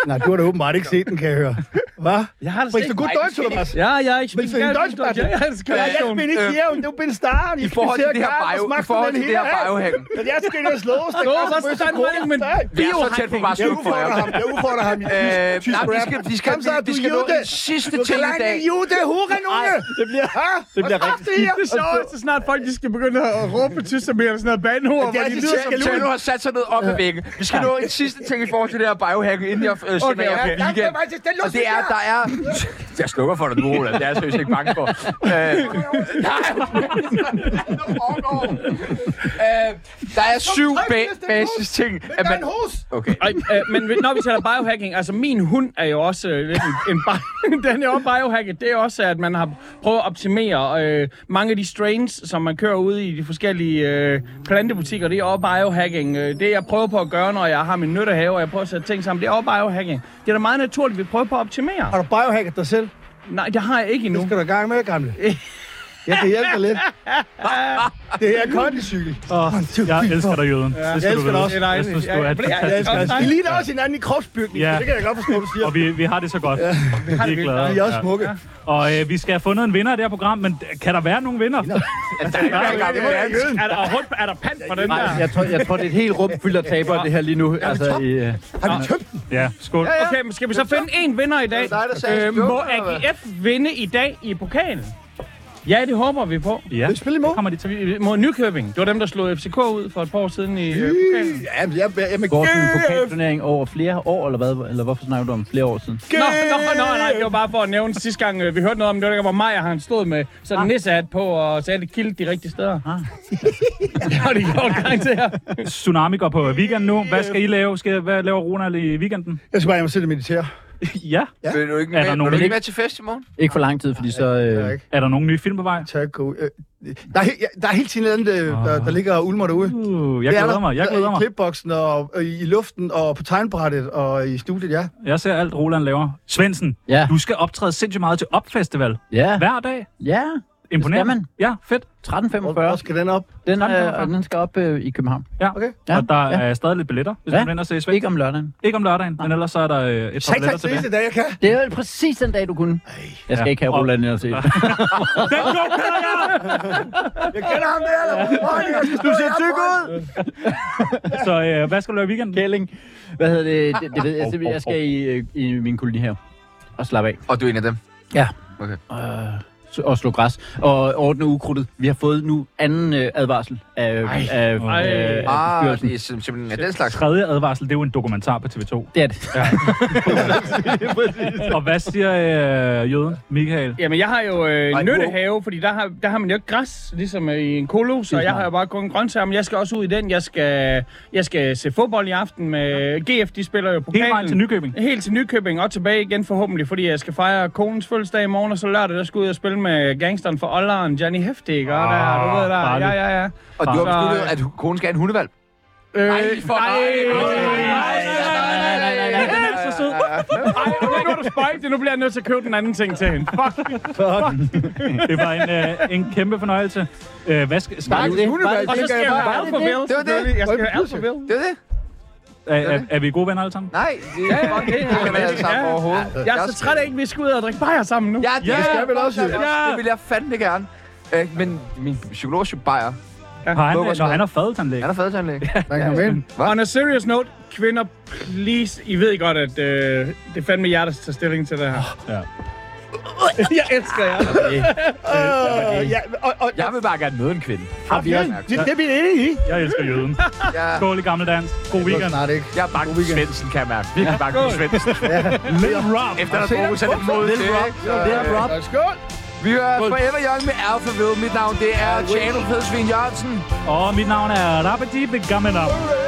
[SPEAKER 1] Nej, du har da åbenbart ikke set den, kan jeg høre. Hvad?
[SPEAKER 5] Jeg har det
[SPEAKER 1] Bringst du god Deutsch, oder was?
[SPEAKER 5] Ja, ja, ich
[SPEAKER 1] Willst du in Deutsch bleiben?
[SPEAKER 5] Ja, ja, das kann
[SPEAKER 1] Ja,
[SPEAKER 5] ich
[SPEAKER 1] jetzt
[SPEAKER 5] schon.
[SPEAKER 1] bin ich hier und du bist da und ich
[SPEAKER 3] I forhold til
[SPEAKER 1] speziell
[SPEAKER 3] det her
[SPEAKER 1] Karl,
[SPEAKER 3] bio,
[SPEAKER 1] was
[SPEAKER 3] i
[SPEAKER 1] machst du
[SPEAKER 3] forhold
[SPEAKER 1] denn
[SPEAKER 3] til det her
[SPEAKER 1] hierher?
[SPEAKER 3] biohacken.
[SPEAKER 1] Men jeg skal jetzt los, der
[SPEAKER 5] Los,
[SPEAKER 1] Karl
[SPEAKER 5] was
[SPEAKER 1] Böse
[SPEAKER 5] ist dein
[SPEAKER 1] Kronen.
[SPEAKER 5] Meinung, men-
[SPEAKER 1] Nej.
[SPEAKER 3] Vi er så tæt på bare at
[SPEAKER 1] Jeg
[SPEAKER 3] slutte for
[SPEAKER 1] udfordrer ham,
[SPEAKER 3] jer.
[SPEAKER 1] jeg udfordrer ham. i
[SPEAKER 3] Øh, nej,
[SPEAKER 1] tysk
[SPEAKER 3] vi
[SPEAKER 1] rap.
[SPEAKER 3] skal, vi skal,
[SPEAKER 1] Kom
[SPEAKER 3] vi,
[SPEAKER 1] så,
[SPEAKER 3] vi
[SPEAKER 1] du
[SPEAKER 3] skal nå
[SPEAKER 1] jude.
[SPEAKER 3] den sidste
[SPEAKER 1] Du
[SPEAKER 3] ting i
[SPEAKER 1] kleine
[SPEAKER 3] dag.
[SPEAKER 1] jude, hurenunge! Det bliver... Det bliver rigtig skidt.
[SPEAKER 5] Det er sjovt, så snart folk de skal begynde at råbe på tysk, så bliver der sådan noget bandeord,
[SPEAKER 1] Ja, altså
[SPEAKER 5] hvor de
[SPEAKER 1] de
[SPEAKER 5] lyder som
[SPEAKER 1] tjekker
[SPEAKER 3] Tag nu har sat sig ned op ad væggen. Vi skal nå en sidste ting i forhold til det her biohacking, inden jeg øh, sender
[SPEAKER 5] Okay,
[SPEAKER 3] jer
[SPEAKER 5] okay.
[SPEAKER 3] på weekend. Og det er, der er... Jeg slukker for dig nu, Roland. Det er jeg seriøst ikke bange for. Øh, nej, øh, der er syv ba- basis ting. At man... Okay.
[SPEAKER 5] Ej, øh, men vi- når vi taler biohacking, altså min hund er jo også øh, lidt en, en bio, [laughs] den er jo biohacket. Det er også, at man har prøvet at optimere øh, mange af de strains, som man kører ude i de forskellige øh, plantebutikker. Det er også biohacking. Øh, Det jeg prøver på at gøre, når jeg har min nyttehave, og jeg prøver at sætte ting sammen, det er også biohacking. Det er da meget naturligt, vi prøver på at optimere.
[SPEAKER 1] Har du biohacket dig selv?
[SPEAKER 5] Nej, det har jeg ikke
[SPEAKER 1] Det
[SPEAKER 5] endnu.
[SPEAKER 1] skal du i gang med, gamle. Jeg kan hjælpe dig lidt. Det er kondicykel.
[SPEAKER 2] Åh, jeg elsker dig, jøden. Det skal
[SPEAKER 1] Jeg elsker dig
[SPEAKER 2] du vide.
[SPEAKER 1] også.
[SPEAKER 5] Det er
[SPEAKER 2] Jeg
[SPEAKER 5] dejligt.
[SPEAKER 2] synes, du er et
[SPEAKER 5] Jeg- jeg-
[SPEAKER 1] Jeg elsker
[SPEAKER 2] fantastisk.
[SPEAKER 1] også. Vi ligner også hinanden i kropsbygning,
[SPEAKER 2] Ja.
[SPEAKER 1] så det kan jeg godt forstå, du siger.
[SPEAKER 2] Og vi, vi har det så godt. Ja, vi,
[SPEAKER 5] har det
[SPEAKER 2] er
[SPEAKER 5] vildt
[SPEAKER 2] glade.
[SPEAKER 5] godt.
[SPEAKER 1] Vi er også
[SPEAKER 2] Ja.
[SPEAKER 1] smukke.
[SPEAKER 2] Og øh, vi skal have fundet en vinder af det her program, men kan der være nogen vinder?
[SPEAKER 5] Er der, og rundt, er der pant på den
[SPEAKER 4] Nej,
[SPEAKER 5] der?
[SPEAKER 4] jeg tror, jeg tror, det er et helt rum fyldt af tabere, det her lige nu. Altså, i, øh,
[SPEAKER 2] Ja, skål.
[SPEAKER 5] Okay, men skal vi så finde en vinder i dag?
[SPEAKER 3] dig, der sagde
[SPEAKER 5] Øh, må AGF vinde i dag i pokalen? Ja, det håber vi på.
[SPEAKER 2] Ja,
[SPEAKER 1] Vi spiller i morgen.
[SPEAKER 2] kommer de til.
[SPEAKER 5] Mod Nykøbing. Det var dem, der slog FCK ud for et par år siden i øh, pokalen.
[SPEAKER 1] Ja, men jeg, jeg, jeg,
[SPEAKER 4] går sådan en pokalturnering over flere år, eller hvad? Eller hvorfor snakker du om flere år siden?
[SPEAKER 5] Nå, nå, nå, nej, det var bare for at nævne sidste gang, øh, vi hørte noget om det, var der, hvor Maja han stod med sådan en
[SPEAKER 2] Ah.
[SPEAKER 5] nissehat på og sagde, at det kildte de rigtige steder.
[SPEAKER 4] Ah.
[SPEAKER 5] [laughs] det har de gjort gang til her.
[SPEAKER 2] Tsunami går på weekend nu. Hvad skal I lave? Skal, hvad laver Ronald i weekenden?
[SPEAKER 1] jeg skal bare hjem og sidde og meditere.
[SPEAKER 2] ja.
[SPEAKER 3] Vil du ikke
[SPEAKER 2] Er der
[SPEAKER 3] med,
[SPEAKER 2] nogen,
[SPEAKER 3] vil du
[SPEAKER 2] der
[SPEAKER 3] ikke
[SPEAKER 2] ikke-
[SPEAKER 3] med til fest i morgen?
[SPEAKER 4] Ikke for lang tid, fordi så...
[SPEAKER 1] Der er
[SPEAKER 4] Øh,
[SPEAKER 1] ikke.
[SPEAKER 2] Er der nogen nye film på vej? Uh,
[SPEAKER 1] Tak, god. Øh, Der er, he- ja, der er helt tiden andet, øh, der, der ligger og ulmer derude.
[SPEAKER 2] Uh, Ah. jeg
[SPEAKER 1] Det er
[SPEAKER 2] glæder
[SPEAKER 1] der.
[SPEAKER 2] mig. Jeg glæder
[SPEAKER 1] I
[SPEAKER 2] mig.
[SPEAKER 1] klipboksen og, og i luften og på tegnbrættet og i studiet, ja.
[SPEAKER 2] Jeg ser alt, Roland laver. Svendsen,
[SPEAKER 4] Ja.
[SPEAKER 2] du skal optræde sindssygt meget til Opfestival.
[SPEAKER 4] ja,
[SPEAKER 2] Hver dag.
[SPEAKER 4] ja.
[SPEAKER 2] Imponerende.
[SPEAKER 4] man.
[SPEAKER 2] Ja, fedt.
[SPEAKER 1] Hvor, hvor
[SPEAKER 4] 13.45.
[SPEAKER 1] skal den op?
[SPEAKER 4] Den, øh,
[SPEAKER 2] 13.45.
[SPEAKER 4] og den skal op øh, i København.
[SPEAKER 2] Ja.
[SPEAKER 1] Okay.
[SPEAKER 4] Ja,
[SPEAKER 2] Og der
[SPEAKER 4] ja.
[SPEAKER 2] er stadig lidt billetter, hvis
[SPEAKER 4] Ja.
[SPEAKER 2] man vender sig i
[SPEAKER 4] Ikke om lørdagen.
[SPEAKER 2] Ikke om lørdagen, men ellers så er der øh, et par
[SPEAKER 1] Tak,
[SPEAKER 2] billetter
[SPEAKER 1] tak,
[SPEAKER 2] tilbage.
[SPEAKER 1] sidste dag, jeg kan.
[SPEAKER 4] Det er jo præcis den dag, du kunne. Jeg skal
[SPEAKER 2] Ja.
[SPEAKER 4] ikke have
[SPEAKER 2] Og-
[SPEAKER 4] Roland ind og se det.
[SPEAKER 2] Den joke kender jeg!
[SPEAKER 1] Jeg kender ham der, eller hvor? Du ser tyk ud!
[SPEAKER 2] [laughs] Så øh, hvad skal du lave i weekenden?
[SPEAKER 4] Kælling. Hvad hedder det? Det, det ved jeg simpelthen. Jeg skal i, øh, i min koloni her og slappe af.
[SPEAKER 3] Og du er en af dem.
[SPEAKER 4] Ja.
[SPEAKER 3] Okay.
[SPEAKER 4] Øh, så- og slå græs. Og ordne ukrudtet. Vi har fået nu anden øh, advarsel af, af, af,
[SPEAKER 2] Ej.
[SPEAKER 4] af
[SPEAKER 3] Ah,
[SPEAKER 4] bestyrelsen.
[SPEAKER 3] det er sim- simpelthen af den slags.
[SPEAKER 2] Tredje advarsel, det er jo en dokumentar på TV2.
[SPEAKER 4] Det er det.
[SPEAKER 2] Og hvad siger øh, jøden, Michael?
[SPEAKER 5] Jamen, jeg har jo øh,
[SPEAKER 3] Ej,
[SPEAKER 5] en nyttehave, fordi der har, der har man jo ikke græs, ligesom øh, i en kolos, så jeg har jo bare kun grøntsager, men jeg skal også ud i den. Jeg skal, jeg skal se fodbold i aften med GF, de spiller jo pokalen.
[SPEAKER 2] Hele vejen til Nykøbing.
[SPEAKER 5] Helt til Nykøbing og tilbage igen forhåbentlig, fordi jeg skal fejre konens fødselsdag i morgen, og så lørdag, der skal jeg ud og spille med gangsteren for Olleren, Johnny Heftig, og der, du ved der,
[SPEAKER 2] farligt.
[SPEAKER 5] ja, ja, ja.
[SPEAKER 3] Og du har
[SPEAKER 5] Så-
[SPEAKER 3] besluttet, at konen skal have en hundevalg.
[SPEAKER 5] Øh,
[SPEAKER 3] Ej, for
[SPEAKER 5] nej,
[SPEAKER 3] nej,
[SPEAKER 5] nej, nej, nej, nej, nej, nej.
[SPEAKER 2] Så sød.
[SPEAKER 5] Ej, okay, nu har du spøjt det, nu bliver jeg nødt til at købe den anden ting til hende. Fuck.
[SPEAKER 2] Det var en, øh, en kæmpe fornøjelse. Øh, hvad skal, skal du,
[SPEAKER 1] Hundevalg,
[SPEAKER 5] Og så skal jeg høre Alphaville,
[SPEAKER 3] Det var det.
[SPEAKER 5] selvfølgelig. Jeg skal høre
[SPEAKER 1] Pludselig.
[SPEAKER 5] Alphaville.
[SPEAKER 3] Det er det.
[SPEAKER 2] er, er, er vi gode venner alle sammen?
[SPEAKER 3] Nej, det er fucking
[SPEAKER 5] det er-
[SPEAKER 3] ikke det, alle sammen
[SPEAKER 5] ja.
[SPEAKER 3] overhovedet.
[SPEAKER 5] Jeg er så træt af, at vi skal ud og drikke bajer sammen nu.
[SPEAKER 3] Ja, det, ja,
[SPEAKER 1] skal vel også.
[SPEAKER 5] Ja.
[SPEAKER 3] det vil jeg fandme gerne. Øh, men min psykolog Sjøb Beyer,
[SPEAKER 2] Har han,
[SPEAKER 3] Lukker
[SPEAKER 2] når han har fadetandlæg?
[SPEAKER 3] han er fadetandlæg.
[SPEAKER 1] Man kan komme ind.
[SPEAKER 5] On a serious note, kvinder, please. I ved godt, at øh, det er fandme jer, der tager stilling til det her.
[SPEAKER 2] Ja.
[SPEAKER 5] [laughs] jeg elsker jer.
[SPEAKER 1] Øh, ja, og, og,
[SPEAKER 3] Jeg vil bare gerne møde en kvinde.
[SPEAKER 1] og, ja, det, det er vi enige i.
[SPEAKER 2] Jeg elsker jøden.
[SPEAKER 3] Jeg,
[SPEAKER 2] Skål i gamle dans.
[SPEAKER 1] Det
[SPEAKER 2] God
[SPEAKER 1] er
[SPEAKER 2] weekend.
[SPEAKER 1] snart ikke.
[SPEAKER 3] jeg er bange på Svendsen, kan jeg mærke. Virkelig bange på Svendsen.
[SPEAKER 2] Lil Rob.
[SPEAKER 3] Efter der er fokus af den måde til.
[SPEAKER 1] Det er Rob. Skål!
[SPEAKER 3] Vi hører Forever Young med Alphaville. Mit navn, det er Tjano Fedsvin Jørgensen.
[SPEAKER 2] Og mit navn er Rabadib Gammelab.